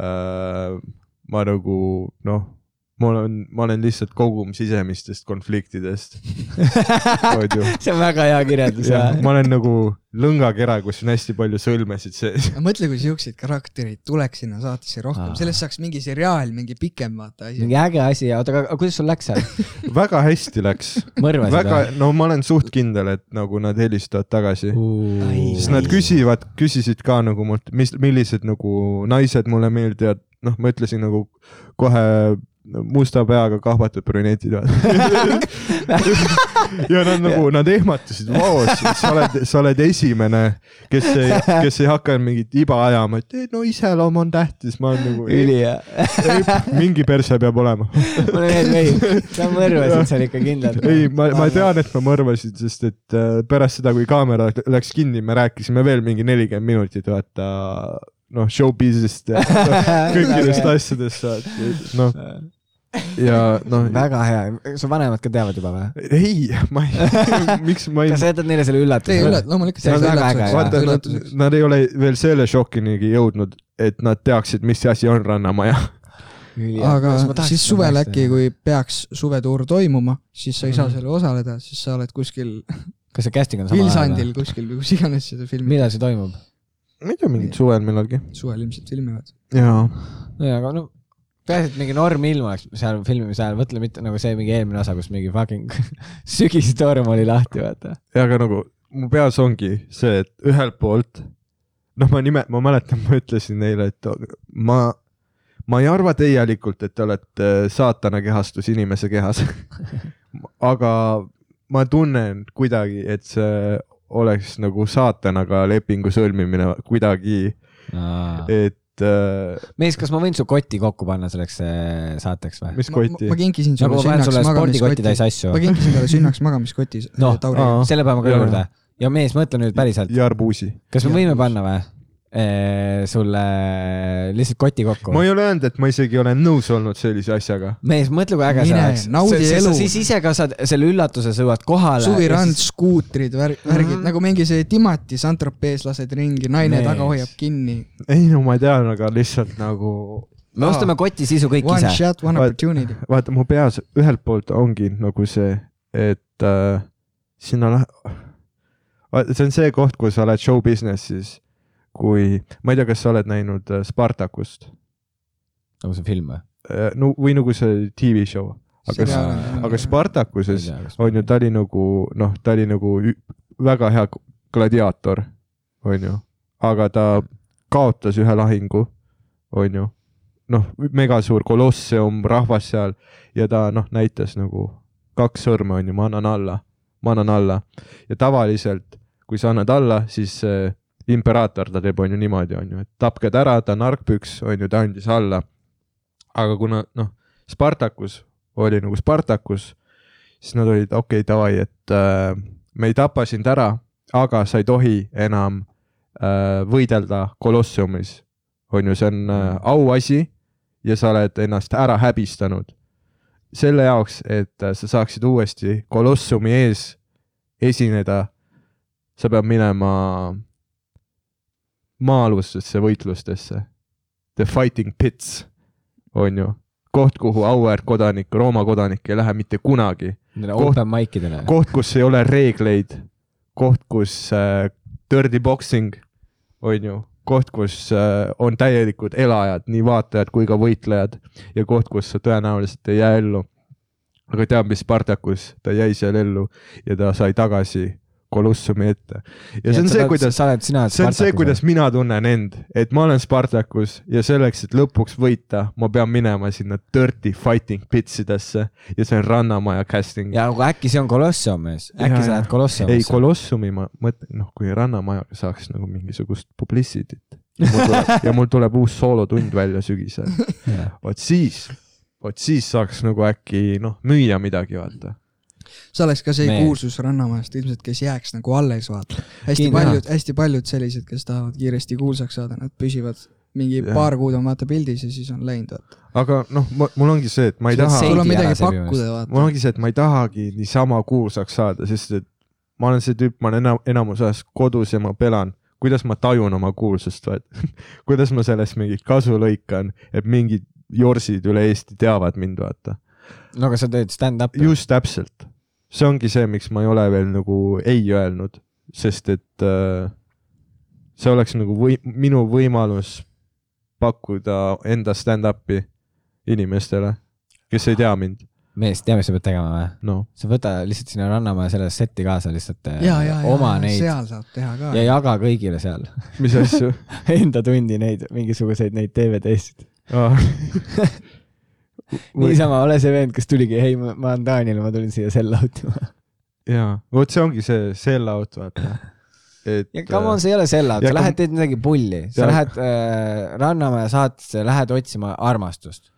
[SPEAKER 3] äh, . ma nagu noh , ma olen , ma olen lihtsalt kogum sisemistest konfliktidest . onju .
[SPEAKER 4] [LAUGHS] see on väga hea kirjeldus ja .
[SPEAKER 3] ma olen nagu lõngakera , kus on hästi palju sõlmesid sees . [LAUGHS]
[SPEAKER 5] mõtle , kui siuksed karakterid tuleks sinna saatesse rohkem
[SPEAKER 4] Aa. ,
[SPEAKER 5] sellest saaks mingi seriaal , mingi pikem vaata asi .
[SPEAKER 4] mingi äge asi ja oota , aga aga kuidas sul läks seal ?
[SPEAKER 3] väga hästi läks ,
[SPEAKER 4] mõrvasid
[SPEAKER 3] väga , no ma olen suht kindel , et nagu nad helistavad tagasi .
[SPEAKER 4] või ?
[SPEAKER 3] siis nad küsivad , küsisid ka nagu mult , mis , millised nagu naised mulle meeldivad , noh , ma ütlesin nagu kohe musta peaga kahvatud brünetid . ja nad nagu , nad ehmatasid , vau , sa oled , sa oled esimene , kes ei , kes ei hakanud mingit iba ajama , et ei, no iseloom on tähtis , ma olen nagu ,
[SPEAKER 4] ülihea , [LAUGHS]
[SPEAKER 3] mingi perse peab olema .
[SPEAKER 4] mulle meeldib , ei , sa mõrvasid seal ikka kindlalt . noh.
[SPEAKER 3] ei , ma , ma tean , et ma mõrvasin , sest et äh, pärast seda , kui kaamera läks kinni , me rääkisime veel mingi nelikümmend minutit , vaata noh , showbiz'ist
[SPEAKER 4] [LAUGHS]
[SPEAKER 3] ja kõikidest asjadest , noh ja noh ,
[SPEAKER 4] väga hea , su vanemad ka teavad juba või ?
[SPEAKER 3] ei , ma ei , [LAUGHS] miks ma ei
[SPEAKER 4] kas , sa jätad neile selle
[SPEAKER 5] Tee
[SPEAKER 4] üllatuse ?
[SPEAKER 5] üllat- , loomulikult
[SPEAKER 4] See on
[SPEAKER 5] tee
[SPEAKER 4] väga
[SPEAKER 5] üllatuseks,
[SPEAKER 4] äge, jah.
[SPEAKER 5] vaata
[SPEAKER 3] vaata , nad
[SPEAKER 5] üllatuseks .,
[SPEAKER 3] nad ei ole veel selle šokinigi jõudnud , et nad teaksid , mis asi on Rannamaja .
[SPEAKER 5] aga siis suvel äkki , kui peaks suvetuur toimuma , siis sa ei
[SPEAKER 4] Mhm.
[SPEAKER 5] saa sellel osaleda , siis sa oled kuskil
[SPEAKER 4] kas see casting on sama
[SPEAKER 5] Vilsandil ? kuskil või kus iganes seda filmi ,
[SPEAKER 4] millal see toimub ?
[SPEAKER 3] ma ei tea , mingid suvel millalgi .
[SPEAKER 5] suvel ilmselt filmivad .
[SPEAKER 3] jaa ,
[SPEAKER 4] jaa , aga no peaasi , et mingi norm ilm oleks seal filmimise ajal , [LAUGHS] mõtle mitte nagu see mingi eelmine osa , kus mingi fucking sügistorm oli lahti , vaata .
[SPEAKER 3] ja aga nagu mu peas ongi see , et ühelt poolt , noh , ma nime , ma mäletan , ma ütlesin neile , et ma , ma ei arva teielikult , et te olete saatana kehastus inimese kehas . aga ma tunnen kuidagi , et see oleks nagu saatanaga lepingu sõlmimine kuidagi , et äh,
[SPEAKER 4] mees , kas ma võin su koti kokku panna selleks äh, saateks või ?
[SPEAKER 3] mis kotti
[SPEAKER 5] ma , kinkisin
[SPEAKER 4] nagu ma
[SPEAKER 5] sulle
[SPEAKER 4] panen sulle
[SPEAKER 5] sünnaks
[SPEAKER 4] spordikotitäis
[SPEAKER 5] magamiskoti .
[SPEAKER 4] asju
[SPEAKER 5] ma . kinkisin talle sünnaks
[SPEAKER 4] [LAUGHS]
[SPEAKER 5] magamiskoti
[SPEAKER 4] Noh.
[SPEAKER 5] no. Tauri
[SPEAKER 3] Aa. .
[SPEAKER 4] selle päeva ka
[SPEAKER 3] Jaa.
[SPEAKER 4] juurde . ja mees , mõtle nüüd päriselt ,
[SPEAKER 3] ja arbuusi .
[SPEAKER 4] kas me
[SPEAKER 5] Jaa.
[SPEAKER 4] võime panna või ? sulle äh, lihtsalt koti kokku
[SPEAKER 3] ma . ei ole öelnud , et ma isegi olen nõus olnud sellise asjaga .
[SPEAKER 4] mees , mõtle , kui äge see
[SPEAKER 5] Mine,
[SPEAKER 4] oleks .
[SPEAKER 5] naudi elu.
[SPEAKER 4] siis ise ka saad selle üllatuse , sa jõuad kohale .
[SPEAKER 5] suvirand , skuutrid , värgid mm , -hmm.
[SPEAKER 3] Mhm.
[SPEAKER 5] nagu mingi see Timati Saint-Tropez lased ringi , naine
[SPEAKER 4] Mees.
[SPEAKER 5] Mees. taga hoiab kinni .
[SPEAKER 3] ei no ma tean , aga lihtsalt nagu
[SPEAKER 4] me ostame koti sisu kõik
[SPEAKER 5] One
[SPEAKER 4] ise .
[SPEAKER 5] shot , one
[SPEAKER 3] Vaat-
[SPEAKER 5] opportunity .
[SPEAKER 3] vaata , mu peas ühelt poolt ongi nagu see , et äh, sinna lähe- , see on see koht , kus sa oled show business'is , kui , ma ei tea , kas sa oled näinud äh, Spartakust
[SPEAKER 4] nagu see film või ?
[SPEAKER 3] Äh, no või nagu see tv show , aga , aga Spartakuses on ju , ta oli nagu noh , ta oli nagu ü- väga hea k- gladiaator , onju , aga ta kaotas ühe lahingu , onju , noh , megasuur kolosseum , rahvas seal ja ta noh , näitas nagu kaks sõrme , onju , ma annan alla , ma annan alla ja tavaliselt , kui sa annad alla , siis äh, imperaator , ta teeb , onju niimoodi , onju , et tapke ta ära , ta on argpüks , onju , ta andis alla . aga kuna noh , Spartakus oli nagu Spartakus , siis nad olid okei okay, , davai , et äh, me ei tapa sind ära , aga sa ei tohi enam äh, võidelda kolosseumis . on ju , see on äh, auasi ja sa oled ennast ära häbistanud . selle jaoks , et äh, sa saaksid uuesti kolosseumi ees esineda , sa pead minema maa-alustesse võitlustesse . The fighting pits , on ju , koht , kuhu auväärt kodanik , Rooma kodanik ei lähe mitte kunagi koht-
[SPEAKER 4] open mic idele .
[SPEAKER 3] koht , kus ei ole reegleid , koht , kus äh, dirty boxing on ju , koht , kus äh, on täielikud elajad , nii vaatajad kui ka võitlejad ja koht , kus sa tõenäoliselt ei jää ellu . aga tead , mis Spartakus , ta jäi seal ellu ja ta sai tagasi Kolossumi ette ja see on see , kuidas
[SPEAKER 4] sa oled , sina oled
[SPEAKER 3] see on see , kuidas . mina tunnen end , et ma olen Spartakus ja selleks , et lõpuks võita , ma pean minema sinna dirty fighting pits idesse ja see on Rannamaja casting .
[SPEAKER 4] ja aga äkki see on Kolosseum mees , äkki
[SPEAKER 3] Jaa,
[SPEAKER 4] sa
[SPEAKER 3] jaa.
[SPEAKER 4] lähed Kolosseumisse .
[SPEAKER 3] ei , Kolossumi ma mõtlen , noh , kui Rannamajaga saaks nagu mingisugust publicity't ja mul
[SPEAKER 4] [LAUGHS]
[SPEAKER 3] tuleb- ja mul tuleb uus soolotund välja sügisel , vot siis , vot siis saaks nagu äkki noh , müüa midagi , vaata .
[SPEAKER 5] see oleks ka see
[SPEAKER 4] Mees.
[SPEAKER 5] Mees. kuulsus Rannamajast ilmselt , kes jääks nagu alles , vaata . hästi
[SPEAKER 4] Kindlasti.
[SPEAKER 5] paljud , hästi paljud sellised , kes tahavad kiiresti kuulsaks saada , nad püsivad mingi
[SPEAKER 3] Jah.
[SPEAKER 5] ja. paar kuud on vaata pildis ja siis on läinud , vaata .
[SPEAKER 3] aga noh , mul ongi see , et ma ei
[SPEAKER 4] See on
[SPEAKER 3] taha
[SPEAKER 4] see-
[SPEAKER 5] sul on
[SPEAKER 4] Veidi ära
[SPEAKER 5] midagi
[SPEAKER 4] see minu
[SPEAKER 5] pakkuda , vaata .
[SPEAKER 3] mul ongi see , et ma ei tahagi niisama kuulsaks saada , sest et ma olen see tüüp , ma olen enam , enamus ajast kodus ja ma pelan , kuidas ma tajun oma kuulsust , [LAUGHS] kuidas ma sellest mingit kasu lõikan , et mingid jorsid üle Eesti teavad mind , vaata .
[SPEAKER 4] no aga sa teed stand-up'i .
[SPEAKER 3] just täpselt , see ongi see , miks ma ei ole veel nagu ei öelnud , sest et äh, see oleks nagu või, minu võimalus pakkuda enda stand-up'i inimestele , kes ei tea mind ,
[SPEAKER 4] mees , tea , mis sa pead tegema või ?
[SPEAKER 3] noh .
[SPEAKER 4] sa võta lihtsalt sinna Rannamaja selle seti kaasa lihtsalt äh,
[SPEAKER 5] ja , ja ,
[SPEAKER 4] oma
[SPEAKER 5] ja ,
[SPEAKER 4] neid
[SPEAKER 5] seal saab teha ka
[SPEAKER 4] ja . jaga kõigile seal . [LAUGHS]
[SPEAKER 3] mis asju ?
[SPEAKER 4] Enda tundi neid , mingisuguseid neid DVD-sid .
[SPEAKER 3] Aa. Või-
[SPEAKER 4] [LAUGHS] niisama , ole see vend , kes tuligi , ei , ma ma olen Daniel , ma tulin siia sel [LAUGHS] lautima .
[SPEAKER 3] jaa , vot see ongi see sellaut , vaata . et .
[SPEAKER 4] ja come on , see ei ole sell out ,
[SPEAKER 3] ja
[SPEAKER 4] sa
[SPEAKER 3] come-
[SPEAKER 4] lähed teed midagi pulli , sa
[SPEAKER 3] Ja-
[SPEAKER 4] lähed äh, Rannamaja saatesse , lähed otsima armastust .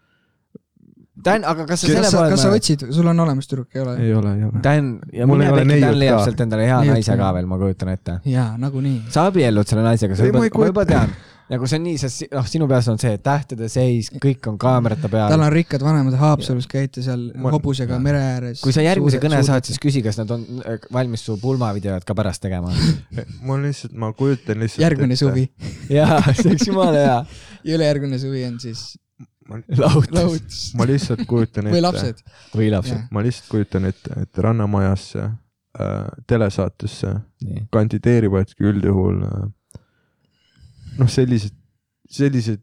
[SPEAKER 4] Dan , aga kas sa
[SPEAKER 5] kas
[SPEAKER 4] selle
[SPEAKER 5] sa , kas sa
[SPEAKER 4] poole ,
[SPEAKER 5] otsid , sul on olemas tüdruk , ei ole ?
[SPEAKER 3] äh, ei ole , ei ole .
[SPEAKER 4] Dan ja
[SPEAKER 3] Mul
[SPEAKER 4] mine
[SPEAKER 3] ei ole
[SPEAKER 4] pekki , Dan
[SPEAKER 3] neiut
[SPEAKER 4] leiab
[SPEAKER 3] ka.
[SPEAKER 4] sealt endale hea
[SPEAKER 5] Neiut
[SPEAKER 4] naise
[SPEAKER 5] ka.
[SPEAKER 4] ka veel , ma kujutan ette .
[SPEAKER 5] jaa , nagunii .
[SPEAKER 4] sa abiellud selle naisega , sa
[SPEAKER 3] Ei,
[SPEAKER 4] juba
[SPEAKER 3] ma ei ,
[SPEAKER 4] ma juba
[SPEAKER 3] kujuta-
[SPEAKER 4] tean , nagu see on nii , sest si- noh , sinu peas on see tähtede seis , kõik on kaamerate
[SPEAKER 5] tal
[SPEAKER 4] peal .
[SPEAKER 5] on rikkad vanemad , Haapsalus käite seal
[SPEAKER 3] Ma-
[SPEAKER 5] hobusega mere ääres .
[SPEAKER 4] kui sa järgmise kõne saad , siis küsi , kas nad on äh, valmis su pulmavideot ka pärast tegema . [LAUGHS]
[SPEAKER 3] mul lihtsalt , Eh, ma kujutan lihtsalt .
[SPEAKER 5] järgmine suvi .
[SPEAKER 4] jaa , see oleks jumala hea .
[SPEAKER 5] ja ülejärgmine suvi on siis
[SPEAKER 4] laud
[SPEAKER 5] lahutus
[SPEAKER 3] ma lihtsalt kujutan ette .
[SPEAKER 5] või . lapsed .
[SPEAKER 4] või lapsed
[SPEAKER 5] Jaa. .
[SPEAKER 3] ma lihtsalt kujutan ette , et Rannamajasse äh, telesaatesse kandideerivadki üldjuhul äh, noh , sellised , sellised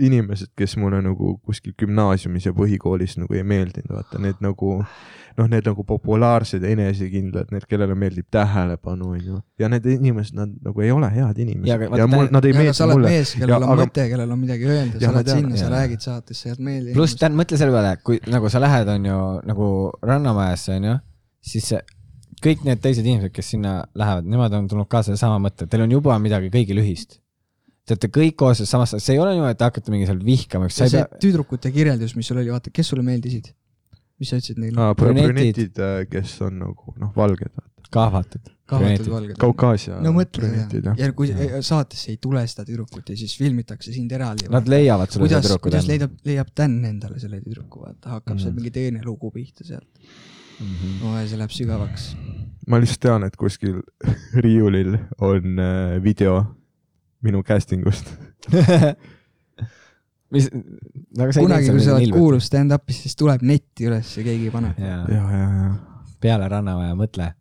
[SPEAKER 3] inimesed , kes mulle nagu kuskil gümnaasiumis ja põhikoolis nagu ei meeldinud , vaata need nagu noh , need nagu populaarsed , enesekindlad , need , kellele meeldib tähelepanu , onju . ja need inimesed , nad nagu ei ole head
[SPEAKER 4] Ja
[SPEAKER 3] inimesed
[SPEAKER 4] aga
[SPEAKER 3] ja,
[SPEAKER 4] vaata,
[SPEAKER 3] ja mul,
[SPEAKER 4] tä-
[SPEAKER 3] nad ei
[SPEAKER 5] aga sa
[SPEAKER 3] meeldi
[SPEAKER 5] oled
[SPEAKER 3] mulle .
[SPEAKER 5] mees , kellel
[SPEAKER 3] Ja
[SPEAKER 5] on
[SPEAKER 3] aga-
[SPEAKER 5] mõte , kellel on midagi öelda ,
[SPEAKER 3] Jah,
[SPEAKER 5] sa
[SPEAKER 3] ma
[SPEAKER 5] lähed
[SPEAKER 3] tean,
[SPEAKER 5] sinna , sa
[SPEAKER 4] jaa.
[SPEAKER 5] räägid saates , sa jääd meelde .
[SPEAKER 4] pluss tähendab , mõtle selle peale , kui nagu sa lähed , on ju nagu rannamajasse , on ju , siis see- kõik need teised inimesed , kes sinna lähevad , nemad on tulnud ka sedasama mõtte , teil on juba midagi kõigil ühist . Te olete kõik koos selles samas , see ei ole niimoodi , et te hakkate mingi seal vihkama , eks
[SPEAKER 5] ja
[SPEAKER 4] sa ei
[SPEAKER 5] see
[SPEAKER 4] pea ,
[SPEAKER 5] tüdrukute kirjeldus , mis sul oli , vaata , kes sulle meeldisid ? mis sa ütlesid neile ?
[SPEAKER 4] brünetid.
[SPEAKER 3] brünetid , kes on nagu noh , valged ,
[SPEAKER 4] kahvatud .
[SPEAKER 5] kahvatud valged .
[SPEAKER 3] Kaukaasia
[SPEAKER 5] no mõtle
[SPEAKER 3] brünetid
[SPEAKER 5] seda
[SPEAKER 3] jah .
[SPEAKER 5] ja kui eh,
[SPEAKER 4] Jah.
[SPEAKER 5] saatesse ei tule seda tüdrukut ja siis filmitakse sind eraldi .
[SPEAKER 4] Nad leiavad sulle
[SPEAKER 5] kuidas ,
[SPEAKER 4] tüdrukud Mm.
[SPEAKER 5] kuidas leidab , leiab Dan endale selle tüdruku , vaata , hakkab seal mingi teine lugu pihta sealt .
[SPEAKER 4] Mhm.
[SPEAKER 5] no ja see läheb sügavaks .
[SPEAKER 3] ma lihtsalt tean , et kuskil [LAUGHS] riiulil on äh, video minu casting ust .
[SPEAKER 4] [LAUGHS] mis , nagu aga see
[SPEAKER 5] kunagi , kui sa oled . kuulus stand-up'is , siis tuleb netti üles ja keegi ei pane .
[SPEAKER 3] ja , ja , ja .
[SPEAKER 4] peale Rannamaja , mõtle .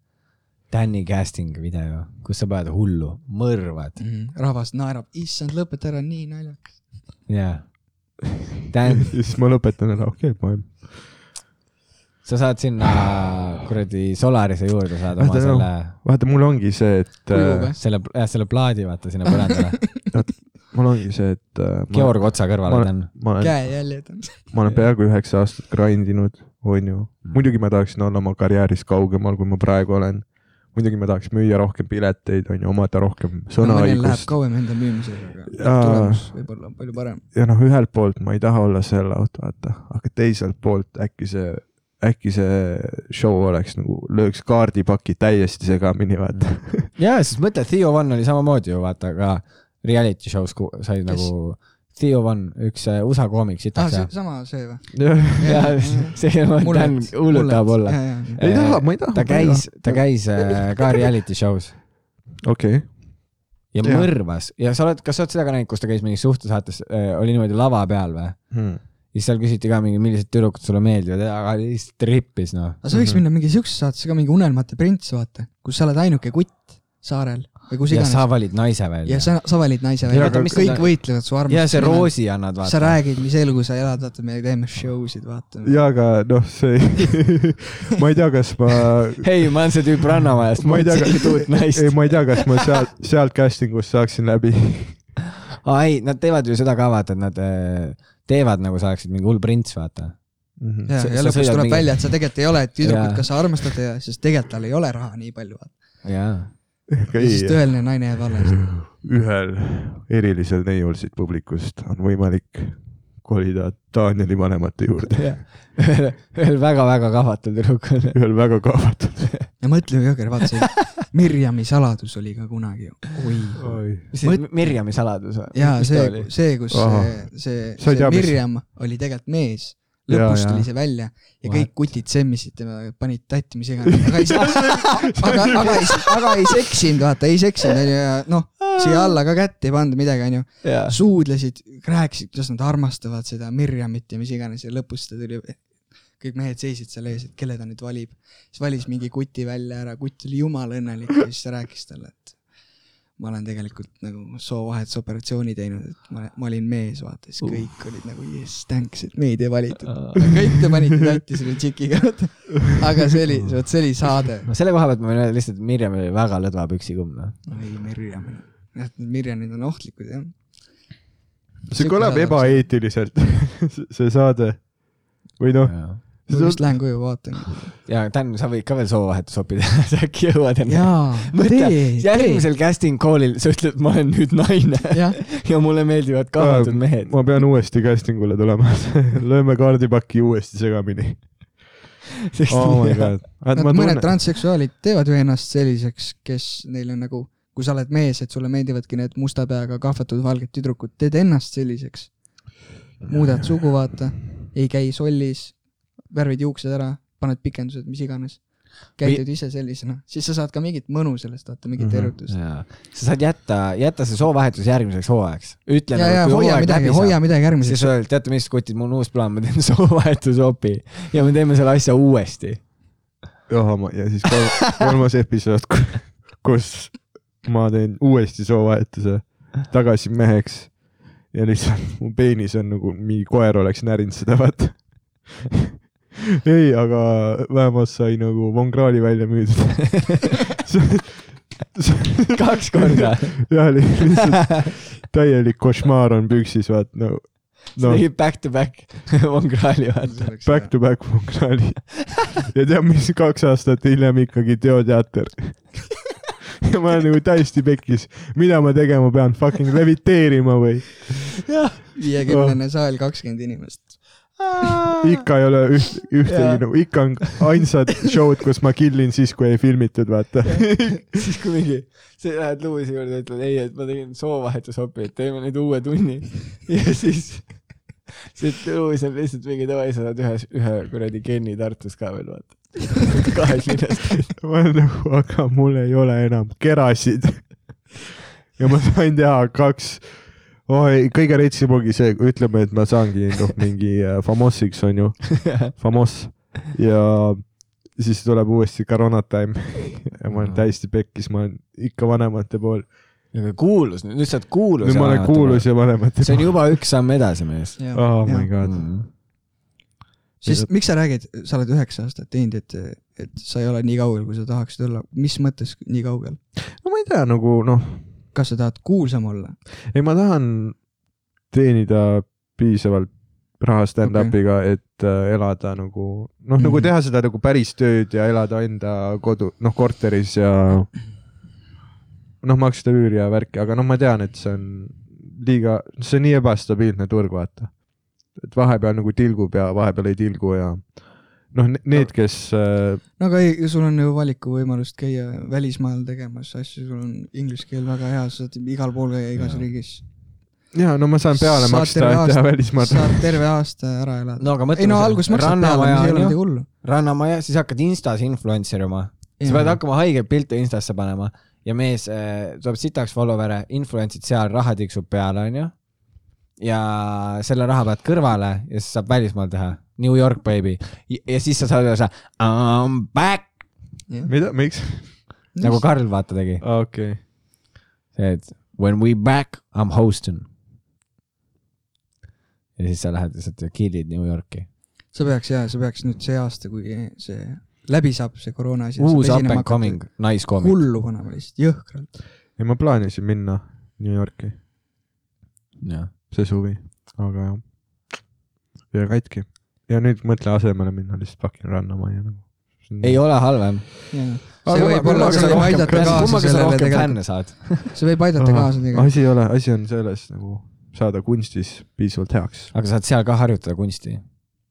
[SPEAKER 4] Danny casting video , kus sa paned hullu , mõrvad
[SPEAKER 5] Mhm. rahvas naerab , issand , lõpeta ära , nii naljakas .
[SPEAKER 4] jaa .
[SPEAKER 3] [LAUGHS]
[SPEAKER 4] Dan ,
[SPEAKER 3] siis ma lõpetan ära , okei okay, , poem .
[SPEAKER 4] sa saad sinna kuradi Solarise juurde saad oma
[SPEAKER 3] Vaata, no.
[SPEAKER 4] selle ,
[SPEAKER 3] vaata , mul ongi see , et
[SPEAKER 5] Kujuga.
[SPEAKER 3] äh,
[SPEAKER 4] selle , jah , selle plaadi vaata sinna [LAUGHS] põrandale .
[SPEAKER 3] mul ongi see , et äh, ma,
[SPEAKER 4] Georg Otsa kõrval
[SPEAKER 3] ma-
[SPEAKER 4] on Dan .
[SPEAKER 3] ma olen ,
[SPEAKER 5] käejäljed on .
[SPEAKER 3] ma olen peaaegu üheksa aastat grind inud , onju .
[SPEAKER 5] Mm.
[SPEAKER 3] muidugi ma tahaksin olla oma karjääris kaugemal , kui ma praegu olen . muidugi ma tahaks müüa rohkem pileteid , onju , omada rohkem
[SPEAKER 5] läheb
[SPEAKER 3] sõnaõigust .
[SPEAKER 5] kauem enda müümisega , aga
[SPEAKER 3] Jaa.
[SPEAKER 5] tulemus võib-olla on palju parem .
[SPEAKER 3] ja noh , ühelt poolt ma ei taha olla sell out , vaata , aga teiselt poolt äkki see , äkki see show oleks nagu , lööks kaardipaki täiesti segamini , vaata .
[SPEAKER 4] jaa , sest mõtle , Theo One oli samamoodi ju vaata ka reality show's ku- sai nagu Theo One , üks äh, USA koomik ,
[SPEAKER 5] aa ,
[SPEAKER 4] sitaks
[SPEAKER 5] Ah, see
[SPEAKER 4] jah . [LAUGHS]
[SPEAKER 5] sama see või ?
[SPEAKER 4] jaa , see on , Dan hullult tahab olla .
[SPEAKER 5] ja ,
[SPEAKER 3] [LAUGHS] ei taha , ma ei taha .
[SPEAKER 4] ta käis , ta . käis äh, ka reality show's
[SPEAKER 3] okei okay. ,
[SPEAKER 4] ja
[SPEAKER 3] Jah.
[SPEAKER 4] mõrvas ja sa oled , kas sa oled seda ka näinud , kus ta käis mingis suhtesaates , oli niimoodi lava peal või ?
[SPEAKER 3] hmm.
[SPEAKER 4] siis seal küsiti ka mingi , millised tüdrukud sulle meeldivad , aga lihtsalt rippis noh .
[SPEAKER 5] aga sa võiks minna mingi siuksesse saatesse ka , mingi Unelmate prints , vaata , kus sa oled ainuke kutt saarel või kus
[SPEAKER 4] ja sa
[SPEAKER 5] iganes .
[SPEAKER 4] valid naise
[SPEAKER 5] ja
[SPEAKER 4] välja .
[SPEAKER 5] sa , sa valid naise välja ,
[SPEAKER 4] aga mis
[SPEAKER 5] kõik
[SPEAKER 4] sa-
[SPEAKER 5] võitlevad su armastuse .
[SPEAKER 4] ja see . roosi annad
[SPEAKER 5] sa
[SPEAKER 4] vaata .
[SPEAKER 5] räägid , mis elu sa elad , vaata , me teeme show sid , vaata .
[SPEAKER 3] ja aga noh ,
[SPEAKER 4] [LAUGHS]
[SPEAKER 3] see , [LAUGHS] ma ei tea , kas ma ,
[SPEAKER 4] ei , ma olen see tüüp Rannamajast ,
[SPEAKER 3] ma
[SPEAKER 4] ma
[SPEAKER 3] ei tea ,
[SPEAKER 4] otsin uut
[SPEAKER 3] kas , ei
[SPEAKER 4] naist .
[SPEAKER 3] ma ei tea , kas ma sealt , sealt casting ust saaksin läbi .
[SPEAKER 4] aa ei , nad teevad ju seda ka vaata , et nad äh, teevad nagu sa oleksid mingi hull prints , vaata .
[SPEAKER 3] Mhm.
[SPEAKER 5] ja ,
[SPEAKER 4] sa-
[SPEAKER 5] ja
[SPEAKER 4] sa
[SPEAKER 5] lõpuks
[SPEAKER 4] sõidad
[SPEAKER 5] tuleb
[SPEAKER 4] mingi-
[SPEAKER 5] välja , et sa tegelikult ei ole , et
[SPEAKER 4] Jaa.
[SPEAKER 5] tüdrukut , kas sa armastad ja siis tegelikult tal ei ole raha nii palju .
[SPEAKER 4] jaa .
[SPEAKER 3] [LAUGHS]
[SPEAKER 5] ja siis tõeline naine jääb alles .
[SPEAKER 3] ühel erilisel neiul siit publikust on võimalik kolida Danieli vanemate juurde ,
[SPEAKER 4] ühel väga-väga kahvatud tüdrukul .
[SPEAKER 3] ühel väga kahvatud .
[SPEAKER 5] ja mõtle , Jõger , vaata
[SPEAKER 4] [LAUGHS]
[SPEAKER 5] see Mirjami saladus oli ka kunagi . [LAUGHS] oi .
[SPEAKER 4] mis see Mirjami saladus või ?
[SPEAKER 5] jaa , see , see , kus
[SPEAKER 3] Ahah.
[SPEAKER 5] see , see,
[SPEAKER 3] Sa ei
[SPEAKER 5] see
[SPEAKER 3] tea, mis-
[SPEAKER 5] Mirjam oli tegelikult mees .
[SPEAKER 3] Jaa,
[SPEAKER 5] lõpus
[SPEAKER 3] jaa.
[SPEAKER 5] tuli see välja ja
[SPEAKER 4] What?
[SPEAKER 5] kõik kutid semmisid tema , panid tatti , mis iganes , aga ei seksinud , [LAUGHS] aga , aga ei , aga ei seksinud , vaata , ei seksinud , onju , ja noh , siia alla ka kätt ei pandud midagi , onju .
[SPEAKER 4] jaa .
[SPEAKER 5] suudlesid , rääkisid , kuidas nad armastavad seda Mirjamit ja mis iganes ja lõpus ta tuli , kõik mehed seisid seal ees , et kelle ta nüüd valib . siis valis mingi kuti välja ära , kutt oli jumala õnnelik ja siis ta rääkis talle , et ma olen tegelikult nagu soovahetusoperatsiooni teinud , et ma , ma olin mees , vaata , siis kõik olid nagu jess , tänks , et meid ei valitud . kõik te panite tatti selle tšikiga , vaata . aga see oli , vot see oli saade .
[SPEAKER 4] no selle koha pealt ma võin öelda lihtsalt , et Mirjam oli väga lõdva noh. püksikumm .
[SPEAKER 5] ei , Mirjam , jah , Mirjamid on ohtlikud , jah .
[SPEAKER 3] see kõlab . ebaeetiliselt , [LAUGHS] see saade . või noh ,
[SPEAKER 4] jaa ,
[SPEAKER 5] ma vist lähen koju vaatama .
[SPEAKER 4] Dan , sa võid ka veel soovahetust opida , [LAUGHS] sa äkki jõuad enne .
[SPEAKER 5] [LAUGHS] jaa ,
[SPEAKER 4] mõtle , [LAUGHS] järgmisel casting call'il sa ütled , ma olen nüüd naine
[SPEAKER 5] [LAUGHS] jah ,
[SPEAKER 4] ja mulle meeldivad kahvatud
[SPEAKER 5] Oh
[SPEAKER 4] mehed .
[SPEAKER 3] ma pean uuesti casting ule tulema , [LAUGHS] lööme kaardipaki uuesti segamini . oh
[SPEAKER 4] [LAUGHS]
[SPEAKER 3] my god .
[SPEAKER 5] nad mõned transseksuaalid teevad ju ennast selliseks , kes neil on nagu , kui sa oled mees , et sulle meeldivadki need musta peaga kahvatud valged tüdrukud , teed ennast selliseks . muudad sugu , vaata , ei käi sollis , värvid juuksed ära , paned pikendused , mis iganes . käitud ise sellisena , siis sa saad ka mingit mõnu sellest , vaata mingit
[SPEAKER 3] Mhm.
[SPEAKER 5] erutust .
[SPEAKER 4] jaa , sa saad jätta , jätta see soovahetus järgmiseks hooajaks . ütle
[SPEAKER 5] ja , ja
[SPEAKER 4] nagu , kui
[SPEAKER 5] hoia
[SPEAKER 4] hooaeg
[SPEAKER 5] midagi ,
[SPEAKER 4] läbi
[SPEAKER 5] hoia
[SPEAKER 4] saab ,
[SPEAKER 5] midagi
[SPEAKER 4] siis
[SPEAKER 5] järgmiseks .
[SPEAKER 4] sa öeld , teate mis , kutid , mul on uus plaan , me teeme [LAUGHS] soovahetuse opi ja me teeme selle asja
[SPEAKER 5] [LAUGHS]
[SPEAKER 4] uuesti .
[SPEAKER 3] ja siis kolm, kolmas episood , kus ma teen uuesti soovahetuse tagasi meheks ja lihtsalt mu peenis on nagu mingi koer oleks närinud seda , vaata . [LAUGHS] ei , aga vähemalt sai nagu Von Krahli välja müüdud
[SPEAKER 4] kaks korda .
[SPEAKER 3] jah , lihtsalt täielik košmaar on püksis , vaat no , no
[SPEAKER 4] tegid back to back [LAUGHS] Von Krahli vaata .
[SPEAKER 3] back to back Von Krahli . ja tead , mis kaks aastat hiljem ikkagi Teoteater . ja ma olen nagu täiesti pekkis , mida ma tegema pean , fucking leviteerima või ?
[SPEAKER 5] viiekümnene saal , kakskümmend inimest .
[SPEAKER 3] ikka ei ole üht , ühtegi
[SPEAKER 4] Jaa.
[SPEAKER 3] nagu , ikka on ainsad show'd , kus ma kill in siis , kui ei filmitud , vaata .
[SPEAKER 4] [LAUGHS] siis kui mingi , sa lähed Luise juurde ja ütled ei , et ma tegin soovahetusopi , et teeme nüüd uue tunni [LAUGHS] ja siis , siis Luis on lihtsalt mingi davai , sa saad ühe , ühe kuradi geni Tartus ka veel vaata . [LAUGHS] kahes [LAUGHS] linnas .
[SPEAKER 3] ma olen nagu , aga mul ei ole enam kerasid . ja ma sain teha kaks , oi , kõige retsim ongi see , ütleme , et ma saangi noh , mingi äh, famossiks onju , famoss ja siis tuleb uuesti koroona time ja ma olen täiesti pekkis , ma olen ikka vanemate pool .
[SPEAKER 4] kuulus , nüüd sa oled kuulus .
[SPEAKER 3] nüüd ma olen kuulus . ja vanemate
[SPEAKER 4] see on
[SPEAKER 3] pool .
[SPEAKER 4] juba üks samm edasi , mees .
[SPEAKER 3] oh my god ,
[SPEAKER 4] sa
[SPEAKER 5] sest miks sa räägid , sa oled üheksa aastat teinud , et , et sa ei ole nii kaugel , kui sa tahaksid olla , mis mõttes nii kaugel ?
[SPEAKER 3] no ma ei tea nagu noh ,
[SPEAKER 5] kas sa tahad kuulsam olla ?
[SPEAKER 3] ei , ma tahan teenida piisavalt raha stand-up'iga okay. , et äh, elada nagu noh mm , -hmm. nagu
[SPEAKER 5] Mhm.
[SPEAKER 3] teha seda nagu päris tööd ja elada enda kodu , noh korteris ja noh , maksta üüri ja värki , aga noh , ma tean , et see on liiga , see on nii ebastabiilne turg , vaata . et vahepeal nagu tilgub ja vahepeal ei tilgu ja noh , need , kes äh,
[SPEAKER 5] no aga ei , sul on ju valikuvõimalust käia välismaal tegemas asju , sul on inglise keel väga hea , sa saad igal pool käia igas
[SPEAKER 4] Jaa.
[SPEAKER 5] riigis .
[SPEAKER 3] ja no ma saan peale
[SPEAKER 5] Saad
[SPEAKER 3] maksta ,
[SPEAKER 5] terve
[SPEAKER 3] et teha
[SPEAKER 5] aasta-
[SPEAKER 3] välismaal
[SPEAKER 5] saad terve aasta ära elada .
[SPEAKER 4] no aga mõtle .
[SPEAKER 5] ei no alguses maksad peale , mis
[SPEAKER 4] noh.
[SPEAKER 5] ei ole midagi hullu .
[SPEAKER 4] rannamaja , siis hakkad Instas influencer ima . sa pead hakkama haigeid pilte Instasse panema ja mees äh, tuleb sitaks follower'e , influence'id seal , raha tiksub peale , onju . ja selle raha pead kõrvale ja siis saab välismaal teha . New York baby . ja siis sa saad öelda , I m back
[SPEAKER 3] [LAUGHS] mida , miks ?
[SPEAKER 4] nagu Karl vaata tegi ,
[SPEAKER 3] okei okay. ,
[SPEAKER 4] see , et when we back I m hosting . ja siis sa lähed lihtsalt ja kill'id New Yorki .
[SPEAKER 5] sa peaks jaa , sa peaks nüüd see aasta , kui see läbi saab , see koroona asi .
[SPEAKER 4] uus up and coming naiskoomik .
[SPEAKER 5] hullu panema lihtsalt , jõhkralt .
[SPEAKER 3] ei ma plaanisin minna New Yorki
[SPEAKER 4] jah ,
[SPEAKER 3] see suvi , aga jah . ja katki . ja nüüd mõtle asemele minna lihtsalt fucking rannamajja nagu .
[SPEAKER 4] ei . ole halvem .
[SPEAKER 5] see võib olla , see võib aidata kaasa
[SPEAKER 4] kummaga sa
[SPEAKER 5] sellele
[SPEAKER 4] rohkem
[SPEAKER 5] tegelikult ,
[SPEAKER 4] fänne saad ?
[SPEAKER 5] see võib aidata kaasa tegelikult .
[SPEAKER 3] asi ei ole , asi on selles nagu saada kunstis piisavalt heaks .
[SPEAKER 4] aga saad seal ka harjutada kunsti ,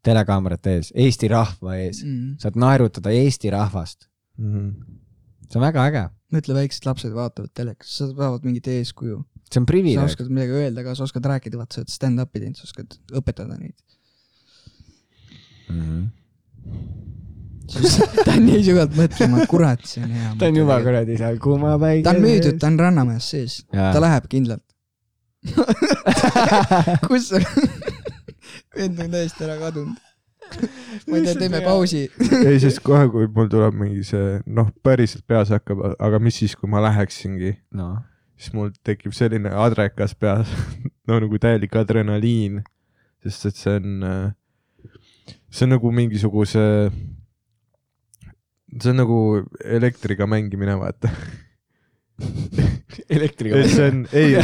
[SPEAKER 4] telekaamerate ees , Eesti rahva ees ,
[SPEAKER 5] Mm.
[SPEAKER 4] saad naerutada Eesti rahvast , see on väga äge ,
[SPEAKER 5] mõtle , väiksed lapsed vaatavad telekast , sa saavad mingit eeskuju ,
[SPEAKER 4] see on
[SPEAKER 5] sa
[SPEAKER 4] privileeg .
[SPEAKER 5] oskad midagi öelda ka , sa oskad rääkida , vaata , sa oled stand-up'i teinud , sa oskad õpetada neid .
[SPEAKER 4] Mhm.
[SPEAKER 5] [LAUGHS] ta on nii sügavalt mõtlema , kurat , see on hea .
[SPEAKER 4] ta on juba . kuradi seal kuumapäike .
[SPEAKER 5] ta on müüdud , ta on Rannamajas sees , ta läheb [LAUGHS] kindlalt . kus sa ? [LAUGHS] vend on täiesti ära kadunud . ma ei tea , teeme pausi .
[SPEAKER 3] ei , sest kohe , kui mul tuleb mingi see noh , päriselt peas hakkab , aga mis siis , kui ma läheksingi ,
[SPEAKER 4] noh ,
[SPEAKER 3] siis mul tekib selline adrekas peas , [LAUGHS] no nagu täielik adrenaliin , sest et see on , see on nagu mingisuguse , see on nagu elektriga mängimine , vaata .
[SPEAKER 4] elektriga
[SPEAKER 3] [LAUGHS] et . see on , [LAUGHS] ei ,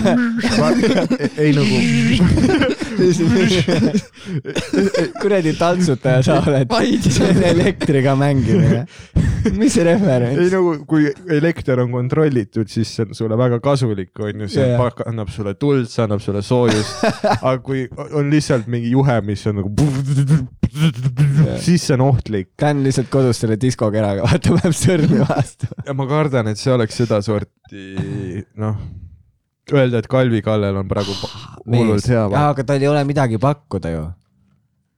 [SPEAKER 3] ei nagu .
[SPEAKER 4] [LAUGHS] kuradi tantsutaja sa oled , see
[SPEAKER 5] [LAUGHS]
[SPEAKER 4] on elektriga mängimine . mis see
[SPEAKER 3] ei
[SPEAKER 4] referents ?
[SPEAKER 3] nagu , kui elekter on kontrollitud , siis see on sulle väga kasulik , on ju , see
[SPEAKER 4] Jajah.
[SPEAKER 3] pak- annab sulle tuld , see annab sulle [LAUGHS] soojust . aga kui on lihtsalt mingi juhe , mis on nagu , siis see on ohtlik
[SPEAKER 4] ta on lihtsalt kodus selle diskokeraga , vaata , paneb sõrme vastu .
[SPEAKER 3] ja ma kardan , et see oleks sedasorti , noh , öelda , et Kalvi Kallel on praegu
[SPEAKER 5] Ah,
[SPEAKER 3] pa- hullult hea .
[SPEAKER 4] aga tal ei ole midagi pakkuda ju .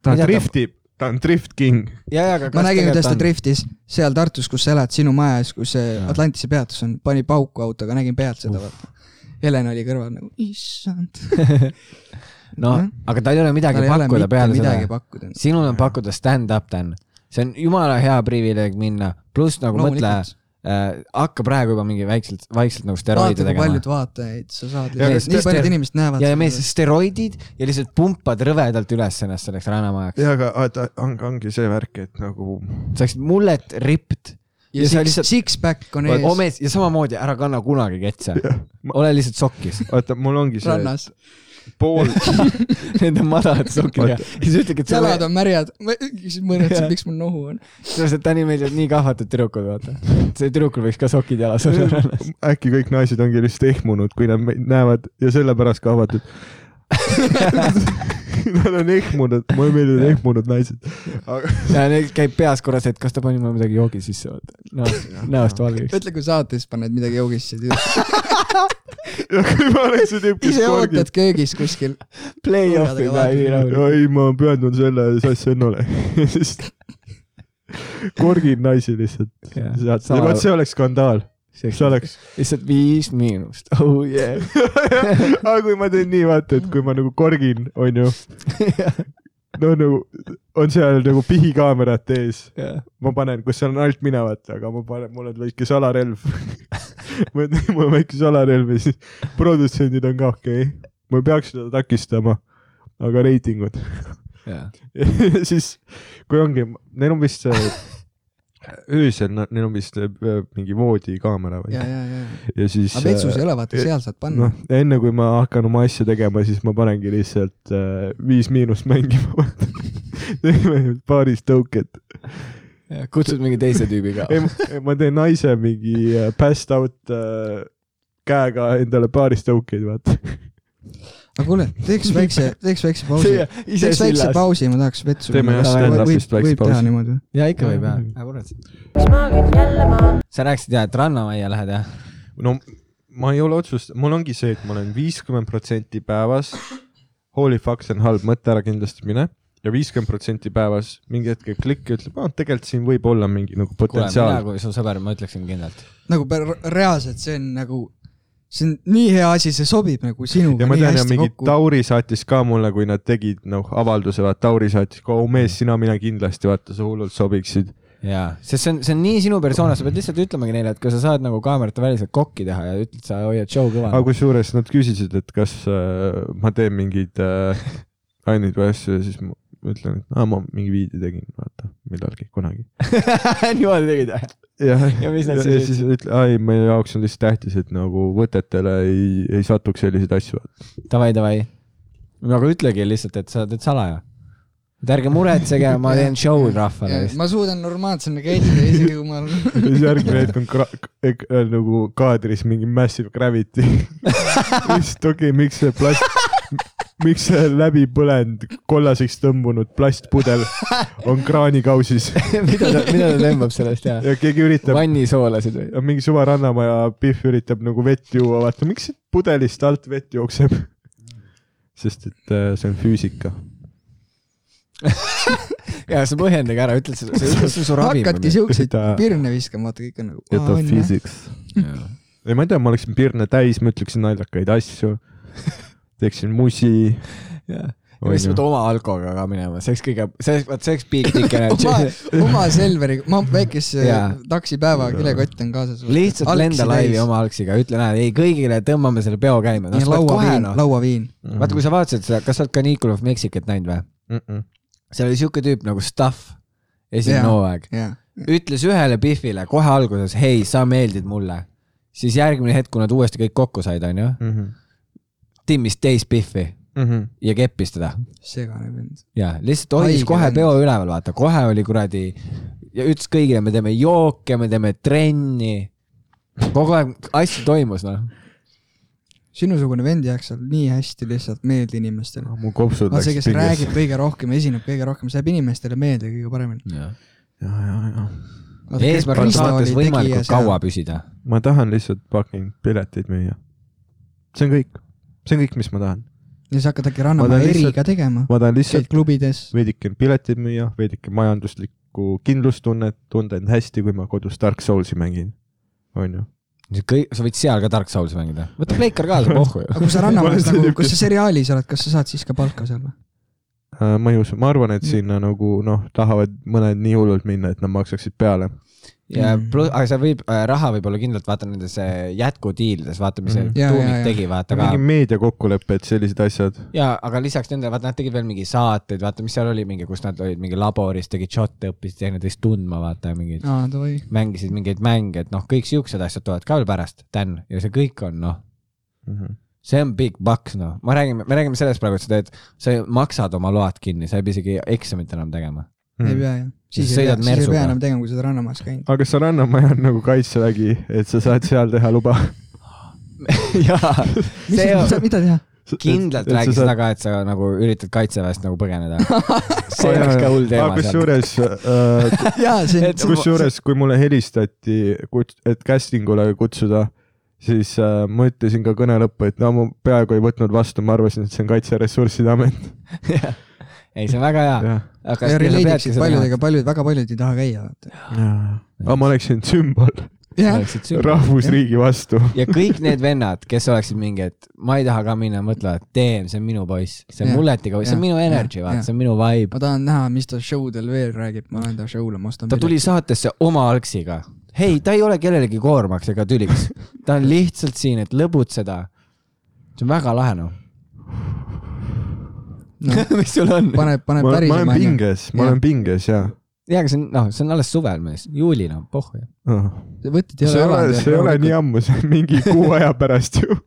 [SPEAKER 3] ta
[SPEAKER 4] mida ta-
[SPEAKER 3] driftib , ta on drift king .
[SPEAKER 4] ja , ja , aga
[SPEAKER 5] ma nägin , kuidas ta driftis seal Tartus , kus sa elad , sinu maja ees , kus see Atlantise peatus on , pani pauku autoga , nägin pealt seda , vaata . Helen oli kõrval nagu , issand .
[SPEAKER 4] noh ,
[SPEAKER 5] Hmm?
[SPEAKER 4] aga tal ei ole midagi pakkuda peale
[SPEAKER 5] midagi
[SPEAKER 4] seda .
[SPEAKER 5] pakkuda .
[SPEAKER 4] sinul on pakkuda stand-up , Dan . see on jumala hea privileeg minna , pluss nagu mõtle ,. äh, hakka praegu juba mingi väikselt , vaikselt nagu steroide
[SPEAKER 5] vaata , kui
[SPEAKER 4] tegema
[SPEAKER 5] paljud . vaatajaid sa saad .
[SPEAKER 4] Ja kas
[SPEAKER 5] nii
[SPEAKER 4] tõesti-
[SPEAKER 5] paljud inimesed näevad
[SPEAKER 4] ja , ja meil . steroidid ja lihtsalt pumpad rõvedalt üles ennast selleks rännamajaks .
[SPEAKER 3] ja , aga vaata , ongi , ongi see värk , et nagu [LAUGHS]
[SPEAKER 4] sa oleksid mullet ripped
[SPEAKER 5] ja
[SPEAKER 4] ja sa
[SPEAKER 5] six ,
[SPEAKER 4] lihtsalt-
[SPEAKER 5] six-pack on ees ,
[SPEAKER 4] omes ja samamoodi ära kanna kunagi ketse
[SPEAKER 3] ma- .
[SPEAKER 4] ole lihtsalt sokkis . [LAUGHS]
[SPEAKER 3] vaata , mul ongi see
[SPEAKER 5] rannas . [LAUGHS]
[SPEAKER 3] pool ,
[SPEAKER 4] Need on madalad sokid ja siis ütlegi , et
[SPEAKER 5] jalad
[SPEAKER 4] sulle ,
[SPEAKER 5] on märjad . ma küsin mõned ,
[SPEAKER 4] Jah.
[SPEAKER 5] miks mul nohu on .
[SPEAKER 4] sellepärast et Tänil meeldivad nii kahvatud tüdrukud , vaata . see tüdrukul võiks ka sokid jalas olla .
[SPEAKER 3] [LAUGHS] äkki kõik naised ongi lihtsalt ehmunud , kui nad meid näevad ja sellepärast
[SPEAKER 5] [LAUGHS]
[SPEAKER 3] kahvatud . [LAUGHS] Nad on ehmunud , mulle meeldivad ehmunud naised . aga
[SPEAKER 4] ja neil käib peas korras , et kas ta pani mulle midagi joogi sisse , vaata . näost , näost valgeks .
[SPEAKER 5] ütle , kui saates paned midagi joogisse .
[SPEAKER 4] [LAUGHS]
[SPEAKER 3] ja kui ma olen see tüüp , kes
[SPEAKER 5] ise
[SPEAKER 3] korgib
[SPEAKER 5] ootad . köögis kuskil .
[SPEAKER 4] Play-off'i
[SPEAKER 5] Nurgadega
[SPEAKER 4] päev nii rahul .
[SPEAKER 3] ei , ma pühendun selle sassennole . siis korgin naisi lihtsalt . vot see oleks skandaal , see oleks .
[SPEAKER 4] lihtsalt viis miinust , oh
[SPEAKER 3] [LAUGHS]
[SPEAKER 4] yeah .
[SPEAKER 3] aga kui ma teen nii , vaata , et kui ma nagu korgin , onju . no nagu on seal nagu pihikaamerad ees , ma panen , kus seal on alt mina , vaata , aga ma panen , mul on väike salarelv . [LAUGHS] mul on- mul on väike salarelv ja siis produtsendid on ka okei okay. , ma ei peaks seda takistama , aga reitingud Ja [LAUGHS] siis , kui ongi , neil on vist
[SPEAKER 5] [LAUGHS]
[SPEAKER 3] see öösel , neil on vist äh, mingi voodikaamera või
[SPEAKER 5] ja , ja , ja .
[SPEAKER 3] ja siis .
[SPEAKER 5] aga vetsus ei ole , vaata , seal saad panna
[SPEAKER 3] noh ., enne kui ma hakkan oma asja tegema , siis ma panengi lihtsalt äh, Viis Miinust mängima . [LAUGHS] teeme paaris tõuket .
[SPEAKER 4] kutsud mingi teise tüübi ka
[SPEAKER 3] ei , ma teen naise mingi äh, passed out äh, käega endale paaris tõukeid , vaata . [LAUGHS]
[SPEAKER 5] aga kuule , teeks väikse , teeks väikse pausi .
[SPEAKER 4] See- ise
[SPEAKER 5] teeks väikse
[SPEAKER 4] sillas .
[SPEAKER 5] pausi , ma tahaks vetsu .
[SPEAKER 3] Teeme jah, stand-up'ist väikse
[SPEAKER 5] võib teha
[SPEAKER 3] pausi.
[SPEAKER 5] niimoodi või ?
[SPEAKER 4] ja ikka võib jah
[SPEAKER 3] Jaa, .
[SPEAKER 4] aga kurat ,
[SPEAKER 2] Smagen jälle maa
[SPEAKER 4] sa rääkisid jah , et rannamajja lähed jah ?
[SPEAKER 3] no ma ei ole otsustanud , mul ongi see , et ma olen viiskümmend protsenti päevas . Holy fuck , see on halb mõte , ära kindlasti mine ja viiskümmend protsenti päevas mingi hetk käib klikk ja ütleb , aa tegelikult siin võib olla mingi nagu
[SPEAKER 4] kuule , mina
[SPEAKER 3] potentsiaal .
[SPEAKER 4] kui su sõber , ma ütleksin kindlalt .
[SPEAKER 5] nagu pär- reaalselt , see on nagu , see on nii hea asi , see sobib nagu sinuga
[SPEAKER 3] ja ma
[SPEAKER 5] nii
[SPEAKER 3] tean ja
[SPEAKER 5] hästi
[SPEAKER 3] mingi
[SPEAKER 5] kokku .
[SPEAKER 3] Tauri saatis ka mulle , kui nad tegid noh avalduse , vaata Tauri saatis , oo mees , sina , mina kindlasti vaata , sa hullult sobiksid .
[SPEAKER 4] jaa , sest see on , see on nii sinu persona , sa pead lihtsalt ütlemagi neile , et kui sa saad nagu kaamerate väliselt kokki teha ja ütled , sa hoiad show kõva
[SPEAKER 3] aga . kusjuures nad küsisid , et kas äh, ma teen mingeid äh, ainult või asju ja siis ma ütlen , et aa ma mingi viidi tegin , vaata millalgi , kunagi .
[SPEAKER 4] [LAUGHS] niimoodi tegid jah ?
[SPEAKER 3] jah ,
[SPEAKER 4] Ja mis nad
[SPEAKER 3] [LAUGHS] ja
[SPEAKER 4] siis
[SPEAKER 3] ja siis ütle , ei , meie jaoks on lihtsalt tähtis , et nagu võtetele ei , ei satuks selliseid asju .
[SPEAKER 4] Davai , davai . aga ütlegi lihtsalt , et sa teed salaja . et ärge muretsege , ma teen show'd rahvale [LAUGHS] lihtsalt .
[SPEAKER 5] ma suudan normaalsena käituda , isegi kui ma olen
[SPEAKER 3] ja [LAUGHS] siis
[SPEAKER 5] [LAUGHS]
[SPEAKER 3] järgmine hetk on kra- ek- äh, nagu kaadris mingi massive [LAUGHS] gravity . lihtsalt okei okay, , miks see plast , miks see läbipõlenud kollaseks tõmbunud plastpudel on kraanikausis
[SPEAKER 4] mida ta , mida ta tõmbab sellest jah ?
[SPEAKER 3] ja keegi üritab ,
[SPEAKER 4] [LAUGHS] vannisoolasid või ?
[SPEAKER 3] mingi suva rannamaja Pihv üritab nagu vett juua , vaata miks siit pudelist alt vett jookseb . sest et äh, see on füüsika
[SPEAKER 4] ja sa põhjendage ära , ütled seda , see on su ravi .
[SPEAKER 5] hakkadki siukseid
[SPEAKER 3] Ta-
[SPEAKER 5] pirne viskama , vaata kõik on nagu .
[SPEAKER 3] ja ta on physics .
[SPEAKER 4] siukse .
[SPEAKER 3] ei , ma ei tea , ma oleksin pirne täis , ma ütleksin naljakaid asju , teeksin musi .
[SPEAKER 4] ja siis pead oma alkoga ka minema , see oleks kõige , see oleks , vot see oleks big [LAUGHS] dick
[SPEAKER 5] [LAUGHS] oma
[SPEAKER 3] [LAUGHS]
[SPEAKER 4] energy .,
[SPEAKER 5] oma Selveriga , ma väikese
[SPEAKER 4] Jaa.
[SPEAKER 5] taksipäeva kilekott on kaasas .
[SPEAKER 4] lihtsalt lenda laivi . oma alksiga , ütle , näed , ei kõigile tõmbame selle peo käima .
[SPEAKER 5] ja lauaviin ,
[SPEAKER 4] noh,
[SPEAKER 5] lauaviin .
[SPEAKER 4] vaata , kui sa vaatasid seda , kas sa oled Canicule of Mexicat näinud või ? seal oli siuke tüüp nagu Stuff , esimene
[SPEAKER 5] Jaa.
[SPEAKER 4] hooaeg .
[SPEAKER 5] jaa .
[SPEAKER 4] ütles ühele Biffile kohe alguses , hei , sa meeldid mulle . siis järgmine hetk , kui nad uuesti kõik kokku said , onju ,
[SPEAKER 3] mm-hmm,
[SPEAKER 4] timmis teist Biffi ja keppis teda
[SPEAKER 5] segane vend .
[SPEAKER 4] ja lihtsalt hoidis
[SPEAKER 5] Haige
[SPEAKER 4] kohe
[SPEAKER 5] vend.
[SPEAKER 4] peo üleval , vaata , kohe oli kuradi ja ütles kõigile , me teeme jooke , me teeme trenni . kogu aeg asju toimus , noh .
[SPEAKER 5] sinusugune vend jääks seal nii hästi lihtsalt meelde inimestele .
[SPEAKER 3] mu kopsud
[SPEAKER 5] vaata see ,
[SPEAKER 3] läksid
[SPEAKER 5] kes räägib
[SPEAKER 3] pingesse .
[SPEAKER 5] kõige rohkem , esineb kõige rohkem , see jääb inimestele meelde kõige paremini .
[SPEAKER 4] eesmärk on saates võimalikult kaua . püsida .
[SPEAKER 3] ma tahan lihtsalt fucking pileteid müüa . see on kõik , see on kõik , mis ma tahan .
[SPEAKER 5] ja sa hakkad äkki
[SPEAKER 3] Ma
[SPEAKER 5] Rannamaa
[SPEAKER 3] tahan
[SPEAKER 5] eriga
[SPEAKER 3] lihtsalt-
[SPEAKER 5] tegema .
[SPEAKER 3] ma tahan
[SPEAKER 5] käid
[SPEAKER 3] lihtsalt
[SPEAKER 5] klubides .
[SPEAKER 3] veidike pileteid müüa , veidike majanduslikku kindlustunnet , tunda end hästi , kui ma kodus Dark Soulsi mängin , onju .
[SPEAKER 4] kõik , sa võid seal ka Dark Soulsi mängida . võta pleikar kaasa , pohhu ju
[SPEAKER 5] aga . kui sa Rannamaal
[SPEAKER 3] olen see
[SPEAKER 5] nagu ,
[SPEAKER 3] tüüp,
[SPEAKER 5] kus
[SPEAKER 3] kes-
[SPEAKER 5] sa seriaalis oled , kas sa saad siis ka palka seal või ?
[SPEAKER 3] Äh, ma ei usu , ma arvan , et sinna nagu noh , tahavad mõned nii hullult minna , et nad maksaksid peale .
[SPEAKER 4] ja
[SPEAKER 5] Mhm.
[SPEAKER 4] pluss , aga see võib , raha võib olla kindlalt vaata nendes äh, jätkudiilides , vaata , mis see
[SPEAKER 3] Mhm.
[SPEAKER 5] Ja, ja,
[SPEAKER 4] tuumik
[SPEAKER 5] ja.
[SPEAKER 4] tegi , vaata ka .
[SPEAKER 3] mingi meediakokkulepped , sellised asjad .
[SPEAKER 4] ja , aga lisaks nendele , vaata , nad tegid veel mingi saateid , vaata , mis seal oli mingi , kus nad olid mingi laboris , tegid šotte , õppisid teineteist tundma , vaata mingeid ,
[SPEAKER 5] aa , davai .
[SPEAKER 4] mängisid mingeid mänge , et noh , kõik siuksed asjad tulevad ka veel pärast , Dan , ja see kõik on noh , see on big bucks , noh , ma räägin , me räägime sellest praegu , et sa teed , sa ju maksad oma load kinni , sa ei pea isegi eksamit enam tegema .
[SPEAKER 5] ei pea jah . siis ei
[SPEAKER 4] sõidad
[SPEAKER 5] pea , siis ei
[SPEAKER 4] mersuga.
[SPEAKER 5] pea enam tegema , kui sa oled rannamajas käinud .
[SPEAKER 3] Hmm. aga kas see rannamaja on nagu kaitsevägi , et sa saad seal teha luba ?
[SPEAKER 4] jaa ,
[SPEAKER 5] mis
[SPEAKER 4] see
[SPEAKER 5] sa
[SPEAKER 4] on ,
[SPEAKER 5] saad , mida teha ?
[SPEAKER 4] kindlalt räägi seda ka , et sa nagu üritad kaitseväest nagu
[SPEAKER 3] [LAUGHS]
[SPEAKER 4] põgeneda . see oleks ka hull teema seal .
[SPEAKER 3] kusjuures äh,
[SPEAKER 4] [LAUGHS]
[SPEAKER 5] jaa , see
[SPEAKER 4] Et- [LAUGHS]
[SPEAKER 5] on ,
[SPEAKER 3] kusjuures , kui mulle helistati , et casting ule kutsuda , siis äh, ma ütlesin ka kõne lõppu , et no ma peaaegu ei võtnud vastu , ma arvasin , et see on Kaitseressursside Amet .
[SPEAKER 4] ei , see on väga hea .
[SPEAKER 3] jah ,
[SPEAKER 4] aga
[SPEAKER 5] ja
[SPEAKER 4] kas sa peadki
[SPEAKER 5] relate'iksid
[SPEAKER 4] seda
[SPEAKER 5] paljudega ,
[SPEAKER 4] tegema ?
[SPEAKER 5] paljud , väga paljud ei taha käia , vaata .
[SPEAKER 3] aga ma oleksin sümbol
[SPEAKER 5] jah ,
[SPEAKER 3] rahvusriigi vastu .
[SPEAKER 4] ja kõik need vennad , kes oleksid mingi , et ma ei taha ka minna , mõtlevad , damn , see on minu poiss , see on
[SPEAKER 5] Jah,
[SPEAKER 4] mulletiga poiss , see on
[SPEAKER 5] jah,
[SPEAKER 4] minu energy ,
[SPEAKER 5] jah,
[SPEAKER 4] vaata ,
[SPEAKER 5] jah.
[SPEAKER 4] see on minu vibe .
[SPEAKER 5] ma tahan näha , mis ta show del veel räägib , ma lähen ta show'le , ma ostan
[SPEAKER 4] ta tuli saatesse oma algsiga . hei , ta ei ole kellelegi koormaks ega tüliks , ta on lihtsalt siin , et lõbutseda . see on väga lahe noh .
[SPEAKER 5] No.
[SPEAKER 4] [LAUGHS] mis sul on ?
[SPEAKER 5] paneb , paneb
[SPEAKER 3] ma ma olen
[SPEAKER 5] päriselt mängu .
[SPEAKER 3] pinges , ma
[SPEAKER 5] Jah.
[SPEAKER 3] olen pinges ja .
[SPEAKER 4] jaa , aga see on , noh , see on alles suvel mees , juulil on pohhu .
[SPEAKER 5] võtit
[SPEAKER 3] see
[SPEAKER 5] ei
[SPEAKER 3] ei
[SPEAKER 5] ole
[SPEAKER 3] ole , see ei ole nii . ammu , see on mingi kuu aja pärast ju .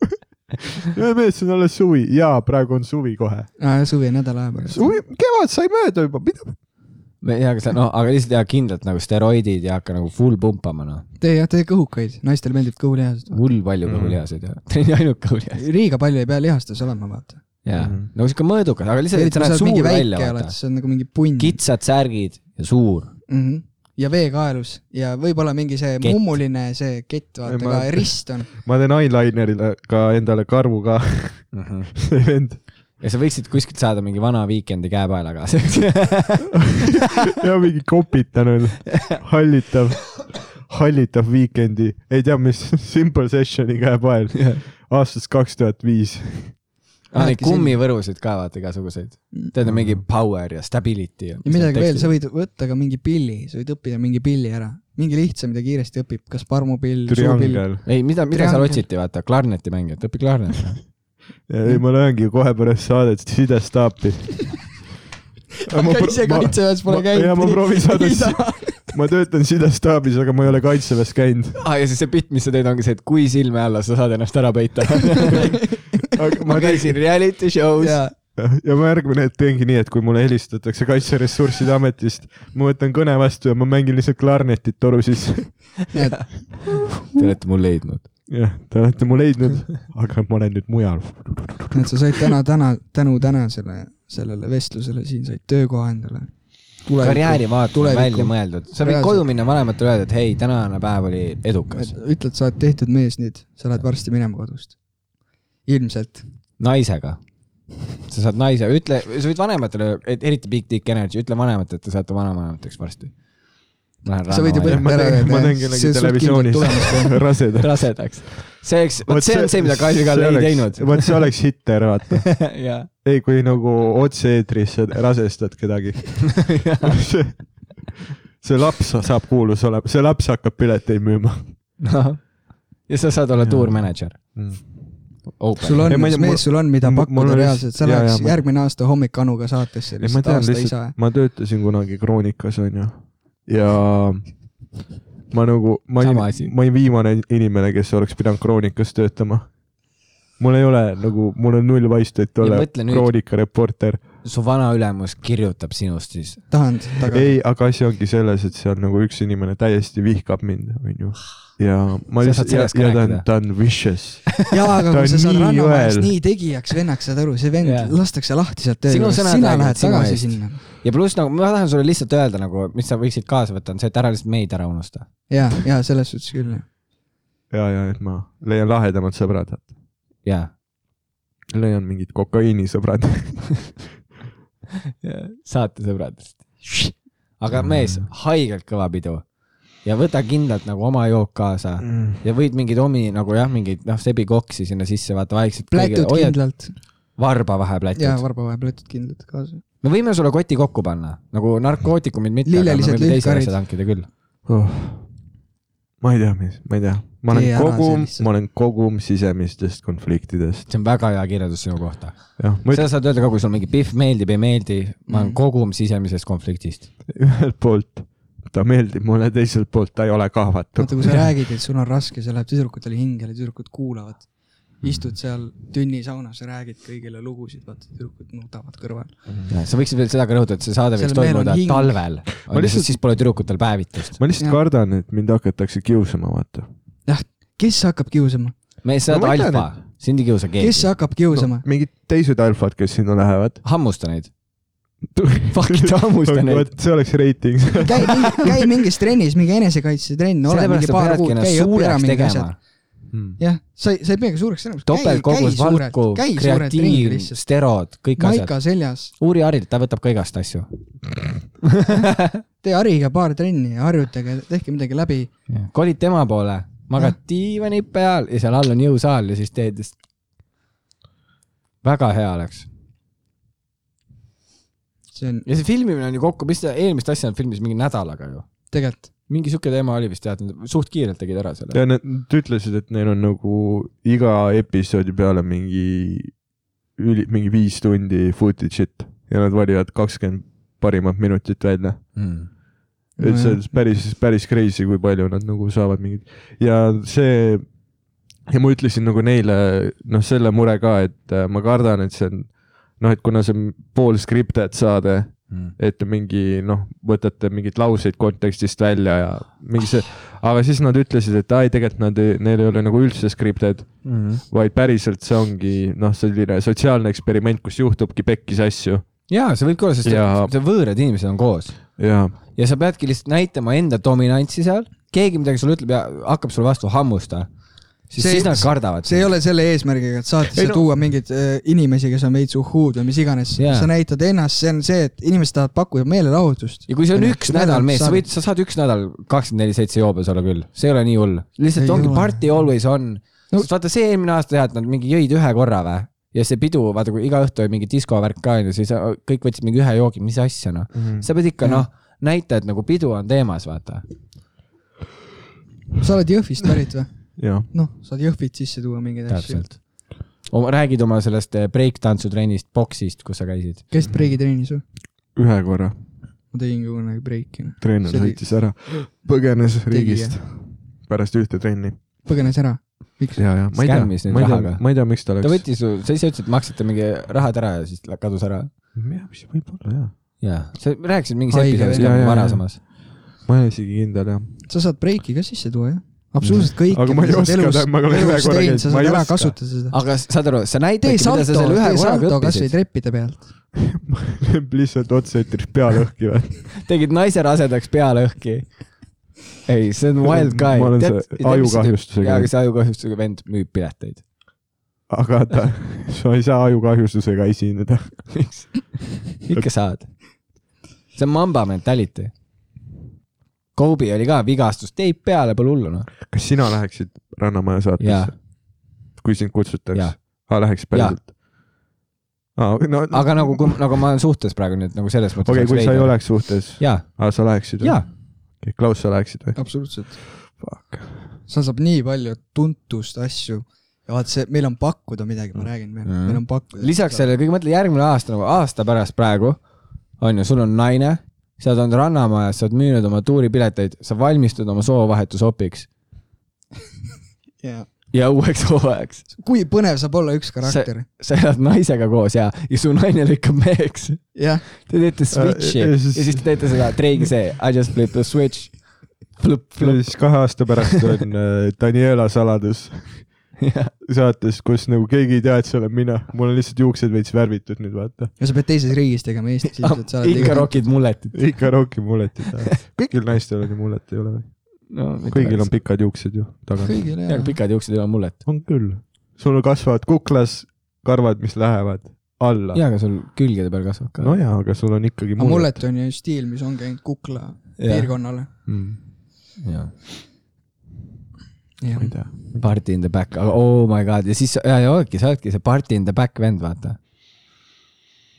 [SPEAKER 3] ja mees , see on alles suvi ja praegu on suvi kohe .
[SPEAKER 5] aa , suvi on nädala aja pärast .
[SPEAKER 3] suvi , kevad sai mööda juba , mida
[SPEAKER 4] jaa , aga see , no aga lihtsalt jaa , kindlalt nagu steroidid ja hakka nagu full pumpama noh ,
[SPEAKER 5] tee jah , tee kõhukaid , naistele meeldib kõhulihased .
[SPEAKER 4] hull palju
[SPEAKER 3] Mhm.
[SPEAKER 4] kõhulihaseid ja , [LAUGHS] ta oli ainuke kõhulihaseid .
[SPEAKER 5] liiga palju ei pea lihastes olema , vaata .
[SPEAKER 4] jaa
[SPEAKER 3] Mhm. ,
[SPEAKER 4] nagu sihuke mõõdukas , aga lihtsalt , et sa näed suur välja vaata .
[SPEAKER 5] see on nagu mingi punn
[SPEAKER 4] kitsad särgid ja suur .
[SPEAKER 5] mm . -hmm. ja veekaelus ja võib-olla mingi see
[SPEAKER 4] Kett.
[SPEAKER 5] kett. mummuline see kett , vaata
[SPEAKER 3] Ei,
[SPEAKER 5] ma...
[SPEAKER 3] ma-
[SPEAKER 4] [LAUGHS]
[SPEAKER 5] ka rist on .
[SPEAKER 3] ma teen eyelinerile ka endale karvu ka , see vend .
[SPEAKER 4] ja sa võiksid kuskilt saada mingi vana Weekend'i käepaela [LAUGHS] kaasa .
[SPEAKER 3] ja mingi kopitan on , hallitav , hallitav Weekend'i , ei tea , mis Simple Sessioni käepael aastast kaks tuhat viis .
[SPEAKER 4] aa , neid
[SPEAKER 5] Äkki selline.
[SPEAKER 4] kummivõrusid ka vaata igasuguseid . tead , on mingi power ja stability .
[SPEAKER 5] Mhm. ja midagi veel , sa võid võtta ka mingi pilli , sa võid õppida mingi pilli ära . mingi lihtsa , mida kiiresti õpib , kas parmupill , suupill . [LAUGHS]
[SPEAKER 3] Triangel .
[SPEAKER 4] ei , mida , mida seal
[SPEAKER 5] Triangel.
[SPEAKER 4] otsiti , vaata , klarneti mängijat , õpi klarneti .
[SPEAKER 3] ei , ma lööngi kohe pärast saadet sidestaapi .
[SPEAKER 5] aga ise kaitseväes pole käinud .
[SPEAKER 3] ja ma proovin saada
[SPEAKER 5] [LAUGHS] ei , taha .
[SPEAKER 4] [LAUGHS]
[SPEAKER 3] ma töötan sidestaabis , aga ma ei ole kaitseväes käinud .
[SPEAKER 4] aa , Ah, ja siis see bitt , mis sa teed , ongi see , et kui silme alla sa saad ennast ära [LAUGHS] peita . ma käisin reality show's .
[SPEAKER 5] jaa ,
[SPEAKER 3] ja ma järgmine hetk teengi nii , et kui mulle helistatakse Kaitseressursside Ametist , ma võtan kõne vastu ja ma mängin lihtsalt klarnetit toru sisse .
[SPEAKER 5] nii et
[SPEAKER 4] Te olete mu leidnud .
[SPEAKER 3] jah , te olete mu leidnud , aga ma olen nüüd mujal .
[SPEAKER 5] nii et sa said täna , täna , tänu tänasele , sellele vestlusele siin said töökoha endale .
[SPEAKER 4] karjäärivaat on
[SPEAKER 5] tuleviku-
[SPEAKER 4] välja mõeldud . sa võid
[SPEAKER 5] reaalselt.
[SPEAKER 4] koju minna vanematele ja öelda , et hei , tänane päev oli edukas .
[SPEAKER 5] ütled , sa oled tehtud mees nüüd , sa lähed varsti minema kodust . ilmselt .
[SPEAKER 4] naisega . sa saad naise , ütle , sa võid vanematele , et eriti Big Dick Energy , ütle vanematele , et te saate vanavanemateks varsti .
[SPEAKER 5] sa võid ju
[SPEAKER 3] Ma
[SPEAKER 5] põlema ära
[SPEAKER 3] teen- ma
[SPEAKER 5] öelda
[SPEAKER 3] teen kellegi televisioonis. rasedad .
[SPEAKER 4] rasedaks . see oleks , vot see on see , mida Kalvi Kall ei teinud .
[SPEAKER 3] vot see oleks hitter , vaata .
[SPEAKER 4] [LAUGHS] jaa .
[SPEAKER 3] ei , kui nagu otse-eetris sa rasestad
[SPEAKER 4] [LAUGHS]
[SPEAKER 3] kedagi . see laps saab kuulus olema , see laps hakkab pileteid müüma .
[SPEAKER 4] Noh. ja sa saad olla tour manager .
[SPEAKER 5] sul on
[SPEAKER 3] Ei, , ma ei
[SPEAKER 5] mis
[SPEAKER 3] tea, mul-
[SPEAKER 5] mees sul on , mida
[SPEAKER 3] mul- mul
[SPEAKER 5] pakkuda
[SPEAKER 3] on
[SPEAKER 5] reaalselt , sa
[SPEAKER 3] lihtsalt- jaa,
[SPEAKER 5] läheks
[SPEAKER 3] jaa, ma-
[SPEAKER 5] järgmine aasta hommik Anuga saatesse
[SPEAKER 3] ei , ma
[SPEAKER 5] lihtsalt ,
[SPEAKER 3] tean
[SPEAKER 5] aasta ei saa
[SPEAKER 3] lihtsalt ., ma töötasin kunagi Kroonikas , onju , ja ma nagu , ma
[SPEAKER 4] Sama
[SPEAKER 3] olin
[SPEAKER 4] asi. ,
[SPEAKER 3] ma olin viimane inimene , kes oleks pidanud Kroonikas töötama . mul ei ole nagu , mul on null vaistu , et olla
[SPEAKER 4] mõtle nüüd.
[SPEAKER 3] Kroonika reporter .
[SPEAKER 4] su vanaülemus kirjutab sinust siis .
[SPEAKER 5] tahan taga .
[SPEAKER 3] ei , aga asi ongi selles , et seal nagu üks inimene täiesti vihkab mind , onju . ja ma
[SPEAKER 4] Sa
[SPEAKER 3] lihtsalt ,
[SPEAKER 4] saad
[SPEAKER 3] ja,
[SPEAKER 4] sellest ka
[SPEAKER 3] ja ta on
[SPEAKER 4] rääkida. ,
[SPEAKER 3] ta on vicious .
[SPEAKER 5] jaa ,
[SPEAKER 3] Ta
[SPEAKER 5] aga
[SPEAKER 3] on
[SPEAKER 5] kui sa saad
[SPEAKER 3] nii
[SPEAKER 5] rannamajas
[SPEAKER 3] jõel.
[SPEAKER 5] nii tegijaks vennaks , saad aru , see
[SPEAKER 4] Jaa.
[SPEAKER 5] vend lastakse lahti sealt töö
[SPEAKER 4] Sinu
[SPEAKER 5] juures ,
[SPEAKER 4] sõnad
[SPEAKER 5] sina
[SPEAKER 4] räägivad
[SPEAKER 5] lähed
[SPEAKER 4] sinu
[SPEAKER 5] tagasi
[SPEAKER 4] eest.
[SPEAKER 5] sinna .
[SPEAKER 4] ja pluss nagu ma tahan sulle lihtsalt öelda nagu , mis sa võiksid kaasa võtta , on see , et ära lihtsalt meid ära unusta .
[SPEAKER 5] jaa , jaa , selles suhtes küll .
[SPEAKER 3] ja , ja et ma leian lahedamad sõbrad ,
[SPEAKER 4] jaa .
[SPEAKER 3] leian mingid kokaiinisõbrad .
[SPEAKER 4] [LAUGHS] saatesõbradest . aga mees , haigelt kõva pidu ja võta kindlalt nagu oma jook kaasa ja võid mingeid omi nagu jah , mingeid noh , sebikoksi sinna sisse vaata vaikselt .
[SPEAKER 5] plätud kindlalt .
[SPEAKER 4] varba vahe
[SPEAKER 5] jaa ,
[SPEAKER 4] plätud .
[SPEAKER 5] varba vahel plätud kindlalt kaasa .
[SPEAKER 4] me võime sulle koti kokku panna nagu narkootikumid mitte .
[SPEAKER 5] Lillelised lühkarid.
[SPEAKER 4] hankida küll .
[SPEAKER 3] oh. ma ei tea , mis , ma ei tea , ma
[SPEAKER 5] Tee
[SPEAKER 3] olen
[SPEAKER 5] ära see
[SPEAKER 3] kogum ,
[SPEAKER 5] lihtsalt.
[SPEAKER 3] ma olen kogum sisemistest konfliktidest ,
[SPEAKER 4] see on väga hea kirjeldus sinu kohta .
[SPEAKER 3] jah , ma
[SPEAKER 4] seda saad öelda ka , kui sul mingi pihv meeldib , ei meeldi , ma
[SPEAKER 5] Mhm.
[SPEAKER 4] olen kogum sisemisest konfliktist .
[SPEAKER 3] ütlen ühelt poolt , ta meeldib mulle , teiselt poolt ta ei ole kahvatu .
[SPEAKER 5] vaata , kui sa räägid , et sul on raske , see läheb tüdrukutele hingele , tüdrukud kuulavad . istud seal tünnisaunas , räägid kõigile lugusid , vaata tüdrukud nutavad kõrval .
[SPEAKER 4] sa võiksid veel seda ka rõhutada , et see saade võiks
[SPEAKER 5] Sellel mehel Mhm. on
[SPEAKER 4] toimuda
[SPEAKER 5] hing.
[SPEAKER 4] talvel .
[SPEAKER 3] Ma lihtsalt-
[SPEAKER 4] lihtsalt siis pole tüdrukutel päevitust .
[SPEAKER 3] ma lihtsalt
[SPEAKER 5] Jah.
[SPEAKER 3] kardan , et mind hakatakse kiusama , vaata .
[SPEAKER 5] jah , kes hakkab kiusama ,
[SPEAKER 4] mees , sa
[SPEAKER 3] Ma
[SPEAKER 4] oled
[SPEAKER 3] mõtlen,
[SPEAKER 4] alfa , sind ei kiusa
[SPEAKER 5] kes
[SPEAKER 4] keegi .
[SPEAKER 5] hakkab kiusama no. ?
[SPEAKER 3] mingid teised alfad , kes sinna
[SPEAKER 5] [LAUGHS]
[SPEAKER 3] lähevad .
[SPEAKER 4] hammusta neid . Fuck, ta hammustab neid.
[SPEAKER 3] vot see oleks reiting . [LAUGHS]
[SPEAKER 5] käi , käi mingis trennis , mingi enesekaitsetrenn , ole
[SPEAKER 4] sellepärast
[SPEAKER 5] mingi
[SPEAKER 4] sa
[SPEAKER 5] paar
[SPEAKER 4] peadki
[SPEAKER 5] kuud ,
[SPEAKER 4] ennast
[SPEAKER 5] käi õpi ära
[SPEAKER 4] suureks
[SPEAKER 5] mingi
[SPEAKER 4] tegema
[SPEAKER 5] asjad .. jah , sa ei , sa ei peagi suureks tegema .
[SPEAKER 4] topeltkogus , valku , kreatiiv , sterod , kõik asjad .
[SPEAKER 5] maika seljas ,
[SPEAKER 4] uuri Harilt , ta võtab ka igast asju .
[SPEAKER 5] tee hariga paar trenni ja harjutage , tehke midagi läbi .
[SPEAKER 4] kolid tema poole , magad diivani peal ja seal all on jõusaal ja siis teed just . väga hea oleks .
[SPEAKER 5] see on
[SPEAKER 4] ja see filmimine on ju kokku , mis ta eelmist asja nad filmis mingi nädalaga ju .
[SPEAKER 5] tegelikult ,
[SPEAKER 4] mingi sihuke teema oli vist jah , et nad suht kiirelt tegid ära selle .
[SPEAKER 3] ja nad nad ütlesid , et neil on nagu iga episoodi peale mingi üli , mingi viis tundi footage'it ja nad valivad kakskümmend parimat minutit välja .
[SPEAKER 4] Mm.
[SPEAKER 3] et see on päris , päris crazy , kui palju nad nagu saavad mingit ja see ja ma ütlesin nagu neile noh , selle mure ka , et äh, ma kardan , et see on noh , et kuna see on pool skriptet saade , et mingi noh , võtate mingeid lauseid kontekstist välja ja mingi see , aga siis nad ütlesid , et ai , tegelikult nad , neil ei ole nagu üldse skripted ,
[SPEAKER 5] Mhm.
[SPEAKER 3] vaid päriselt see ongi noh , selline sotsiaalne eksperiment , kus juhtubki pekkis asju
[SPEAKER 4] ja see võib ka olla , sest
[SPEAKER 3] Ja-
[SPEAKER 4] see võõrad inimesed on koos
[SPEAKER 3] ja
[SPEAKER 4] ja sa peadki lihtsalt näitama enda dominantsi seal , keegi midagi sulle ütleb ja hakkab sulle vastu hammusta , siis ,
[SPEAKER 5] See-
[SPEAKER 4] siis nad kardavad .
[SPEAKER 5] see ei ole selle eesmärgiga , et saatesse
[SPEAKER 3] Ei,
[SPEAKER 5] no.
[SPEAKER 3] no-
[SPEAKER 5] tuua mingeid äh, inimesi , kes on veits uhhuud või mis iganes
[SPEAKER 4] Jaa.
[SPEAKER 5] yeah. , sa näitad ennast , see on see , et inimesed tahavad pakkuda meelelahutust .
[SPEAKER 4] ja kui see on üks nädal mees , sa
[SPEAKER 5] saad-
[SPEAKER 4] võid , sa saad üks nädal kakskümmend neli seitse joobes olla küll , see ei ole nii hull , lihtsalt
[SPEAKER 5] Ei
[SPEAKER 4] ei ongi
[SPEAKER 5] ole.
[SPEAKER 4] party always on
[SPEAKER 5] No-
[SPEAKER 4] no. . sest vaata see eelmine aasta jah , et nad mingi jõid ühe korra või ja see pidu , vaata kui iga õhtu oli mingi diskovärk ka onju , siis äh, kõik võtsid mingi ühe joogi , mis asja noh ,
[SPEAKER 3] mm.
[SPEAKER 4] sa pead ikka
[SPEAKER 5] Jah.
[SPEAKER 4] noh näita , et nagu pidu on teemas , vaata .
[SPEAKER 5] sa oled Jõhvist pärit või ?
[SPEAKER 3] ja
[SPEAKER 5] noh , saad Jõhvit sisse tuua mingeid asju .
[SPEAKER 4] täpselt . räägid oma sellest eh, breiktansutrennist , boksist , kus sa käisid ?
[SPEAKER 5] käisid breigitrennis või ?
[SPEAKER 3] ühe korra
[SPEAKER 5] ma tegin ka kunagi breiki ,
[SPEAKER 3] treener
[SPEAKER 5] See oli-
[SPEAKER 3] sõitis ära , põgenes riigist pärast ühte trenni .
[SPEAKER 5] põgenes ära . miks ?
[SPEAKER 3] ja , ja ma ei
[SPEAKER 4] Skämmis
[SPEAKER 3] tea ,
[SPEAKER 4] nüüd
[SPEAKER 3] ma ei tea
[SPEAKER 4] rahaga. ,
[SPEAKER 3] ma ei tea , miks ta
[SPEAKER 4] ta
[SPEAKER 3] läks .
[SPEAKER 4] võttis su , sa ise ütlesid , et maksite mingi rahad ära ja siis lä- kadus ära .
[SPEAKER 3] võib-olla jah ,
[SPEAKER 4] jaa , sa rääkisid mingis
[SPEAKER 5] Haige
[SPEAKER 4] episoodis
[SPEAKER 3] vend.
[SPEAKER 4] ka
[SPEAKER 3] Jaa, jaa,
[SPEAKER 4] varasemas .
[SPEAKER 3] ma ei ole isegi kindel jah .
[SPEAKER 5] sa saad breiki ka sisse tuua , jah ? absoluutselt kõik .
[SPEAKER 3] Aga ma ei oska, tähendab, ma olen ühe korra käinud,
[SPEAKER 5] sa
[SPEAKER 3] ma
[SPEAKER 5] saad
[SPEAKER 3] ei
[SPEAKER 5] ära
[SPEAKER 3] oska.
[SPEAKER 5] kasutada seda .
[SPEAKER 4] aga s- saad aru , sa
[SPEAKER 5] tee
[SPEAKER 4] näitadki , mida sa
[SPEAKER 5] salto ,
[SPEAKER 4] selle ühe
[SPEAKER 5] tee
[SPEAKER 4] korraga
[SPEAKER 5] salto kasvõi
[SPEAKER 4] õppisid .
[SPEAKER 5] treppide pealt .
[SPEAKER 3] lööb [LAUGHS] lihtsalt otseeetris pea lõhki või ?
[SPEAKER 4] tegid naise rasedaks pea lõhki . ei , see on wild guy .
[SPEAKER 3] ma olen see ajukahjustusega
[SPEAKER 4] jaa , aga see ajukahjustusega vend müüb pileteid .
[SPEAKER 3] aga ta , sa ei saa ajukahjustusega esineda .
[SPEAKER 4] ikka saad . see on mamba mentality . Kobe oli ka vigastus , teip peale , pole hullu noh .
[SPEAKER 3] kas sina läheksid Rannamaja
[SPEAKER 4] jaa
[SPEAKER 3] saatesse ,, kui sind kutsutaks
[SPEAKER 4] Jaa. ?
[SPEAKER 3] aa , läheks päriselt ? aa , no okei
[SPEAKER 4] aga nagu , nagu ma olen suhtes praegu , nii et nagu selles mõttes .
[SPEAKER 3] okay, , kui sa ei . oleks suhtes ,
[SPEAKER 4] jaa ,
[SPEAKER 3] aa , sa läheksid või
[SPEAKER 4] jaa ?,
[SPEAKER 3] Klaus , sa läheksid või ?
[SPEAKER 5] absoluutselt .
[SPEAKER 3] Fuck .
[SPEAKER 5] seal saab nii palju tuntust asju ja vaat see , meil on pakkuda midagi , ma räägin , meil,
[SPEAKER 4] Mhm.
[SPEAKER 5] meil on pakkuda .
[SPEAKER 4] lisaks sellele , kõige mõtle järgmine aasta nagu aasta pärast praegu on ju , sul on naine , sa oled olnud rannamajas , sa oled müünud oma tuuripileteid , sa valmistud oma soovahetuse opiks
[SPEAKER 5] yeah. .
[SPEAKER 4] ja uueks [LAUGHS] hooajaks .
[SPEAKER 5] kui põnev saab olla üks karakter ?
[SPEAKER 4] sa elad naisega koos ja , ja su naine lükkab meheks .
[SPEAKER 5] jah ,
[SPEAKER 4] Te teete switch'i
[SPEAKER 3] Äh,
[SPEAKER 4] ja
[SPEAKER 3] ja siis-
[SPEAKER 4] siis te teete seda treigi see I just flip the switch . Flup , flup .
[SPEAKER 3] siis kahe aasta pärast [LAUGHS] on äh, Daniela saladus saates , kus nagu keegi ei tea , et see olen mina , mul on lihtsalt juuksed veits värvitud nüüd vaata .
[SPEAKER 5] ja sa pead teises riigis tegema , Eestis ilmselt sa oled
[SPEAKER 4] Ah, ikka . rokid mulletit .
[SPEAKER 3] ikka rohkem mulletit taha . [LAUGHS] kõigil naistel on ju mullet , ei ole või ?
[SPEAKER 4] no, .
[SPEAKER 3] kõigil on . pikad juuksed ju taga .
[SPEAKER 5] kõigil
[SPEAKER 4] jah
[SPEAKER 5] jah ,
[SPEAKER 4] pikad juuksed ei ole mullet .
[SPEAKER 3] on küll . sul kasvavad kuklas karvad , mis lähevad alla .
[SPEAKER 4] jaa , aga sul külgede peal kasvab ka .
[SPEAKER 3] no jaa , aga sul on ikkagi
[SPEAKER 5] aga
[SPEAKER 3] mullet .
[SPEAKER 5] mullet on ju stiil , mis ongi ainult kukla
[SPEAKER 4] Jah.
[SPEAKER 5] piirkonnale .
[SPEAKER 4] Mm. jaa .
[SPEAKER 5] jah
[SPEAKER 3] ma ei , tea .
[SPEAKER 4] Party in the back , aga oh my god ja siis ja, ja oledki , sa oledki see party in the back vend , vaata .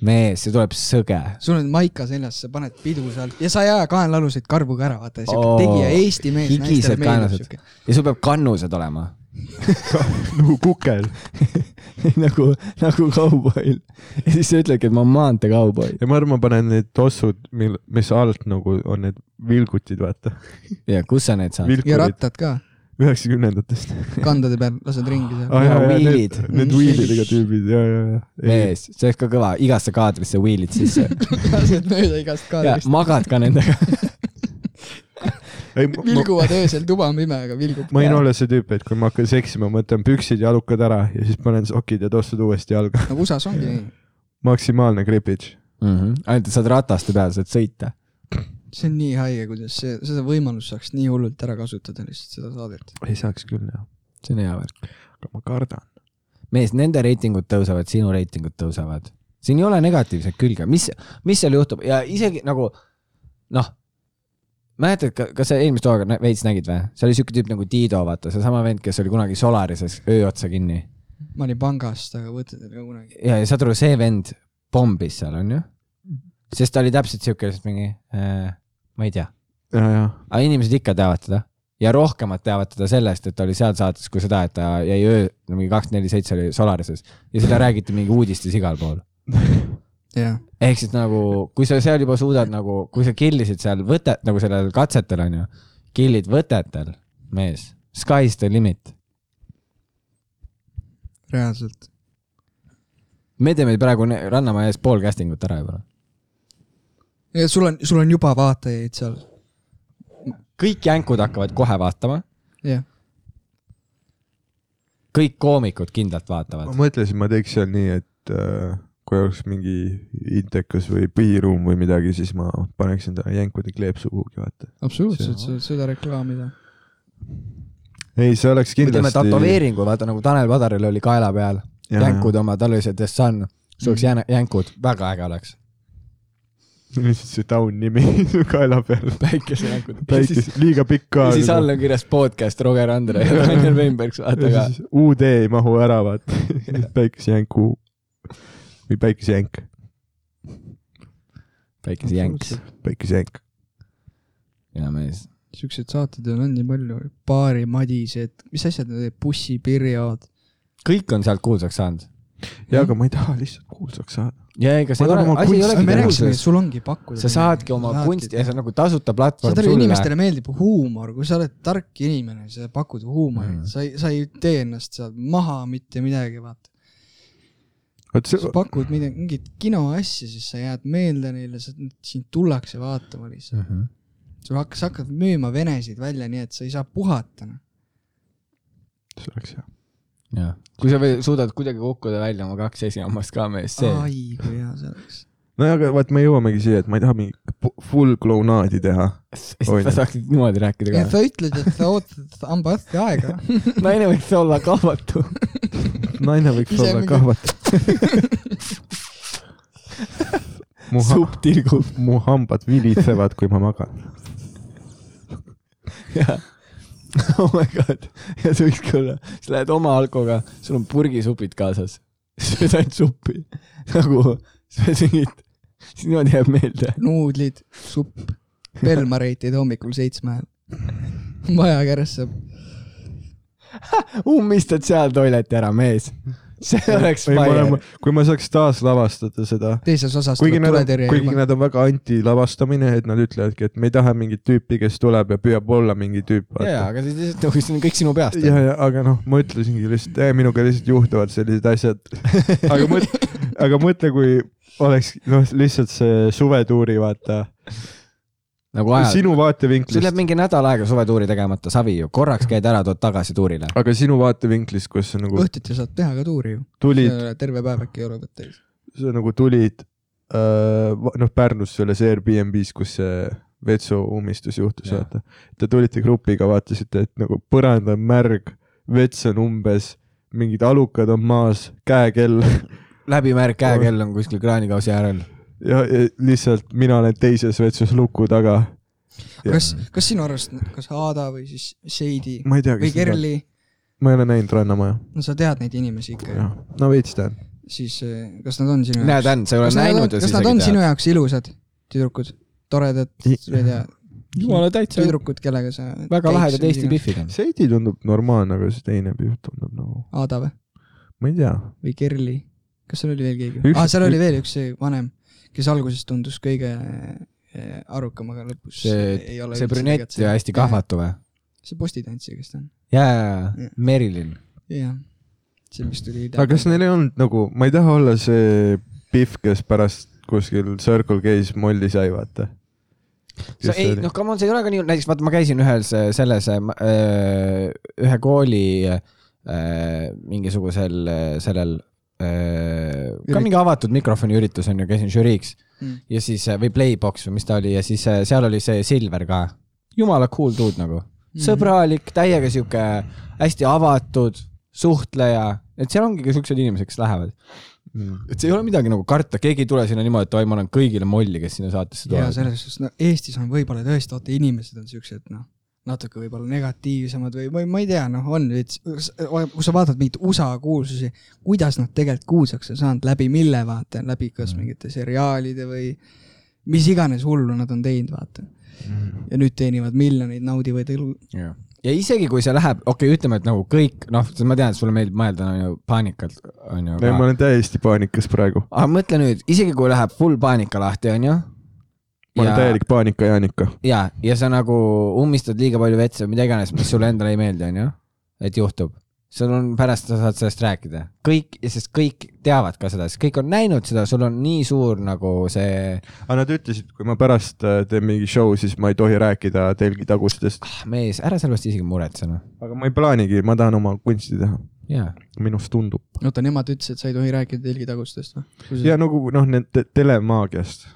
[SPEAKER 4] mees , see tuleb sõge .
[SPEAKER 5] sul on maika seljas , sa paned pidu sealt ja sa ei aja kaenlaluseid karbuga ära , vaata , siuke
[SPEAKER 4] Oo,
[SPEAKER 5] tegija , Eesti mees .
[SPEAKER 4] Oh, higised kaenlased. ja sul peab kannused olema [LAUGHS]
[SPEAKER 3] [LAUGHS] nagu kukel .
[SPEAKER 4] nagu , nagu kauboil . ja siis sa ütledki , et ma olen maanteekauboi .
[SPEAKER 3] ja ma arvan , ma panen need tossud , mil , mis alt nagu on need vilgutid , vaata .
[SPEAKER 4] ja kus sa need saad ?
[SPEAKER 5] ja
[SPEAKER 3] vilkurid
[SPEAKER 5] rattad ka ,
[SPEAKER 3] üheksakümnendatest .
[SPEAKER 5] kandade peal lased ringi
[SPEAKER 3] [LAUGHS]
[SPEAKER 5] seal . [LAUGHS]
[SPEAKER 4] ja
[SPEAKER 3] Need,
[SPEAKER 4] wheelid.
[SPEAKER 3] need wheelidega tüübid ja , ja , ja .
[SPEAKER 4] mees , see oleks ka kõva , igasse kaadrisse wheel'id
[SPEAKER 5] [LAUGHS]
[SPEAKER 4] sisse
[SPEAKER 5] lased mööda igast
[SPEAKER 4] ja
[SPEAKER 5] kaadrist .
[SPEAKER 4] magad ka nendega .
[SPEAKER 3] ei , ma ,
[SPEAKER 5] vilguvad öösel , tuba on pime , aga vilgub .
[SPEAKER 3] ma võin olla see tüüp , et kui ma hakkan seksima , ma võtan püksid ja jalukad ära ja siis panen sokid ja tossud uuesti jalga . [LAUGHS]
[SPEAKER 5] nagu USA-s ongi nii .
[SPEAKER 3] maksimaalne gripitš .
[SPEAKER 4] Mhm. ainult , et saad rataste peal , saad sõita .
[SPEAKER 5] see on nii haige , kuidas see , seda võimalust saaks nii hullult ära kasutada lihtsalt seda saadet .
[SPEAKER 3] ei saaks küll jah ,
[SPEAKER 4] see on hea värk .
[SPEAKER 3] aga ma kardan .
[SPEAKER 4] mees , nende reitingud tõusevad , sinu reitingud tõusevad . siin ei ole negatiivset külge , mis , mis seal juhtub ja isegi nagu noh , mäletad , kas sa eelmist hooga nä- veits nägid või ? see oli siuke tüüp nagu Tiido , vaata , seesama vend , kes oli kunagi Solarises öö otsa kinni .
[SPEAKER 5] ma olin pangast , aga võtted ei ole kunagi .
[SPEAKER 4] ja , ja saad aru , see vend pommis seal , onju . sest ta oli täpselt siuke lihtsalt mingi äh, , ma ei tea .
[SPEAKER 3] ja , ja ,
[SPEAKER 4] aga inimesed ikka teavad teda ja rohkemad teavad teda sellest , et ta oli seal saates , kui seda , et ta jäi öö , mingi kaks , neli , seitse oli Solarises ja seda räägiti mingi uudistes igal pool .
[SPEAKER 5] jah ,
[SPEAKER 4] ehk siis nagu , kui sa seal juba suudad nagu , kui sa killisid seal võtet , nagu sellel katsetel on ju , killid võtetel , mees , sky's the limit .
[SPEAKER 5] reaalselt .
[SPEAKER 4] me teeme praegu ne- Rannamäe ees pool casting ut ära juba .
[SPEAKER 5] sul on , sul on juba vaatajaid seal .
[SPEAKER 4] kõik jänkud hakkavad kohe vaatama ,
[SPEAKER 5] jah ,
[SPEAKER 4] kõik koomikud kindlalt
[SPEAKER 3] ma
[SPEAKER 4] vaatavad .
[SPEAKER 3] mõtlesin , ma teeks seal nii , et äh, kui oleks mingi intekas või põhiruum või midagi , siis ma paneksin ta jänkude kleepsu kuhugi , vaata .
[SPEAKER 5] absoluutselt , sa saad seda reklaamida .
[SPEAKER 3] ei , see oleks
[SPEAKER 4] me teeme
[SPEAKER 3] kindlasti .
[SPEAKER 4] tätoveeringu , vaata nagu Tanel Padaril oli kaela peal
[SPEAKER 3] Jaa, Mm.
[SPEAKER 4] jänkud oma , tal oli see The Sun , see oleks jän- , jänkud , väga äge oleks .
[SPEAKER 3] [LAUGHS] lihtsalt see taun nimi [LAUGHS] su kaela peal .
[SPEAKER 4] päikesejänkud .
[SPEAKER 3] päikest , liiga pikk ka .
[SPEAKER 4] ja siis all on kirjas podcast Roger Andre ja Daniel Weinberg , vaata ka .
[SPEAKER 3] UD ei mahu ära , [LAUGHS] vaata . päikesejänku või päikesejänk ,
[SPEAKER 4] päikesejänks ,
[SPEAKER 3] päikesejänk .
[SPEAKER 4] hea mees .
[SPEAKER 5] siukseid saateid on , on nii palju , Baari Madised , mis asjad need olid , bussipirjad .
[SPEAKER 4] kõik on sealt kuulsaks saanud .
[SPEAKER 3] ja , aga ma ei taha lihtsalt kuulsaks saada .
[SPEAKER 4] ja ega see
[SPEAKER 3] Ma
[SPEAKER 4] ei
[SPEAKER 3] tahan
[SPEAKER 4] ole
[SPEAKER 3] oma ,
[SPEAKER 4] asi ei
[SPEAKER 3] kunsti-
[SPEAKER 4] olegi
[SPEAKER 5] me rääkisime , et
[SPEAKER 4] kuulsus .
[SPEAKER 5] sul ongi pakkuda .
[SPEAKER 4] sa saadki oma kunsti ja see on nagu tasuta platvorm
[SPEAKER 5] saad aru ,
[SPEAKER 4] sulle .
[SPEAKER 5] inimestele meeldib huumor , kui sa oled tark inimene , sa pakud huumorit
[SPEAKER 4] Mm.
[SPEAKER 5] mm. , sa ei , sa ei tee ennast seal maha mitte midagi , vaata .
[SPEAKER 3] vot see
[SPEAKER 5] sa , pakud midagi , mingit kinoasja , siis sa jääd meelde neile , sa , sind tullakse vaatama lihtsalt .
[SPEAKER 4] Mhm,
[SPEAKER 5] sul hakkas , sa hakkad müüma venesid välja , nii et sa ei saa puhata . noh.
[SPEAKER 3] see oleks hea .
[SPEAKER 4] kui sa veel suudad kuidagi kukkuda välja oma kaks esihammast ka , mees , see .
[SPEAKER 5] ai , kui hea see oleks .
[SPEAKER 3] nojah , aga vaat me jõuamegi siia , et ma ei taha mingit pu- full klounaadi teha .
[SPEAKER 4] sa saaksid niimoodi rääkida
[SPEAKER 5] ja
[SPEAKER 4] ka .
[SPEAKER 5] sa ütled , et sa ootad hambaarsti aega .
[SPEAKER 4] naine võiks olla kahvatu .
[SPEAKER 3] naine võiks
[SPEAKER 5] Ise
[SPEAKER 3] olla
[SPEAKER 5] mingi-
[SPEAKER 3] kahvatav . mu ha- ,
[SPEAKER 4] supp [LAUGHS] tilgub .
[SPEAKER 3] mu hambad vilitsevad , kui ma magan .
[SPEAKER 4] jah . [LAUGHS] oh my god , ja see võikski olla , sa lähed oma alkoga , sul on purgisupid kaasas , [LAUGHS] sööd ainult suppi nagu sa sõid , siis niimoodi jääb meelde .
[SPEAKER 5] nuudlid , supp , Belmareid teed hommikul seitsme ajal . maja käres saab ,
[SPEAKER 4] ummistad seal toileti ära , mees . see oleks fire .
[SPEAKER 3] kui ma saaks taaslavastada seda ,
[SPEAKER 5] teises osas
[SPEAKER 3] kuigi
[SPEAKER 5] tuleb
[SPEAKER 3] nad on ,
[SPEAKER 5] tuletõrje
[SPEAKER 3] kuigi
[SPEAKER 5] ilma .
[SPEAKER 3] nad on väga anti-lavastamine , et nad ütlevadki , et me ei taha mingit tüüpi , kes tuleb ja püüab olla mingi tüüp .
[SPEAKER 4] ja ,
[SPEAKER 3] ja ,
[SPEAKER 4] aga siis lihtsalt nagu see on kõik sinu peast .
[SPEAKER 3] ja aga noh , ma ütlesingi lihtsalt eh, , minuga lihtsalt juhtuvad sellised asjad . aga mõtle , aga mõtle , kui oleks noh , lihtsalt see suvetuuri , vaata .
[SPEAKER 4] nagu ajal ,
[SPEAKER 3] sinu
[SPEAKER 4] sul jääb
[SPEAKER 3] vaatevinklist ,
[SPEAKER 4] mingi nädal aega suvetuuri tegemata , savi ju , korraks käid ära , tood tagasi tuurile .
[SPEAKER 3] aga sinu vaatevinklist , kus sa nagu
[SPEAKER 5] õhtuti saad teha ka tuuri ju .
[SPEAKER 3] tulid ,
[SPEAKER 5] terve päev äkki ei ole võtteid .
[SPEAKER 3] sa nagu tulid öö, va- noh , Pärnus selles Airbnb's , kus see vetsu ummistus juhtus ,
[SPEAKER 4] Jah.
[SPEAKER 3] vaata . Te tulite grupiga , vaatasite , et nagu põrand on märg , vets on umbes , mingid alukad on maas , käekell [LAUGHS]
[SPEAKER 4] läbimärk käekell on kuskil kraanikausi äärel .
[SPEAKER 3] ja, ja lihtsalt mina olen teises vetsus luku taga .
[SPEAKER 5] kas , kas sinu arust , kas Aada või siis Seidi
[SPEAKER 3] ma ei tea ,
[SPEAKER 5] või
[SPEAKER 3] kes need on ,
[SPEAKER 5] Kerli ,
[SPEAKER 3] ma ei ole näinud Rannamaja .
[SPEAKER 5] no sa tead neid inimesi ikka ju .
[SPEAKER 3] no veits tean .
[SPEAKER 5] siis eh, kas nad on sinu
[SPEAKER 4] näed , Ann , sa ei ole
[SPEAKER 5] kas nad on,
[SPEAKER 4] näinud ja
[SPEAKER 5] kas
[SPEAKER 4] siis
[SPEAKER 5] nad on
[SPEAKER 4] isegi
[SPEAKER 5] sinu
[SPEAKER 4] tead .
[SPEAKER 5] jaoks ilusad tüdrukud , toredad , ma ei tea ,
[SPEAKER 4] jumala täitsa ,
[SPEAKER 5] tüdrukud , kellega sa
[SPEAKER 4] väga lahedad Eesti . Biffiga .
[SPEAKER 3] Seidi tundub normaalne , aga see teine pilt tundub nagu ,
[SPEAKER 5] Aada või ,
[SPEAKER 3] ma ei tea .
[SPEAKER 5] või Kerli , kas seal oli veel keegi
[SPEAKER 3] Üks-
[SPEAKER 5] ah, ? seal oli veel üks see vanem , kes alguses tundus kõige eh, arukam , aga lõpus
[SPEAKER 4] see
[SPEAKER 5] ei , ole
[SPEAKER 4] see
[SPEAKER 5] üldse
[SPEAKER 4] brünett
[SPEAKER 5] igatsenud.
[SPEAKER 4] ja hästi kahvatu või ?
[SPEAKER 5] see postitantsija , kes ta on ,
[SPEAKER 4] jaa , jaa , jaa , Merilin .
[SPEAKER 5] jah . see , mis tuli .
[SPEAKER 3] aga kas neil ei olnud nagu , ma ei taha olla see pihv , kes pärast kuskil Circle K-s molli sai , vaata .
[SPEAKER 4] sa ei , noh , come on , see ei ole ka nii , näiteks vaata , ma käisin ühes äh, selles , ühe kooli äh, mingisugusel äh, sellel , ka
[SPEAKER 5] Ürit-
[SPEAKER 4] mingi avatud mikrofoni üritus on ju , käisin žüriiks
[SPEAKER 5] Mm.
[SPEAKER 4] ja siis , või Playbox või mis ta oli ja siis äh, seal oli see Silver ka . jumala cool dude nagu ,
[SPEAKER 5] Mhm.
[SPEAKER 4] sõbralik , täiega sihuke hästi avatud , suhtleja , et seal ongi ka siuksed inimesed , kes lähevad . et see ei ole midagi nagu karta , keegi ei tule sinna niimoodi , et oi , ma annan kõigile molli , kes sinna saatesse
[SPEAKER 5] jaa ,
[SPEAKER 4] tulevad .
[SPEAKER 5] selles suhtes , no Eestis on võib-olla tõesti , vaata inimesed on siuksed , noh , natuke võib-olla negatiivsemad või , või ma ei tea , noh , on veits , kui sa vaatad mingeid USA kuulsusi , kuidas nad tegelikult kuulsaks on saanud , läbi mille , vaata , läbi kas mingite seriaalide või mis iganes hullu nad on teinud , vaata . ja nüüd teenivad miljoneid , naudivad elu .
[SPEAKER 4] ja isegi kui see läheb , okei okay, , ütleme , et nagu kõik , noh , ma tean , et sulle meeldib mõelda , on ju , paanikalt , on ju .
[SPEAKER 3] ei , ma olen täiesti paanikas praegu .
[SPEAKER 4] aga mõtle nüüd , isegi kui läheb full paanika lahti , on ju .
[SPEAKER 3] ma olen täielik paanika-Jaanika .
[SPEAKER 4] ja , ja sa nagu ummistad liiga palju vett või mida iganes , mis sulle endale ei meeldi , on ju , et juhtub . sul on , pärast sa saad sellest rääkida , kõik , sest kõik teavad ka seda , sest kõik on näinud seda , sul on nii suur nagu see ,
[SPEAKER 3] aga nad ütlesid , kui ma pärast äh, teen mingi show , siis ma ei tohi rääkida telgitagustest .
[SPEAKER 4] ah mees , ära sellest isegi muretse noh ,
[SPEAKER 3] aga ma ei plaanigi , ma tahan oma kunsti teha .
[SPEAKER 4] jaa .
[SPEAKER 3] minust tundub .
[SPEAKER 5] oota , nemad ütlesid , et sa ei tohi rääkida telgitagustest
[SPEAKER 4] Mm.
[SPEAKER 5] või ?
[SPEAKER 3] ja nagu noh , need te- telemaagiast ,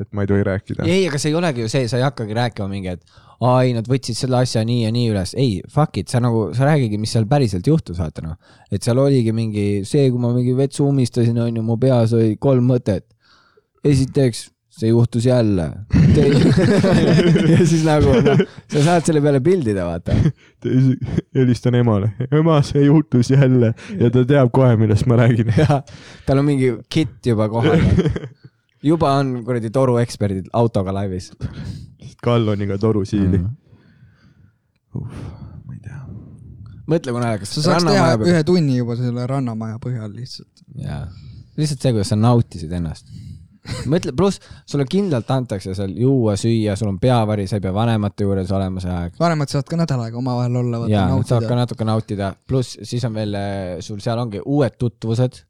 [SPEAKER 3] et ma ei tohi rääkida .
[SPEAKER 4] ei , aga see ei olegi ju see , sa ei hakkagi rääkima mingi , et aa ei , nad võtsid selle asja nii ja nii üles , ei , fuck it , sa nagu , sa räägigi , mis seal päriselt juhtus , vaata noh . et seal oligi mingi see , kui ma mingi vetsu ummistasin , on ju , mu peas oli kolm mõtet . esiteks , see juhtus jälle . [LAUGHS] ja siis nagu noh , sa saad selle peale pildida , vaata .
[SPEAKER 3] helistan emale , ema , see juhtus jälle ja ta teab kohe , millest ma räägin . [LAUGHS]
[SPEAKER 4] tal on mingi kitt juba kohal . juba on kuradi torueksperdid autoga laivis .
[SPEAKER 3] Kalloniga torusiili
[SPEAKER 4] Mhm. .
[SPEAKER 3] Mm, ma ei tea .
[SPEAKER 4] mõtle , kui naljakas .
[SPEAKER 5] sa saaks teha ühe tunni juba selle Rannamaja põhjal lihtsalt .
[SPEAKER 4] jaa , lihtsalt see , kuidas sa nautisid ennast . mõtle , pluss sulle kindlalt antakse seal juua , süüa , sul on peavari , sa ei pea vanemate juures olema see aeg .
[SPEAKER 5] vanemad saavad ka nädal aega omavahel olla , vaata
[SPEAKER 4] ja , saad ka
[SPEAKER 5] nautida .
[SPEAKER 4] natuke nautida , pluss siis on veel äh, sul seal ongi uued tutvused .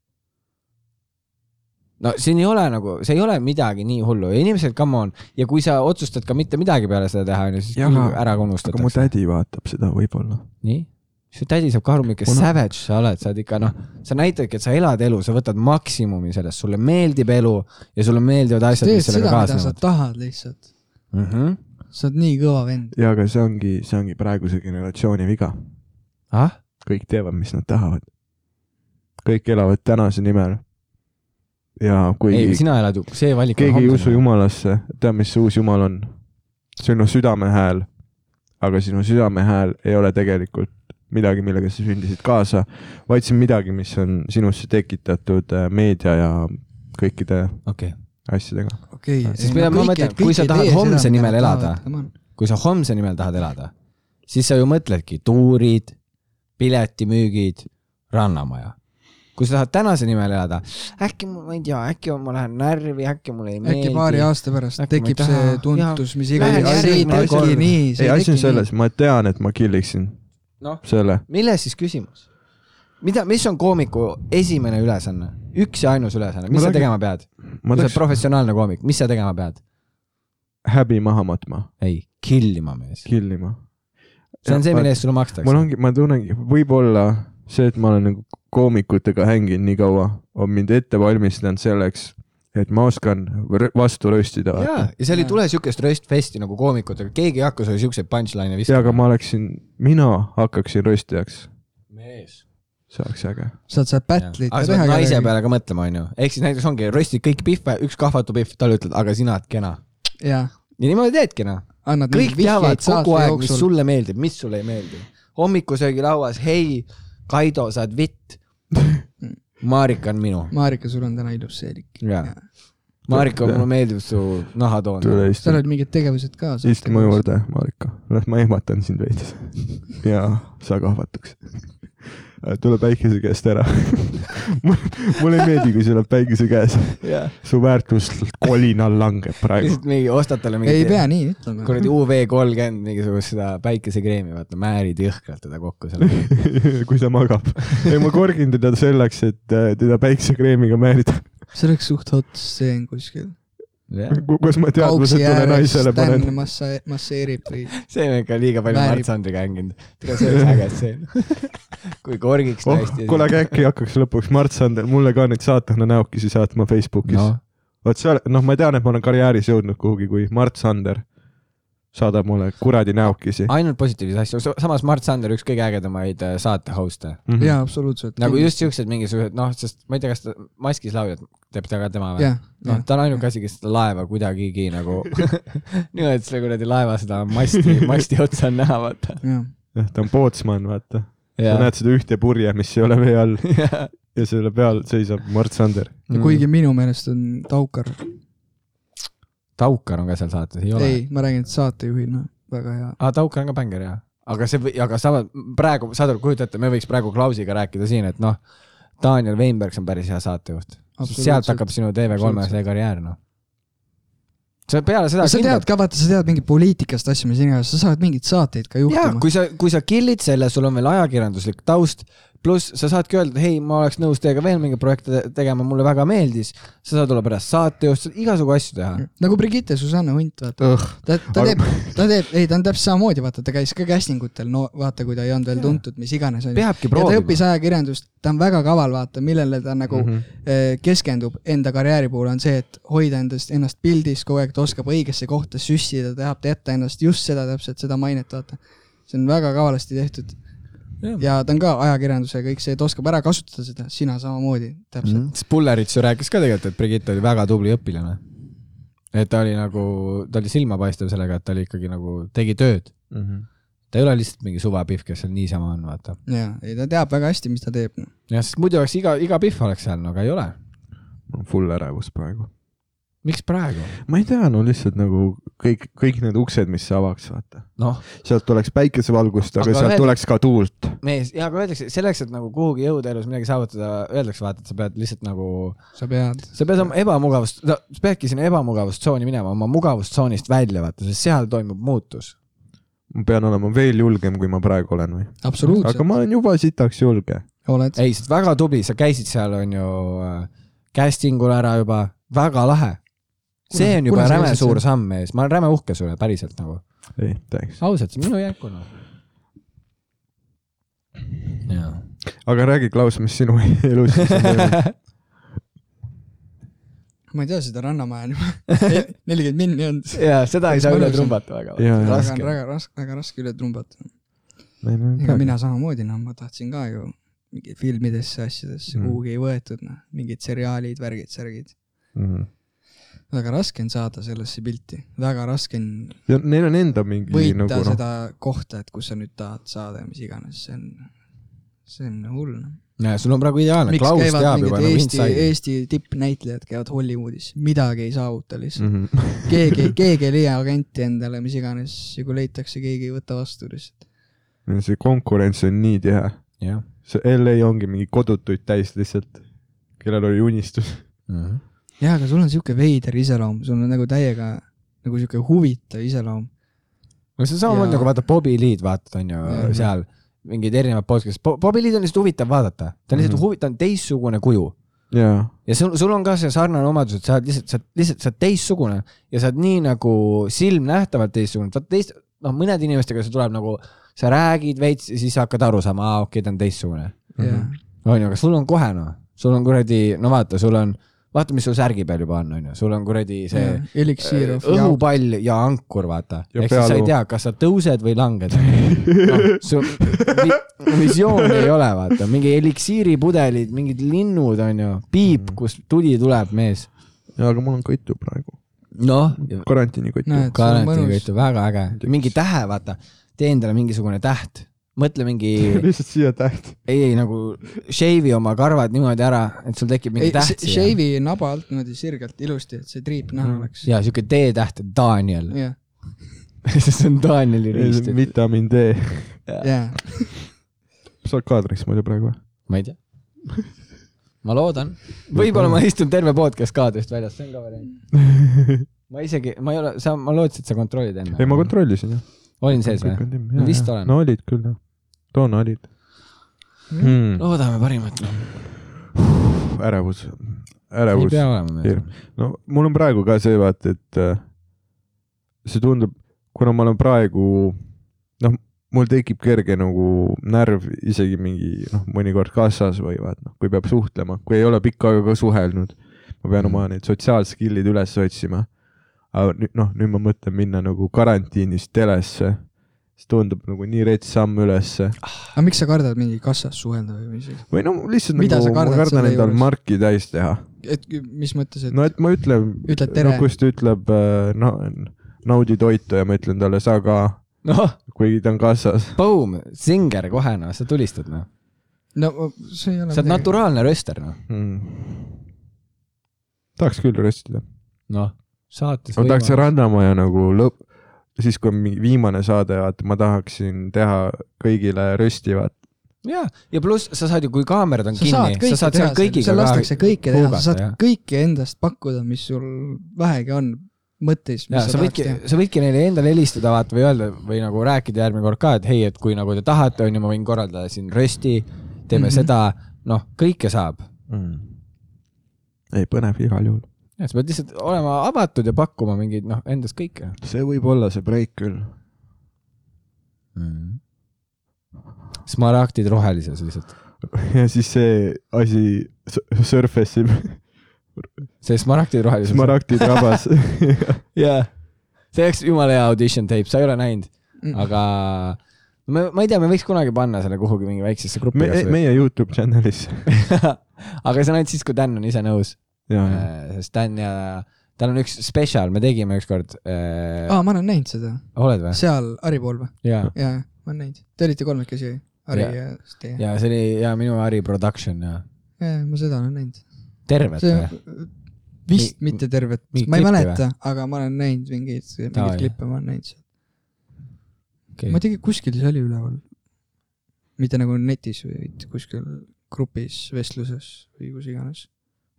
[SPEAKER 4] no siin ei ole nagu , see ei ole midagi nii hullu ja inimesed , come on , ja kui sa otsustad ka mitte midagi peale seda teha , onju , siis
[SPEAKER 3] Jah,
[SPEAKER 4] küll
[SPEAKER 3] aga-
[SPEAKER 4] ära ka
[SPEAKER 3] aga mu
[SPEAKER 4] unustatakse .
[SPEAKER 3] tädi vaatab seda võib-olla .
[SPEAKER 4] nii ? su tädi saab ka aru , milline
[SPEAKER 3] Kuna-
[SPEAKER 4] savage sa oled , sa oled ikka noh , sa näitadki , et sa elad elu , sa võtad maksimumi sellest , sulle meeldib elu ja sulle meeldivad asjad ,
[SPEAKER 5] teed
[SPEAKER 4] mis
[SPEAKER 5] seda ,
[SPEAKER 4] sellega
[SPEAKER 5] mida sa
[SPEAKER 4] kaasnevad .
[SPEAKER 5] tahad lihtsalt .
[SPEAKER 4] Mm -hmm.
[SPEAKER 5] sa oled nii kõva vend .
[SPEAKER 3] ja , aga see ongi , see ongi praeguse generatsiooni viga .
[SPEAKER 4] ah ,
[SPEAKER 3] kõik teevad , mis nad tahavad . kõik elavad tänase nimel . ja
[SPEAKER 4] ei ,
[SPEAKER 3] kuigi
[SPEAKER 4] sina elad ju , see valik
[SPEAKER 3] keegi ei usu . jumalasse , tea , mis see uus jumal on ? sinu südame hääl . aga sinu südame hääl ei ole tegelikult midagi , millega sa sündisid kaasa , vaid see on midagi , mis on sinusse tekitatud äh, meedia ja kõikide
[SPEAKER 4] okei okay. ,
[SPEAKER 3] asjadega .
[SPEAKER 5] okei
[SPEAKER 4] Ah, Siis mida ma mõtlen, et kui sa tahad homse nimel elada, kui sa homse nimel tahad elada , siis sa ju mõtledki tuurid , piletimüügid , rannamaja . kui sa tahad tänase nimel elada , äkki mul , ma ei tea , äkki ma lähen närvi , äkki mulle ei meeldi .
[SPEAKER 5] äkki paari aasta pärast
[SPEAKER 4] Äkki ma ei
[SPEAKER 5] tekib
[SPEAKER 4] taha.
[SPEAKER 5] see tuntus , mis iganes .
[SPEAKER 4] Lähen
[SPEAKER 5] see ei
[SPEAKER 4] järgmine
[SPEAKER 5] teki
[SPEAKER 4] kord.
[SPEAKER 5] nii , see
[SPEAKER 3] ei ,
[SPEAKER 5] ei
[SPEAKER 3] asi
[SPEAKER 5] teki
[SPEAKER 3] on selles , ma tean , et ma killiksin
[SPEAKER 4] Noh.
[SPEAKER 3] selle .
[SPEAKER 4] milles siis küsimus ? mida , mis on koomiku esimene ülesanne , üks ja ainus ülesanne ,
[SPEAKER 3] Ma
[SPEAKER 4] mis sa
[SPEAKER 3] räägin-
[SPEAKER 4] tegema pead ?
[SPEAKER 3] ma
[SPEAKER 4] sa oled
[SPEAKER 3] tahaks
[SPEAKER 4] professionaalne koomik , mis sa tegema pead ?
[SPEAKER 3] häbi maha matma ,
[SPEAKER 4] ei , killima mees .
[SPEAKER 3] killima .
[SPEAKER 4] see on see , mille eest sulle makstakse
[SPEAKER 3] mul . ongi , ma tunnengi , võib-olla see , et ma olen nagu koomikutega hänginud nii kaua , on mind ette valmistanud selleks , et ma oskan rö- vastu röstida .
[SPEAKER 4] ja
[SPEAKER 3] ja ,
[SPEAKER 4] ja seal ei
[SPEAKER 5] Jaa.
[SPEAKER 4] tule siukest röstfesti nagu koomikutega , keegi ei hakka sulle siukseid punchline'e
[SPEAKER 3] aga
[SPEAKER 4] viskama .
[SPEAKER 3] ma oleksin , mina hakkaksin röstijaks ,
[SPEAKER 4] mees .
[SPEAKER 3] see oleks äge .
[SPEAKER 5] saad sa battle'id
[SPEAKER 4] aga
[SPEAKER 5] ka
[SPEAKER 4] sa pead naise
[SPEAKER 5] teha .
[SPEAKER 4] peale ka mõtlema , onju . ehk siis näiteks ongi , röstid kõik pihve , üks kahvatu pihv , talle ütled , aga sina oled kena .
[SPEAKER 5] jaa ,
[SPEAKER 4] ja niimoodi teedki noh .
[SPEAKER 5] annad
[SPEAKER 4] kõik
[SPEAKER 5] neid
[SPEAKER 4] teavad
[SPEAKER 5] vihjeid
[SPEAKER 4] kogu
[SPEAKER 5] saate
[SPEAKER 4] aeg , mis
[SPEAKER 5] jooksul .
[SPEAKER 4] sulle meeldib , mis sulle ei meeldi . hommikusöögilauas , hei , Kaido , sa oled vitt . Marika on minu .
[SPEAKER 5] Marika , sul on täna ilus seelik .
[SPEAKER 4] jaa . Marika , mulle meeldib su nahatoon .
[SPEAKER 3] tule
[SPEAKER 5] seal
[SPEAKER 3] istu ,
[SPEAKER 5] olid mingid tegevused ka .
[SPEAKER 3] istu mu . juurde , Marika . las ma ehmatan sind veidi ja sa kahvatuks . tule päikese käest ära . [LAUGHS] mulle ei meeldi , kui sa oled päikese käes . su väärtus kolinal langeb praegu . [LAUGHS]
[SPEAKER 4] lihtsalt mingi , ostad talle mingi
[SPEAKER 5] ei pea nii ütlema .
[SPEAKER 4] kuradi UV kolmkümmend mingisugust seda päikesekreemi , vaata , määrid jõhkralt teda kokku seal .
[SPEAKER 3] kui ta magab . ei , ma korgin teda selleks , et äh, teda päiksekreemiga määrida .
[SPEAKER 5] see oleks suht hot stseen kuskil .
[SPEAKER 3] kus ma teadvuse
[SPEAKER 5] kauksi
[SPEAKER 3] tunne
[SPEAKER 5] ääres
[SPEAKER 3] naisele
[SPEAKER 5] Sten
[SPEAKER 3] panen .
[SPEAKER 5] massa- , masseerib või
[SPEAKER 4] see on ikka liiga palju
[SPEAKER 5] Väärib.
[SPEAKER 4] Mart Sandriga hänginud . ega see oleks äge stseen . [LAUGHS] kui korgiks
[SPEAKER 3] oh
[SPEAKER 4] tõesti .,
[SPEAKER 3] kuule , aga äkki hakkaks lõpuks Mart Sander mulle ka neid saatana näokesi saatma Facebookis no.
[SPEAKER 4] no .,
[SPEAKER 3] vot seal , noh , ma tean , et ma olen karjääris jõudnud kuhugi , kui Mart Sander saadab mulle kuradi näokesi .
[SPEAKER 4] ainult positiivseid asju , samas Mart Sander üks kõige ägedamaid äh, saate host'e .
[SPEAKER 3] Mhm.
[SPEAKER 5] jaa , absoluutselt .
[SPEAKER 4] nagu just siuksed mingisugused , noh , sest ma ei tea , kas ta maskis lauljat teeb ta ka tema või ?
[SPEAKER 5] jah ,
[SPEAKER 4] noh , ta on ainuke asi , kes seda laeva kuidagigi nagu [LAUGHS] niimoodi , et selle kuradi laeva seda
[SPEAKER 5] [LAUGHS]
[SPEAKER 4] masti , masti otsa on näha , vaata .
[SPEAKER 5] jah .
[SPEAKER 3] jah , Eh, ta on pootsman , vaata . sa
[SPEAKER 4] ja ,
[SPEAKER 3] näed seda ühte purje , mis ei ole vee all ja selle peal seisab Mart Sander .
[SPEAKER 5] ja
[SPEAKER 4] Mm.
[SPEAKER 5] kuigi minu meelest on Taukar ,
[SPEAKER 4] Taukar on ka seal saates , ei ole ?
[SPEAKER 5] ei , ma räägin saatejuhina , väga hea .
[SPEAKER 4] aa , Taukar on ka bängar , jah . aga see , aga samas praegu , Sadur , kujuta ette , me võiks praegu Klausiga rääkida siin , et noh , Daniel Veinbergs on päris hea saatejuht . sealt hakkab sinu TV3-e see karjäär , noh . sa peale seda
[SPEAKER 5] sa tead . ka , vaata , sa tead mingit poliitikast asju , mis iganes , sa saad mingeid saateid ka
[SPEAKER 4] jaa ,
[SPEAKER 5] juhtima .
[SPEAKER 4] kui sa , kui sa kill'id selle , sul on veel ajakirjanduslik taust , pluss sa saadki öelda , hei , ma oleks nõus teiega veel mingeid projekte te- tegema , mulle väga meeldis . sa saad olla pärast saatejuht , saad igasugu asju teha .
[SPEAKER 5] nagu Brigitte Susanne Hunt , vaata . ta , ta
[SPEAKER 3] aga-
[SPEAKER 5] teeb , ta teeb , ei , ta on täpselt samamoodi , vaata , ta käis ka casting utel , no vaata , kui ta ei olnud veel
[SPEAKER 4] Jaa.
[SPEAKER 5] tuntud , mis iganes . ja
[SPEAKER 4] peabki
[SPEAKER 5] ta
[SPEAKER 4] proovima .
[SPEAKER 5] õppis ajakirjandust , ta on väga kaval , vaata , millele ta nagu mm -hmm. keskendub enda karjääri puhul , on see , et hoida endast , ennast pildis kogu aeg , ta oskab õigesse kohta süstida , tahab jätta ennast just seda täpselt , seda mainet , vaata . see on väga kavalasti tehtud
[SPEAKER 4] Jah.
[SPEAKER 5] ja ta on ka ajakirjanduse ja kõik see , ta oskab ära kasutada seda , sina samamoodi , täpselt mm .
[SPEAKER 4] Spullerits ju Mhm. rääkis ka tegelikult , et Brigitte oli väga tubli õpilane . et ta oli nagu , ta oli silmapaistev sellega , et ta oli ikkagi nagu , tegi tööd . ta ei ole lihtsalt mingi suvapihv , kes seal niisama on , vaata .
[SPEAKER 5] -hmm. ja , ei ta teab väga hästi , mis ta teeb .
[SPEAKER 4] jah , sest muidu oleks iga , iga pihv oleks seal , no aga ei ole .
[SPEAKER 3] mul on full ärevus praegu .
[SPEAKER 4] miks praegu ?
[SPEAKER 3] ma ei tea , no lihtsalt nagu kõik , kõik need uksed , mis sa avaks , vaata .
[SPEAKER 4] noh ,
[SPEAKER 3] sealt tuleks päikesevalgust , aga,
[SPEAKER 4] Aga
[SPEAKER 3] aga sealt
[SPEAKER 4] veel-
[SPEAKER 3] tuleks ka tuult .
[SPEAKER 4] mees , jaa , aga öeldakse , selleks , et nagu kuhugi jõuda elus midagi saavutada , öeldakse vaata , et sa pead lihtsalt nagu ,
[SPEAKER 5] sa pead .
[SPEAKER 4] sa pead oma ebamugavust , sa peadki sinna ebamugavustsooni minema , oma mugavustsoonist välja vaata , sest seal toimub muutus .
[SPEAKER 3] ma pean olema veel julgem , kui ma praegu olen või ?
[SPEAKER 5] absoluutselt
[SPEAKER 3] aga , ma olen juba sitaks julge .
[SPEAKER 5] oled .
[SPEAKER 4] ei , sa oled väga tubli , sa käisid seal , on ju , casting ul ära juba , väga lahe . see
[SPEAKER 5] Kuna-
[SPEAKER 4] on juba
[SPEAKER 5] kuna sa
[SPEAKER 4] räme
[SPEAKER 5] käisid
[SPEAKER 4] suur samm , mees , ma olen räme uhke sulle päriselt nagu ,
[SPEAKER 3] ei , thanks .
[SPEAKER 4] ausalt , see on minu jääk olnud . jaa
[SPEAKER 3] aga räägi , Klaus , mis sinu [LAUGHS] elus siis on toimunud ?
[SPEAKER 5] ma ei tea seda Rannamaja nime . [LAUGHS] nelikümmend minni on .
[SPEAKER 4] jaa , seda ei saa
[SPEAKER 5] Mõnus
[SPEAKER 4] üle
[SPEAKER 5] on.
[SPEAKER 4] trumbata väga .
[SPEAKER 3] Jaa, jaa.
[SPEAKER 5] väga ,
[SPEAKER 4] raske .
[SPEAKER 5] väga raske , väga raske üle trumbata .
[SPEAKER 3] ei , ma ei
[SPEAKER 5] ega
[SPEAKER 3] tea .
[SPEAKER 5] mina samamoodi , noh , ma tahtsin ka ju mingi filmidesse , asjadesse
[SPEAKER 3] Mm.
[SPEAKER 5] mm. kuhugi ei võetud , noh , mingid seriaalid , värgid , särgid .
[SPEAKER 3] Mhm.
[SPEAKER 5] väga raske on saada sellesse pilti , väga raske on
[SPEAKER 3] ja neil on enda mingi
[SPEAKER 5] võita
[SPEAKER 3] nagu
[SPEAKER 5] nagu,
[SPEAKER 3] noh ,
[SPEAKER 5] seda kohta , et kus sa nüüd tahad saada ja mis iganes , see on , see on hull .
[SPEAKER 4] jaa , sul on praegu ideaalne ,
[SPEAKER 5] miks
[SPEAKER 4] Klaus
[SPEAKER 5] käivad
[SPEAKER 4] teab
[SPEAKER 5] mingid
[SPEAKER 4] juba nagu
[SPEAKER 5] Eesti ,
[SPEAKER 4] inside'i .
[SPEAKER 5] Eesti tippnäitlejad käivad Hollywoodis , midagi ei saavuta lihtsalt
[SPEAKER 3] mm .
[SPEAKER 5] mm. . keegi , keegi ei leia agenti endale , mis iganes , ja kui leitakse , keegi ei võta vastu lihtsalt .
[SPEAKER 3] -hmm. see konkurents on nii tihe .
[SPEAKER 4] jah .
[SPEAKER 3] see LA ongi mingi kodutuid täis lihtsalt , kellel oli unistus .
[SPEAKER 5] jaa , aga sul on sihuke veider iseloom , sul on nagu täiega nagu sihuke huvitav iseloom .
[SPEAKER 4] no see on samamoodi
[SPEAKER 5] Jaa.
[SPEAKER 4] nagu vaata Bobby Lee'd vaatad , on ju
[SPEAKER 5] Jah.
[SPEAKER 4] seal mingid erinevad podcast'id , Bobby Lee'd on lihtsalt huvitav vaadata , ta on lihtsalt
[SPEAKER 3] Mhm.
[SPEAKER 4] huvi- , ta on teistsugune kuju
[SPEAKER 3] jaa .
[SPEAKER 4] ja sul , sul on ka see sarnane omadus , et sa oled lihtsalt , sa oled lihtsalt , sa oled teistsugune ja sa oled nii nagu silmnähtavalt teistsugune , vaata teist , noh , mõned inimestega see tuleb nagu , sa räägid veits ja siis sa hakkad aru saama , aa , okei okay, , ta on teistsugune .
[SPEAKER 5] jaa ,
[SPEAKER 4] on ju , aga sul on kohe noh , sul on kuradi , no vaata , sul on , vaata , mis sul särgi peal juba on , on ju , sul on kuradi see
[SPEAKER 5] see eliksiir of ja
[SPEAKER 4] õhupall ja ankur , vaata .
[SPEAKER 3] Ja
[SPEAKER 4] ehk siis sa ei
[SPEAKER 3] pealuu.
[SPEAKER 4] tea , kas sa tõused või
[SPEAKER 5] [LAUGHS]
[SPEAKER 4] langed no, . su vi visiooni ei ole , vaata , mingi eliksiiripudelid , mingid linnud , onju ,
[SPEAKER 5] Mm.
[SPEAKER 4] piip , kust tuli tuleb , mees .
[SPEAKER 3] jaa , aga mul on kõtu praegu ,
[SPEAKER 4] noh ,
[SPEAKER 3] karantiini kõtu
[SPEAKER 5] Näed.
[SPEAKER 3] no, .
[SPEAKER 5] sul on mõnus.
[SPEAKER 4] karantiiniköit on väga äge , mingi tähe , vaata , tee endale mingisugune täht , mõtle mingi ,
[SPEAKER 3] [LAUGHS]
[SPEAKER 5] [LAUGHS]
[SPEAKER 3] lihtsalt siia täht .
[SPEAKER 4] ei , ei nagu shave'i oma karvad niimoodi ära , et sul tekib mingi
[SPEAKER 5] ei ,
[SPEAKER 4] täht siia .
[SPEAKER 5] shave'i naba alt niimoodi sirgelt ilusti , et see triip
[SPEAKER 4] Mhm.
[SPEAKER 5] näha oleks .
[SPEAKER 4] ja siuke D-täht , Daniel .
[SPEAKER 5] jah ,
[SPEAKER 4] [LAUGHS] see on Danieli riist .
[SPEAKER 3] vitamiin D .
[SPEAKER 5] jah .
[SPEAKER 3] sa oled kaadris muidu praegu või ?
[SPEAKER 4] ma ei tea . ma loodan . võib-olla ma istun terve podcast kaadrist väljas , see on ka variant . ma isegi , ma ei ole , sa , ma lootsin , et sa kontrollid enne .
[SPEAKER 3] ei , ma . kontrollisin jah .
[SPEAKER 4] olin sees või ? Ma vist olen.
[SPEAKER 3] no olid küll jah , toona olid hmm. .
[SPEAKER 4] loodame parimat .
[SPEAKER 3] ärevus ,
[SPEAKER 4] ei
[SPEAKER 3] ärevus
[SPEAKER 4] pea . olema meil .
[SPEAKER 3] no mul on praegu ka see vaata , et äh, see tundub , kuna ma olen praegu noh , mul tekib kerge nagu närv isegi mingi noh , mõnikord kassas või vaat noh , kui peab suhtlema , kui ei ole pikka aega ka suhelnud , ma
[SPEAKER 5] Mm.
[SPEAKER 3] pean oma need sotsiaalskill'id üles otsima . aga nüüd noh , nüüd ma mõtlen minna nagu karantiinist telesse , see tundub nagu nii rets samm ülesse
[SPEAKER 5] aga miks sa kardad mingi kassas suhelda või mis ,
[SPEAKER 3] või no lihtsalt
[SPEAKER 5] Mida
[SPEAKER 3] nagu
[SPEAKER 5] sa kardad
[SPEAKER 3] ma kardan
[SPEAKER 5] selle
[SPEAKER 3] endal
[SPEAKER 5] juures?
[SPEAKER 3] marki täis teha
[SPEAKER 5] et mis mõttes , et
[SPEAKER 3] no et ma ütlen ,
[SPEAKER 5] Ütled tere.
[SPEAKER 3] no kus ta ütleb , no naudi toitu ja ma ütlen talle sa ka ,
[SPEAKER 4] noh ,
[SPEAKER 3] kuigi ta on kassas .
[SPEAKER 4] boom , singer kohe noh , sa tulistad noh .
[SPEAKER 5] no see ei ole
[SPEAKER 4] sa oled . naturaalne rööster noh .
[SPEAKER 3] Hmm. tahaks küll röstida ,
[SPEAKER 4] noh , saates
[SPEAKER 3] ma tahaks . Rannamaja nagu lõpp , siis kui on mingi viimane saade , vaata ma tahaksin teha kõigile rösti , vaata .
[SPEAKER 4] ja , ja pluss sa saad ju , kui kaamerad on
[SPEAKER 5] sa saad
[SPEAKER 4] kinni ,
[SPEAKER 5] kõike
[SPEAKER 4] sa saad
[SPEAKER 5] teha
[SPEAKER 4] seal , kõigiga
[SPEAKER 5] seal lastakse kõike teha , sa saad
[SPEAKER 4] puugata, jah.
[SPEAKER 5] kõike endast pakkuda , mis sul vähegi on mõttes ,
[SPEAKER 4] ja
[SPEAKER 5] mis
[SPEAKER 4] sa
[SPEAKER 5] sa tahad
[SPEAKER 4] võidki
[SPEAKER 5] teha .,
[SPEAKER 4] sa võidki neile endale helistada vaata või öelda või nagu rääkida järgmine kord ka , et hei , et kui nagu te tahate , onju , ma võin korraldada siin rösti , teeme mm
[SPEAKER 5] Mhm.
[SPEAKER 4] -hmm. seda , noh , kõike saab .
[SPEAKER 5] Hmm.
[SPEAKER 3] ei , põnev igal juhul .
[SPEAKER 4] ja sa pead lihtsalt olema avatud ja pakkuma mingeid , noh , endast kõike
[SPEAKER 3] see võib olla see breik küll .
[SPEAKER 4] mm . -hmm. smaragdid rohelises lihtsalt .
[SPEAKER 3] [LAUGHS] ja siis see asi s- surface ib ,
[SPEAKER 4] see smaragdid rohelises .
[SPEAKER 3] smaragdid
[SPEAKER 5] [LAUGHS]
[SPEAKER 3] rabas .
[SPEAKER 4] jaa . see oleks jumala hea audition tape , sa ei ole näinud
[SPEAKER 5] Mm.
[SPEAKER 4] mm. , aga ma , ma ei tea , me võiks kunagi panna selle kuhugi mingi väiksesse gruppi
[SPEAKER 3] me , meie Youtube channel'is .
[SPEAKER 4] [LAUGHS] aga see on ainult siis , kui Dan on ise nõus .
[SPEAKER 3] ja , ja
[SPEAKER 4] Äh, sest Dan ja , tal on üks spetsial , me tegime ükskord äh, .
[SPEAKER 5] aa , ma olen näinud seda ,
[SPEAKER 4] oled või ?
[SPEAKER 5] seal Harri pool või ?
[SPEAKER 4] jaa .
[SPEAKER 5] jaa , ma olen näinud . Te olite kolmekesi , Harri
[SPEAKER 4] Jaa.
[SPEAKER 5] ja teie .
[SPEAKER 4] ja see oli ja minu Harri production ja
[SPEAKER 5] jaa , ma seda olen näinud .
[SPEAKER 4] tervet
[SPEAKER 5] see
[SPEAKER 4] või ?
[SPEAKER 5] vist
[SPEAKER 4] Mi-
[SPEAKER 5] mitte tervet ,
[SPEAKER 4] mingi
[SPEAKER 5] ma ei
[SPEAKER 4] klippi
[SPEAKER 5] mäleta , aga ma olen näinud mingeid ,
[SPEAKER 4] Aa,
[SPEAKER 5] mingeid
[SPEAKER 4] jah.
[SPEAKER 5] klippe ma olen näinud seal .
[SPEAKER 4] Okay.
[SPEAKER 5] ma ei tea , kuskil see oli üleval . mitte nagu netis , vaid kuskil grupis , vestluses või kus iganes .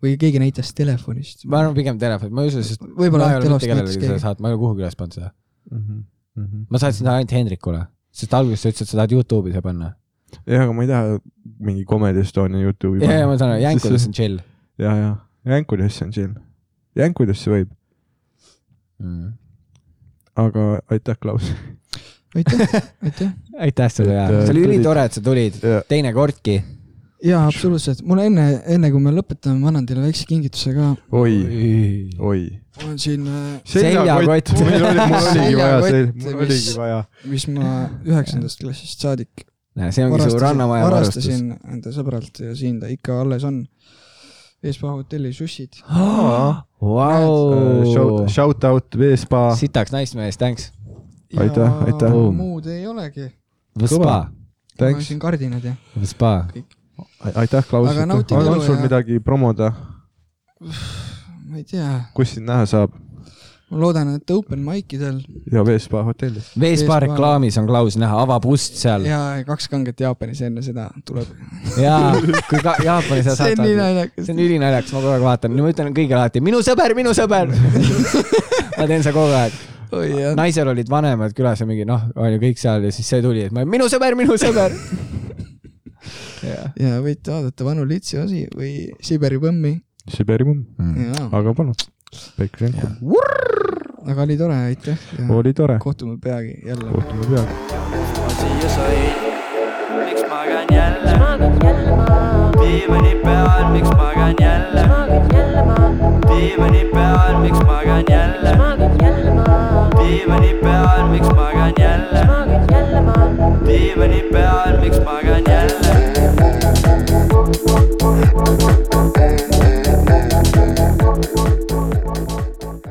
[SPEAKER 5] või keegi näitas telefonist .
[SPEAKER 4] ma arvan pigem telefon , ma ei usu , sest
[SPEAKER 5] Võib-olla
[SPEAKER 4] ma ei ole
[SPEAKER 5] telost
[SPEAKER 4] mitte kellelegi
[SPEAKER 5] näitas
[SPEAKER 4] seda
[SPEAKER 5] keegi.
[SPEAKER 4] saatnud , ma ei ole kuhugi üles pannud seda .
[SPEAKER 3] mm . -hmm.
[SPEAKER 4] ma saatsin seda ainult Hendrikule , sest alguses sa ütlesid , et sa tahad Youtube'i see panna .
[SPEAKER 3] jah , aga ma ei taha mingi Comedy Estonia Youtube'i .
[SPEAKER 4] ja , ja ma saan aru , Jänkudes on . chill
[SPEAKER 3] ja , ja Jänkudesse on chill . Jänkudesse võib ,
[SPEAKER 4] mm. .
[SPEAKER 3] aga aitäh , Klaus .
[SPEAKER 5] aitäh ,
[SPEAKER 4] [LAUGHS]
[SPEAKER 5] aitäh .
[SPEAKER 4] aitäh sulle ja
[SPEAKER 3] Et, äh,
[SPEAKER 4] see oli
[SPEAKER 3] tulid.
[SPEAKER 4] ülitore , et sa tulid ,
[SPEAKER 3] ja ,
[SPEAKER 4] teinekordki .
[SPEAKER 5] jaa , absoluutselt . mul enne , enne kui me lõpetame , ma annan teile väikse kingituse ka .
[SPEAKER 3] oi , oi .
[SPEAKER 5] mul on siin , äh,
[SPEAKER 4] Seljakott. [LAUGHS]
[SPEAKER 3] mul oli , mul oligi vaja sel- ,
[SPEAKER 5] Seljakott,
[SPEAKER 3] mul
[SPEAKER 5] mis-
[SPEAKER 3] oligi vaja .
[SPEAKER 5] mis ma üheksandast klassist saadik
[SPEAKER 4] näe , see ongi su
[SPEAKER 5] varastasin ,
[SPEAKER 4] rannamaja varastus .
[SPEAKER 5] varastasin enda sõbralt ja siin ta ikka alles on . Eesmaa hotelli sussid .
[SPEAKER 4] Vau ,
[SPEAKER 3] äh, Shout out Veespa .
[SPEAKER 4] sitaks naismees , thanks .
[SPEAKER 3] Aitäh, aitäh.
[SPEAKER 5] muud ei olegi .
[SPEAKER 4] Spa ,
[SPEAKER 5] mul on
[SPEAKER 3] Thanks ,
[SPEAKER 5] siin kardinad ja .
[SPEAKER 4] spa .
[SPEAKER 3] aitäh , Klaus .
[SPEAKER 5] Aga nautige
[SPEAKER 3] on
[SPEAKER 5] elu
[SPEAKER 3] sul
[SPEAKER 5] ja-
[SPEAKER 3] midagi promoda ,
[SPEAKER 5] ma ei tea ,
[SPEAKER 3] kus sind näha saab
[SPEAKER 5] ma loodan , et open mic idel
[SPEAKER 3] ja Veespa hotellis ?
[SPEAKER 4] V-spa
[SPEAKER 5] Spa.
[SPEAKER 4] reklaamis on Klaus näha , avab ust seal
[SPEAKER 5] ja kaks kanget Jaapanis enne seda tuleb .
[SPEAKER 4] ja kui ka Jaapani sa
[SPEAKER 5] [LAUGHS] see
[SPEAKER 4] saad
[SPEAKER 5] on . nii naljakas
[SPEAKER 4] see . on ülinaljakas , ma kogu aeg vaatan , ma ütlen kõigile alati minu sõber , minu
[SPEAKER 5] [LAUGHS]
[SPEAKER 4] sõber . ma teen seda kogu aeg .
[SPEAKER 5] oi jah .
[SPEAKER 4] naisel olid vanemad külas ja mingi noh , on ju kõik seal ja siis see tuli , et ma minu sõber , minu
[SPEAKER 5] [LAUGHS]
[SPEAKER 4] sõber .
[SPEAKER 5] ja võite vaadata Vanu Litsi osi või Siberi põmmi .
[SPEAKER 3] Siberi mumm ,
[SPEAKER 5] aga
[SPEAKER 3] aga palun . Päike Senko ,
[SPEAKER 5] oli tore , aitäh ja
[SPEAKER 3] oli tore .
[SPEAKER 5] kohtume peagi jälle .
[SPEAKER 3] kohtume peagi .
[SPEAKER 1] siia sain , miks magan jälle ,
[SPEAKER 2] maagid jälle ma ,
[SPEAKER 1] diivani peal , miks magan jälle ,
[SPEAKER 2] maagid jälle ma ,
[SPEAKER 1] diivani peal , miks magan jälle ,
[SPEAKER 2] maagid jälle ma ,
[SPEAKER 1] diivani peal , miks magan jälle ,
[SPEAKER 2] maagid jälle ma .
[SPEAKER 1] diivani peal , miks magan jälle .